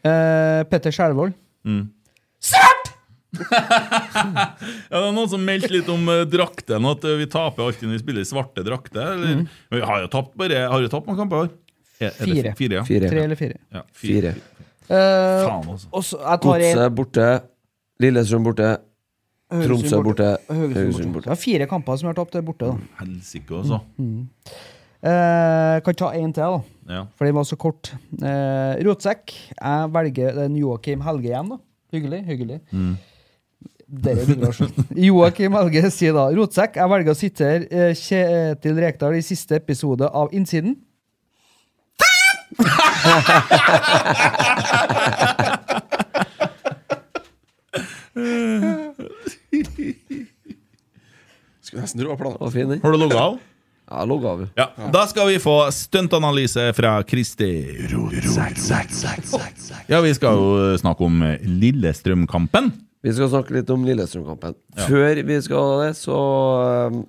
Speaker 5: Eh, Petter Skjelvold.
Speaker 4: Ja, det er Noen som meldte litt om eh, drakten, at eh, vi taper alltid når vi spiller i svarte drakter.
Speaker 5: Mhm.
Speaker 4: eller? Vi har jo tapt bare Har vi tapt noen kamper i år? Er- er det
Speaker 5: Fire.
Speaker 4: Fire, ja.
Speaker 3: Fire.
Speaker 5: Tre eller fire.
Speaker 4: ja.
Speaker 3: Fire.
Speaker 4: Fire.
Speaker 5: Eh,
Speaker 4: Faen, altså.
Speaker 5: og så, jeg tar en-
Speaker 3: Godset borte. Lillestrøm borte. Tromsø
Speaker 5: Haugesund
Speaker 3: borte.
Speaker 5: Haugesund
Speaker 3: Haugesund
Speaker 5: borte.
Speaker 3: borte.
Speaker 5: Det er fire kamper som jeg har tapt der borte. da.
Speaker 4: Helsike, altså.
Speaker 5: Mhm. Eh, kan ta én til, da,
Speaker 4: Ja.
Speaker 5: for den var så kort. Eh, Rotsekk. Jeg velger den Joakim Helge igjen. da. Hyggelig, hyggelig. Dere begynner å skjønne. Joakim Helge sier da Rotsekk, jeg velger å sitere eh, Kjetil Rekdal i siste episode av Innsiden.
Speaker 6: Skulle nesten tro det var planen.
Speaker 3: Var fin, den.
Speaker 4: Har du logga av?
Speaker 3: Ja, logg av. vi.
Speaker 4: Ja. Da skal vi få stuntanalyse fra Kristi. eh, Ja, vi skal jo snakke om Lillestrøm-kampen.
Speaker 3: Vi skal snakke litt om Lillestrøm-kampen. Før vi skal det, så eh,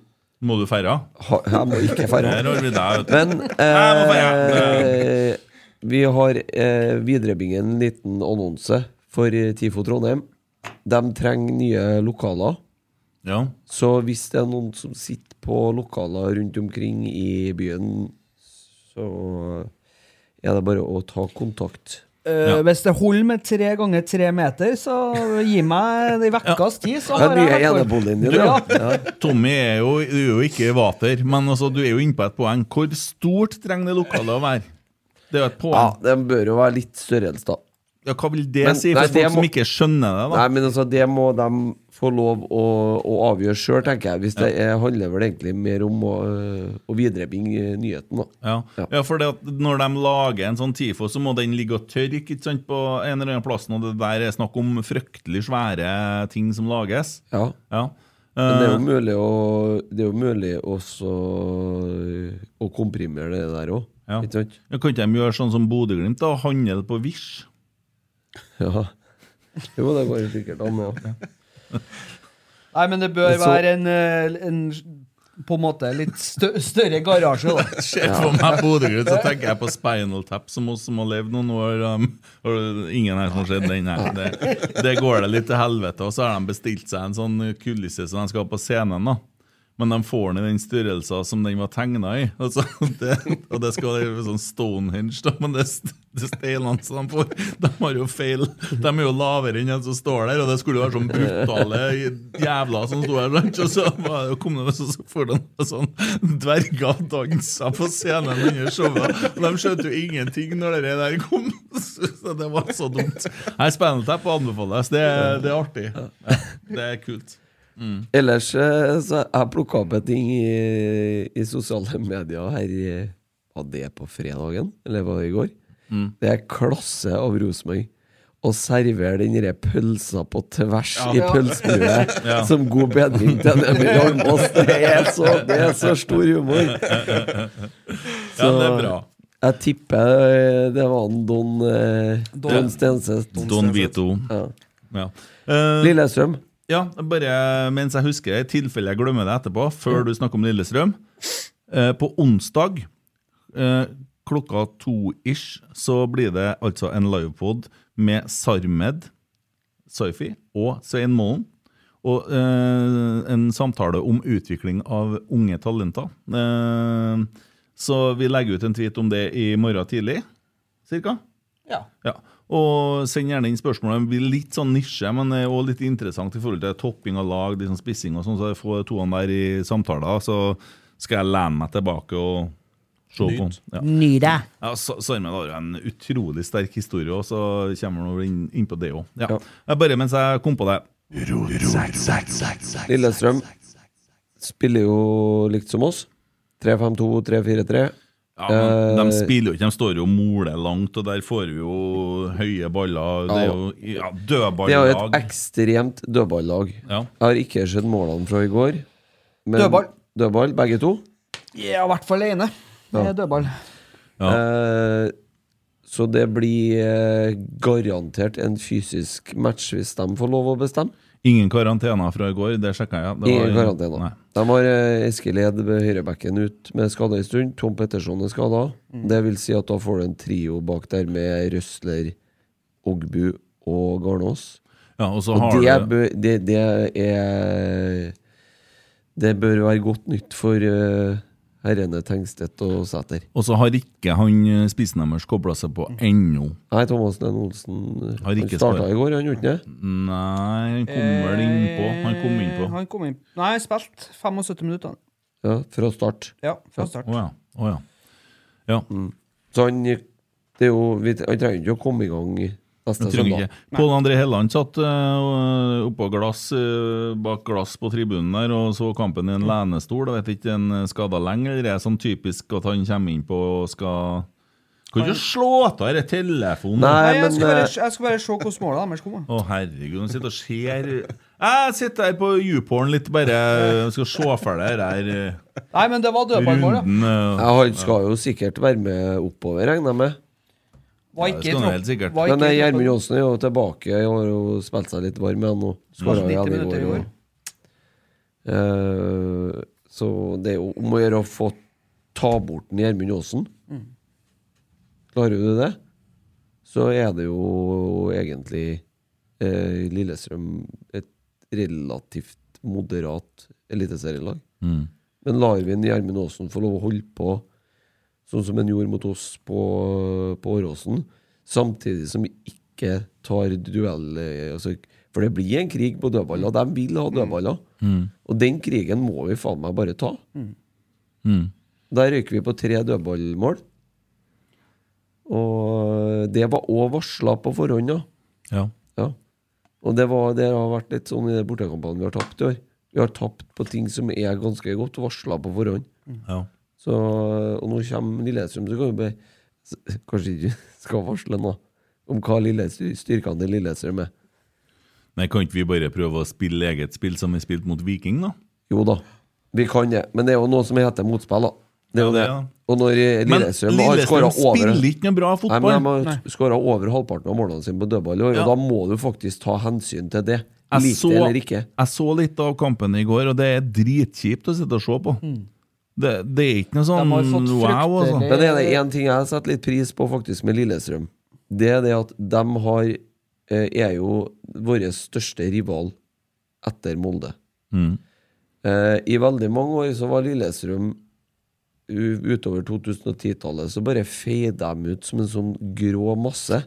Speaker 4: Må du feire?
Speaker 3: ha, Jeg må ikke ferde.
Speaker 4: Der har vi deg, vet du.
Speaker 3: Men
Speaker 4: må bare-
Speaker 3: eh, vi har eh, viderebingen en liten annonse for eh, TIFO Trondheim. De trenger nye lokaler.
Speaker 4: Ja.
Speaker 3: Så hvis det er noen som sitter på lokaler rundt omkring i byen, så er det bare å ta kontakt.
Speaker 5: Eh,
Speaker 4: Ja.
Speaker 5: Hvis det holder med tre ganger tre meter, så gi meg i vekkas tid, så
Speaker 3: Det
Speaker 5: har
Speaker 3: er nye
Speaker 5: jeg vært for-
Speaker 3: eneboligen din,
Speaker 5: Ja.
Speaker 3: ja. ja.
Speaker 4: Tommy er jo, du er jo ikke vater, men altså, du er jo inne på et poeng. Hvor stort trenger det lokalet å være? Det er jo et
Speaker 3: Ja,
Speaker 4: poeng.
Speaker 3: det bør jo være litt størrelse, da.
Speaker 4: Ja, hva vil det
Speaker 3: Men-
Speaker 4: si
Speaker 3: nei,
Speaker 4: for
Speaker 3: det
Speaker 4: folk som
Speaker 3: må-
Speaker 4: ikke skjønner det? da?
Speaker 3: Nei, men altså, det må de få lov å, å avgjøre sjøl, tenker jeg. Hvis det er, handler vel egentlig mer om å, øh, å viderebringe nyheten, da.
Speaker 4: Ja,
Speaker 3: Ja.
Speaker 4: ja for det at når de lager en sånn TIFO, så må den ligge og tørke ikke sant, på en eller annen plass. Og det der er snakk om fryktelig svære ting som lages.
Speaker 3: Ja.
Speaker 4: Ja.
Speaker 3: Men det er jo
Speaker 4: Eh,
Speaker 3: mulig å Det er jo mulig også eh, å komprimere det der òg,
Speaker 4: Eh, Ja.
Speaker 3: ikke sant?
Speaker 4: ja, kan ikke de gjøre sånn som Bodø-Glimt, da? Handle på Wish?
Speaker 3: Ja. Jo, det går jo sikkert an, ja.
Speaker 5: Nei, men det bør
Speaker 3: Så-
Speaker 5: være en, eh, en på en måte litt stø større garasje, da.
Speaker 4: Ser for meg Bodø-Glimt, så tenker jeg på Spinal Tap, som oss som har levd noen år. Um, og ingen her som har sett den her. Det, det går det litt til helvete. Og så har de bestilt seg en sånn kulisse som de skal ha på scenen. da. Men de får den i den størrelsen som den var tegna i. Altså, det, og det skal være sånn Stonehenge, da, men det, st- det steinene som de får, de har jo feil. De er jo lavere enn den som står der, og det skulle jo være sånn brutale jævler som sto her. sant? Og så var det- kom det så så får de noen sånn dverger dansa på scenen under showet. Og de skjønte jo ingenting når det der kom. Så det var så dumt. Nei, Spinal Tap anbefales. Det, er- det er artig. Ja, det er kult.
Speaker 3: Ellers eh, så jeg plukka opp en ting i, i sosiale medier her i Var det på fredagen? Eller var det i går?
Speaker 4: Mm.
Speaker 3: Det er klasse av Rosenborg. Å servere den derre pølsa på tvers i pølsebrua
Speaker 4: Ja.
Speaker 3: som god bedring til Emil Almås, det er så, det er så stor humor!
Speaker 4: Ja,
Speaker 3: Så-
Speaker 4: det er bra.
Speaker 3: Jeg tipper eh, det var en Don, eh, Don,
Speaker 4: Don-
Speaker 3: Stenseth.
Speaker 4: Don Vito.
Speaker 3: Ja.
Speaker 4: Ja. Eh,
Speaker 3: Lillestrøm.
Speaker 4: ja, bare mens jeg husker det, i tilfelle jeg glemmer det etterpå, før du snakker om Lillestrøm. Eh, på onsdag eh, klokka to-ish så blir det altså en livepod med Sarmed Saifi og Svein Målen. Og eh, en samtale om utvikling av unge talenter. Eh, så vi legger ut en tweet om det i morgen tidlig, cirka.
Speaker 5: Ja.
Speaker 4: Ja. Og send gjerne inn spørsmål. Det blir litt sånn nisje, men det er også litt interessant i forhold til topping av lag, litt sånn spissing og sånn, så jeg får toene der i samtaler. Så skal jeg lene meg tilbake og se på. Ja.
Speaker 5: Ny deg.
Speaker 4: Ja, Sa- Sarmen har jo en utrolig sterk historie, og så kommer han over inn, inn på det òg. Ja.
Speaker 3: Ja.
Speaker 4: Ja. Bare mens jeg kom på det.
Speaker 3: Lillestrøm spiller jo likt som oss. 3-5-2, 3-4-3.
Speaker 4: Ja, men
Speaker 3: Eh,
Speaker 4: De spiller jo ikke, de står jo og moler langt, og der får vi jo høye baller. Det er jo ja,
Speaker 3: Det er jo et
Speaker 4: dødballag.
Speaker 3: ekstremt dødballag.
Speaker 4: Ja.
Speaker 3: Jeg har ikke sett målene fra i går. men-
Speaker 5: Dødball.
Speaker 3: Dødball, begge to.
Speaker 5: Ja, i hvert fall ene. Det er dødball.
Speaker 3: Eh, så det blir eh, garantert en fysisk match hvis de får lov å bestemme.
Speaker 4: Ingen karantener fra i går, det sjekka jeg. Det var-
Speaker 3: Ingen karantene.
Speaker 4: Nei.
Speaker 3: De har eh, Eskil Ed ved høyrebekken ut med skade en stund. Tom Petterson er skada. Det vil si at da får du en trio bak der med Røsler, Ogbu og Garnås.
Speaker 4: Ja, og så
Speaker 3: Og
Speaker 4: har
Speaker 3: det,
Speaker 4: du
Speaker 3: bør, det, det er Det bør være godt nytt for eh, herrene Tengstedt og Sæter.
Speaker 4: Og så har ikke han eh, spissen deres kobla seg på ennå.
Speaker 3: Nei, Thomas Lene Olsen eh,
Speaker 4: Har
Speaker 3: Han
Speaker 4: ikke
Speaker 3: starta
Speaker 4: spart.
Speaker 3: i går, han gjorde ikke det?
Speaker 4: Nei, han kom vel innpå. Han kom
Speaker 5: Eh,
Speaker 4: innpå.
Speaker 5: Han kom inn. Nei, spilt 75 minutter.
Speaker 3: Ja, fra start.
Speaker 5: Ja, fra start.
Speaker 4: Å ja. Å ja. Ja,
Speaker 3: Så han gikk- det er jo, vi, Han trenger ikke å komme i gang neste
Speaker 4: jeg trenger
Speaker 3: søndag.
Speaker 4: ikke. Pål André Helland satt uh, oppå glass, eh, bak glass på tribunen der og så kampen i en lenestol. Jeg vet ikke, en eh, skada lenger. Det er sånn typisk at han kommer innpå og skal Kan du slå av denne telefonen?
Speaker 5: Nei,
Speaker 3: Nei,
Speaker 5: jeg,
Speaker 3: men
Speaker 5: skal bare,
Speaker 3: eh,
Speaker 5: jeg skal bare se hvordan målet deres kom. da.
Speaker 4: Å, herregud, han sitter og ser Jeg sitter her på YouPorn litt, bare eh, skal se ferdig det her. eh.
Speaker 5: Nei, men det var dødballmål, da.
Speaker 4: Runden eh,
Speaker 3: ja, han skal jo sikkert være med oppover, regner jeg med.
Speaker 5: Var
Speaker 4: Ja, det
Speaker 5: ikke i
Speaker 4: skal han
Speaker 5: tro-
Speaker 4: helt sikkert.
Speaker 5: var ikke
Speaker 3: Men eh,
Speaker 5: i troppen.
Speaker 3: Gjermund Johnsen er jo tilbake. Han har jo spilt seg litt varm igjen nå. Skåret
Speaker 5: Kanskje 90
Speaker 3: igjen i
Speaker 5: minutter i
Speaker 3: går.
Speaker 5: år.
Speaker 3: og- Eh, så det er jo om å gjøre å få ta bort den Gjermund Johnsen.
Speaker 5: Mm.
Speaker 3: Klarer du det, så er det jo egentlig eh, Lillestrøm et relativt moderat eliteserielag. Men lar vi en Gjermund Aasen få lov å holde på sånn som han gjorde mot oss på, på Åråsen, samtidig som vi ikke tar duell eh, altså, For det blir en krig på dødballer. De vil ha dødballer. Og den krigen må vi faen meg bare ta. Der røyker vi på tre dødballmål. Og det var òg varsla på forhånd, da.
Speaker 4: Ja.
Speaker 3: Ja. Og det, var, det har vært litt sånn i de bortekampene vi har tapt i år. Vi har tapt på ting som er ganske godt varsla på forhånd.
Speaker 4: ja.
Speaker 3: Så, og nå kommer Lillestrøm, så kan vi bare s- Kanskje ikke skal varsle nå om hva lille, styrkene til Lillestrøm er.
Speaker 4: Nei, kan ikke vi bare prøve å spille eget spill som vi spilte mot Viking, da?
Speaker 3: Jo da, vi kan det, men det er jo noe som heter motspill, da. Det er jo det.
Speaker 4: Ja, det er det.
Speaker 3: Og når eh,
Speaker 4: Men
Speaker 3: Lillestrøm har skåra
Speaker 4: Lillestrøm
Speaker 3: over
Speaker 4: spiller ikke noe bra
Speaker 3: Nei, men
Speaker 4: fotball.
Speaker 3: De har skåra over halvparten av målene sine på dødball i år,
Speaker 4: Ja.
Speaker 3: og da må du faktisk ta hensyn til det.
Speaker 4: Jeg
Speaker 3: Lik
Speaker 4: så,
Speaker 3: det eller ikke.
Speaker 4: jeg så litt av kampen i går, og det er dritkjipt å sitte og se på. Det, det er ikke noe sånn
Speaker 5: Mm. har fått
Speaker 4: wow, altså.
Speaker 5: fryktelig-
Speaker 3: Men er det én ting jeg setter litt pris på faktisk med Lillestrøm, det er det at de har, eh, er jo vår største rival etter Molde.
Speaker 4: Mm.
Speaker 3: Eh, I veldig mange år så var Lillestrøm u- utover 2010-tallet så bare feide dem ut som en sånn grå masse.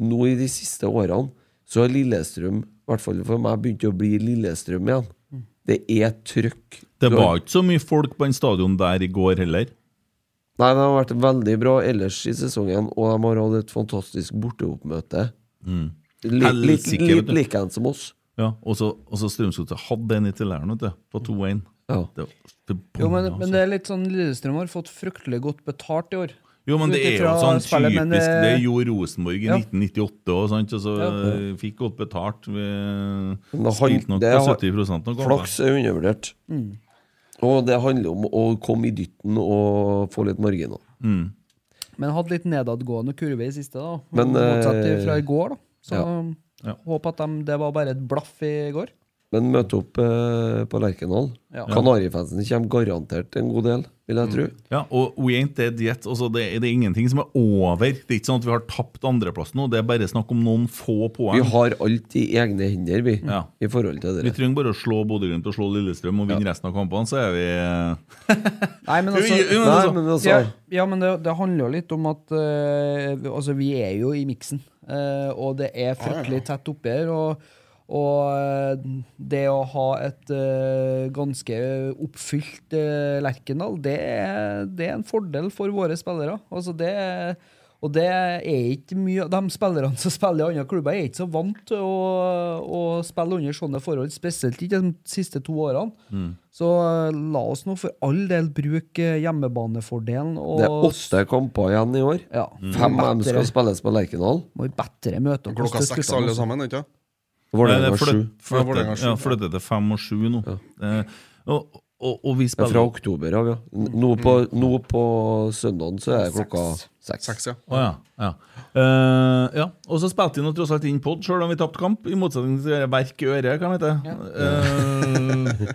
Speaker 3: Nå i de siste årene så har Lillestrøm, i hvert fall for meg, begynt å bli Lillestrøm igjen. Det er trøkk.
Speaker 4: Det
Speaker 3: Du har-
Speaker 4: var ikke så mye folk på den stadion der i går heller.
Speaker 3: Nei, de har vært veldig bra ellers i sesongen, og de har hatt et fantastisk borteoppmøte. Litt, litt,
Speaker 4: Mm. Helsike, vet
Speaker 3: litt
Speaker 4: du.
Speaker 3: likens som oss.
Speaker 4: Ja, og så, og så Strømsgodset hadde en i Tilleren, vet du, på 2-1.
Speaker 3: Ja.
Speaker 4: Det var forbanna,
Speaker 5: Jo, men,
Speaker 4: altså.
Speaker 5: men det er litt sånn Lillestrøm har fått fryktelig godt betalt i år.
Speaker 4: Jo, men det
Speaker 5: Ut
Speaker 4: er jo
Speaker 5: ifra
Speaker 4: sånn
Speaker 5: spillet,
Speaker 4: typisk
Speaker 5: men,
Speaker 4: Det
Speaker 5: eh,
Speaker 4: gjorde Rosenborg i
Speaker 5: ja.
Speaker 4: 1998 òg, sant. Og så
Speaker 5: Ja.
Speaker 4: eh, fikk godt betalt. Vi
Speaker 3: Men det hand-
Speaker 4: spilte nok
Speaker 3: det
Speaker 4: på
Speaker 3: har-
Speaker 4: 70 noen ganger.
Speaker 3: Flaks er undervurdert.
Speaker 5: Mm.
Speaker 3: Og det handler om å komme i dytten og få litt marginer.
Speaker 5: Men hadde litt nedadgående kurve i siste, da.
Speaker 3: Men,
Speaker 5: Motsatt
Speaker 3: eh,
Speaker 5: fra i går, da. Så
Speaker 4: Ja.
Speaker 5: håper at de, det var bare et blaff i går.
Speaker 3: Men møte opp eh, på Lerkendal.
Speaker 5: Ja. Mm.
Speaker 3: Kanarifansen kommer garantert en god del, vil jeg tro.
Speaker 4: Ja, og we ain't dead yet. Altså, det, er- det er ingenting som er over. Det er ikke sånn at vi har tapt andreplass nå, det er bare snakk om noen få poeng.
Speaker 3: Vi har alt i egne hender, vi,
Speaker 4: Ja.
Speaker 3: i forhold til
Speaker 4: Vi
Speaker 3: dere.
Speaker 4: trenger bare å slå Bodø-Glimt og slå Lillestrøm og vinne resten av kampene, så er vi
Speaker 5: Nei, men
Speaker 4: Jo, jo,
Speaker 5: altså
Speaker 4: jo, men
Speaker 3: Nei,
Speaker 4: altså-
Speaker 3: men altså
Speaker 5: ja, ja, men det, det handler jo litt om at eh, vi- altså, vi er jo i miksen, eh, og det er fryktelig tett oppi her. Og, og eh, det å ha et eh, ganske oppfylt eh, Lerkendal, det er, det er en fordel for våre spillere. Altså, det er- og det er ikke mye De spillerne som spiller i andre klubber, er ikke så vant til å, å spille under sånne forhold, spesielt ikke de siste to årene. Så eh, la oss nå for all del bruke eh, hjemmebanefordelen. Og,
Speaker 3: Det er åtte Mm. kamper igjen i år.
Speaker 5: Ja.
Speaker 4: Mm.
Speaker 3: Fem av dem skal
Speaker 5: Bedre.
Speaker 3: spilles på Lerkendal.
Speaker 5: Må vi bedre møte opp
Speaker 6: Klokka
Speaker 5: hos
Speaker 6: seks
Speaker 5: guttene
Speaker 6: alle
Speaker 5: også.
Speaker 6: sammen, ikke sant?
Speaker 3: Vålerenga
Speaker 4: eh,
Speaker 3: sju.
Speaker 4: flytt-
Speaker 6: Ja, Vålerenga
Speaker 4: flyttet
Speaker 6: sju.
Speaker 4: ja, flyttet til fem og sju nå. Eh, og, og, og vi
Speaker 3: Det er Fra
Speaker 4: spiller
Speaker 3: oktober av, ja. Nå på, nå på søndagen så er det klokka Mm. seks.
Speaker 6: Seks, ja.
Speaker 4: Å ja. ja. Eh, ja. Og så spilte vi nå tross alt inn pod, sjøl om vi tapte kamp, i motsetning til det verk i øret, hva heter det? Eh,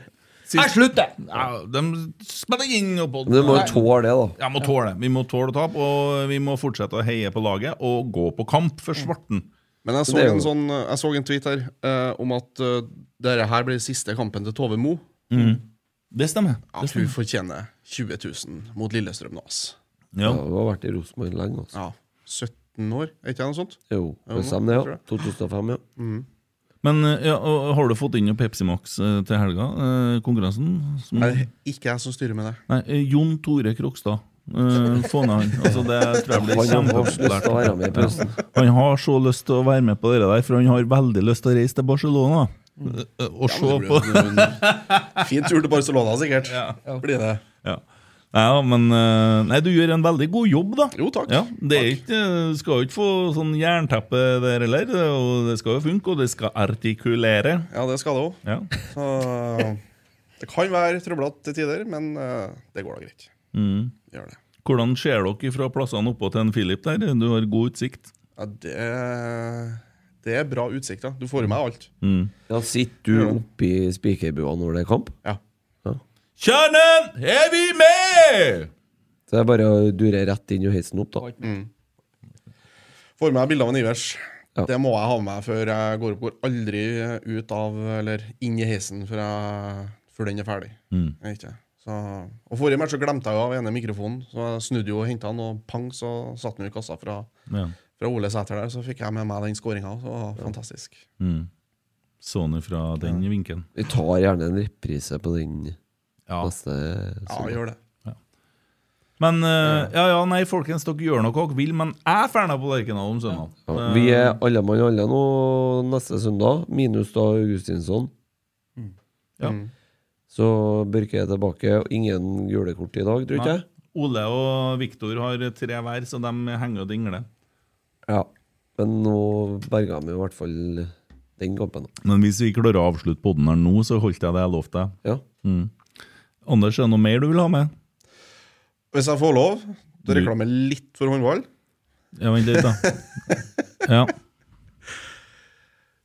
Speaker 4: sist-
Speaker 5: Jeg slutter!
Speaker 4: ja, de spiller inn pod.
Speaker 3: Men du må jo tåle det, da.
Speaker 4: Ja, må tåle. Vi må tåle å tape, og vi må fortsette å heie på laget og gå på kamp for svarten.
Speaker 6: Men jeg så,
Speaker 3: Det er jo-
Speaker 6: en, sånn, jeg så en tweet her eh, om at uh, dette her blir siste kampen til Tove Mo.
Speaker 4: Det stemmer.
Speaker 6: At hun fortjener 20 000 mot Lillestrøm nå, ass.
Speaker 4: Ja.
Speaker 3: Ja, du har vært i Rosenborg lenge. Altså.
Speaker 6: Ja. 17 år, er ikke det noe sånt?
Speaker 3: Jo, det stemmer det, ja. 2005, ja.
Speaker 4: Men eh, ja, og har du fått inn noe Pepsi Max eh, til helga? eh, Konkurransen? Som,
Speaker 6: Er det ikke jeg som styrer med det?
Speaker 4: nei, eh, Jon Tore Krokstad. Eh, Få ned han. Altså, det tror jeg blir
Speaker 3: Han har lyst til å være med i
Speaker 4: kjempepopulært.
Speaker 3: pausen.
Speaker 4: Han har så lyst til å være med på det der, for han har veldig lyst til å reise til Barcelona. Eh, eh, Og se
Speaker 6: Mm. Det
Speaker 4: på
Speaker 6: blir jo en Fin tur til Barcelona, sikkert. Blir det.
Speaker 4: ja. Nei, ja, men eh, Nei, du gjør en veldig god jobb, da.
Speaker 6: Jo, takk.
Speaker 4: Ja, det er ikke, eh, skal jo ikke få sånn jernteppe der heller. Og det skal jo funke, og det skal artikulere.
Speaker 6: Ja, det skal det òg.
Speaker 4: Ja.
Speaker 6: Det kan være trøblete til tider, men eh, det går da greit.
Speaker 4: Mm.
Speaker 6: Gjør det.
Speaker 4: Hvordan ser dere fra plassene oppå til en Philip der? Du har god utsikt.
Speaker 6: Ja, det, det er bra utsikt. da. Du får jo med alt.
Speaker 4: Mm.
Speaker 3: Ja, sitter du oppi spikerbua når det er kamp?
Speaker 6: Ja.
Speaker 4: Kjernen, er vi med?!
Speaker 3: Så det er bare å dure rett inn og heise den opp, da.
Speaker 6: Får med bilde av en Ivers.
Speaker 3: Ja.
Speaker 6: Det må jeg ha med meg før jeg går opp. Går aldri ut av eller inn i heisen før, jeg, før den er ferdig. Jeg vet ikke. Så, og Forrige match så glemte jeg jo av ene mikrofonen, så jeg snudde jo og henta den, og pang, så satt den jo i kassa fra,
Speaker 4: Ja.
Speaker 6: fra Ole Sæter der. Så fikk jeg med meg den skåringa. Det var fantastisk.
Speaker 4: Sånn fra den vinkelen.
Speaker 3: Vi tar gjerne en reprise på den
Speaker 4: Ja.
Speaker 3: neste
Speaker 6: Ja, gjør det.
Speaker 4: Men eh, ja, ja, nei, folkens, dere gjør noe dere vil, men jeg ferner på Lerkendal om søndag.
Speaker 3: Ja, vi er alle mann alle nå neste søndag, minus da Augustinsson.
Speaker 4: Mm. Ja.
Speaker 3: Så Børke er tilbake. og Ingen julekort i dag, tror ikke jeg.
Speaker 4: Ole og Viktor har tre hver, så de henger og dingler.
Speaker 3: Ja. Men nå berga vi i hvert fall den kampen. da.
Speaker 4: Men hvis vi klarer å avslutte podden her nå, så holdt jeg det jeg lovte deg.
Speaker 3: Ja.
Speaker 4: Anders, er det noe mer du vil ha med?
Speaker 6: Hvis jeg får lov
Speaker 4: Du-
Speaker 6: til å reklame litt for håndball
Speaker 4: Ja, vent litt, da. Ja.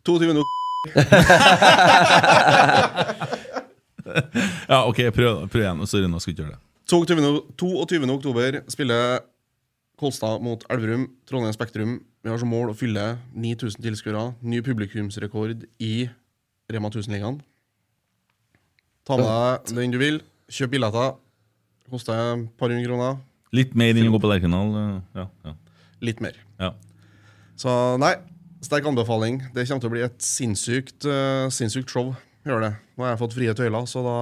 Speaker 6: 22.
Speaker 4: ja, OK, prøv, prøv igjen. Sorry, nå skal jeg ikke gjøre det.
Speaker 6: 22. 22. oktober spiller Kolstad mot Elverum, Trondheim Spektrum. Vi har som mål å fylle 9000 tilskuere. Ny publikumsrekord i Rema 1000-ligaen. Ta med deg den du vil. Kjøp billetter. Koster et par hundre kroner.
Speaker 4: Litt mer enn å gå på Lerkendal. eh, Ja, ja,
Speaker 6: Litt mer.
Speaker 4: ja.
Speaker 6: Så nei, sterk anbefaling. Det kommer til å bli et sinnssykt, eh, sinnssykt show. Gjør det. Nå har jeg fått frie tøyler, så da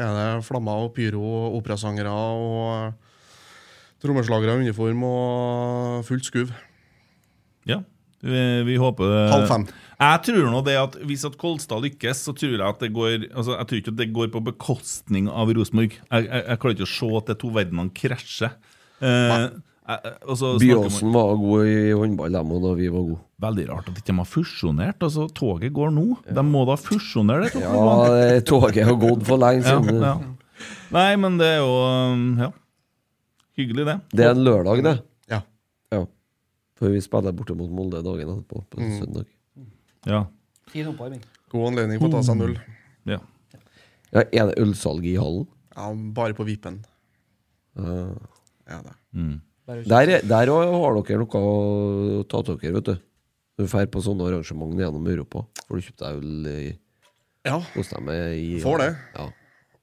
Speaker 6: er det flammer og pyro og operasangere og eh, trommeslagere i uniform og fullt skuv.
Speaker 4: ja. Vi, vi håper det-
Speaker 6: Halv fem.
Speaker 4: Jeg tror nå det at hvis at Kolstad lykkes, så tror jeg at det går altså Jeg tror ikke at det går på bekostning av Rosenborg. Jeg, jeg, jeg klarer ikke å se at de to verdenene krasjer. Eh, jeg- jeg- og så snakker man-
Speaker 3: Byåsen var god i håndball, dem òg, da vi var gode.
Speaker 4: Veldig rart at de ikke har fusjonert. altså Toget går nå. De må da fusjonere det?
Speaker 3: Ja, det- toget har gått for lenge
Speaker 4: Ja,
Speaker 3: siden.
Speaker 4: ja. Nei, men det er jo um, Ja. Hyggelig, det.
Speaker 3: Det er en lørdag, det.
Speaker 6: Ja.
Speaker 3: Ja. For vi spiller borte mot Molde dagen etterpå, på
Speaker 4: Mm.
Speaker 3: søndag.
Speaker 4: Ja.
Speaker 5: Fin oppvarming.
Speaker 6: God anledning for å ta seg en øl.
Speaker 4: ja.
Speaker 3: Ja, er det ølsalg i hallen?
Speaker 6: Ja, bare på vippen. Ja, det.
Speaker 3: Der, er- der også har dere noe å ta til dere, vet du. Du drar på sånne arrangement gjennom Europa. Får du kjøpt deg øl i,
Speaker 6: ja.
Speaker 3: hos dem i
Speaker 6: Får det.
Speaker 3: Ja.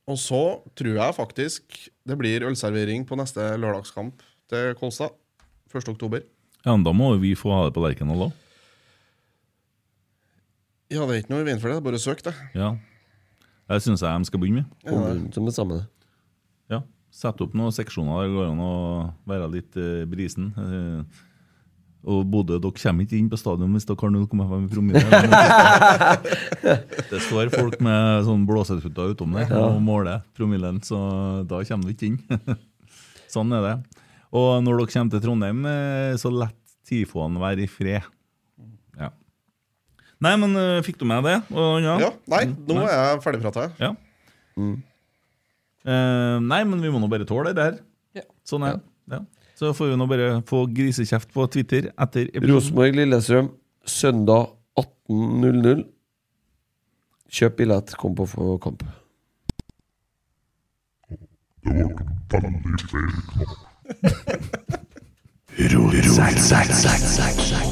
Speaker 6: Og så tror jeg faktisk det blir ølservering på neste lørdagskamp til Kolstad. 1. oktober.
Speaker 4: ja, men da må jo vi få ha det på Lerkendal òg.
Speaker 6: Ja, det er ikke noe i veien for det. det er Bare søk, det.
Speaker 4: Ja. Det syns jeg de skal begynne med.
Speaker 3: Kommunen som bestemmer det.
Speaker 4: Ja. Sette opp noen seksjoner der det går an å være litt eh, brisen. eh. og Bodø, dere kommer ikke inn på stadion hvis dere har 0,5 promille. men- Det står folk med sånn blåsetutter utom der og måler promillen, så da kommer du ikke inn. Sånn er det. Og når dere kommer til Trondheim, eh, så lett tifoen være i fred. Ja. Nei, men eh, fikk du med det? Og, ja.
Speaker 6: Ja, Nei, nå er jeg ferdigprata.
Speaker 4: Ja. Eh, nei, men vi må nå bare tåle det her.
Speaker 5: Ja.
Speaker 4: Sånn er det. Ja. Så får vi nå bare få grisekjeft på Twitter etter episoden.
Speaker 3: Rosenborg-Lillestrøm, søndag 18.00. Kjøp billett, kom på få kamp.
Speaker 8: Rotsekk.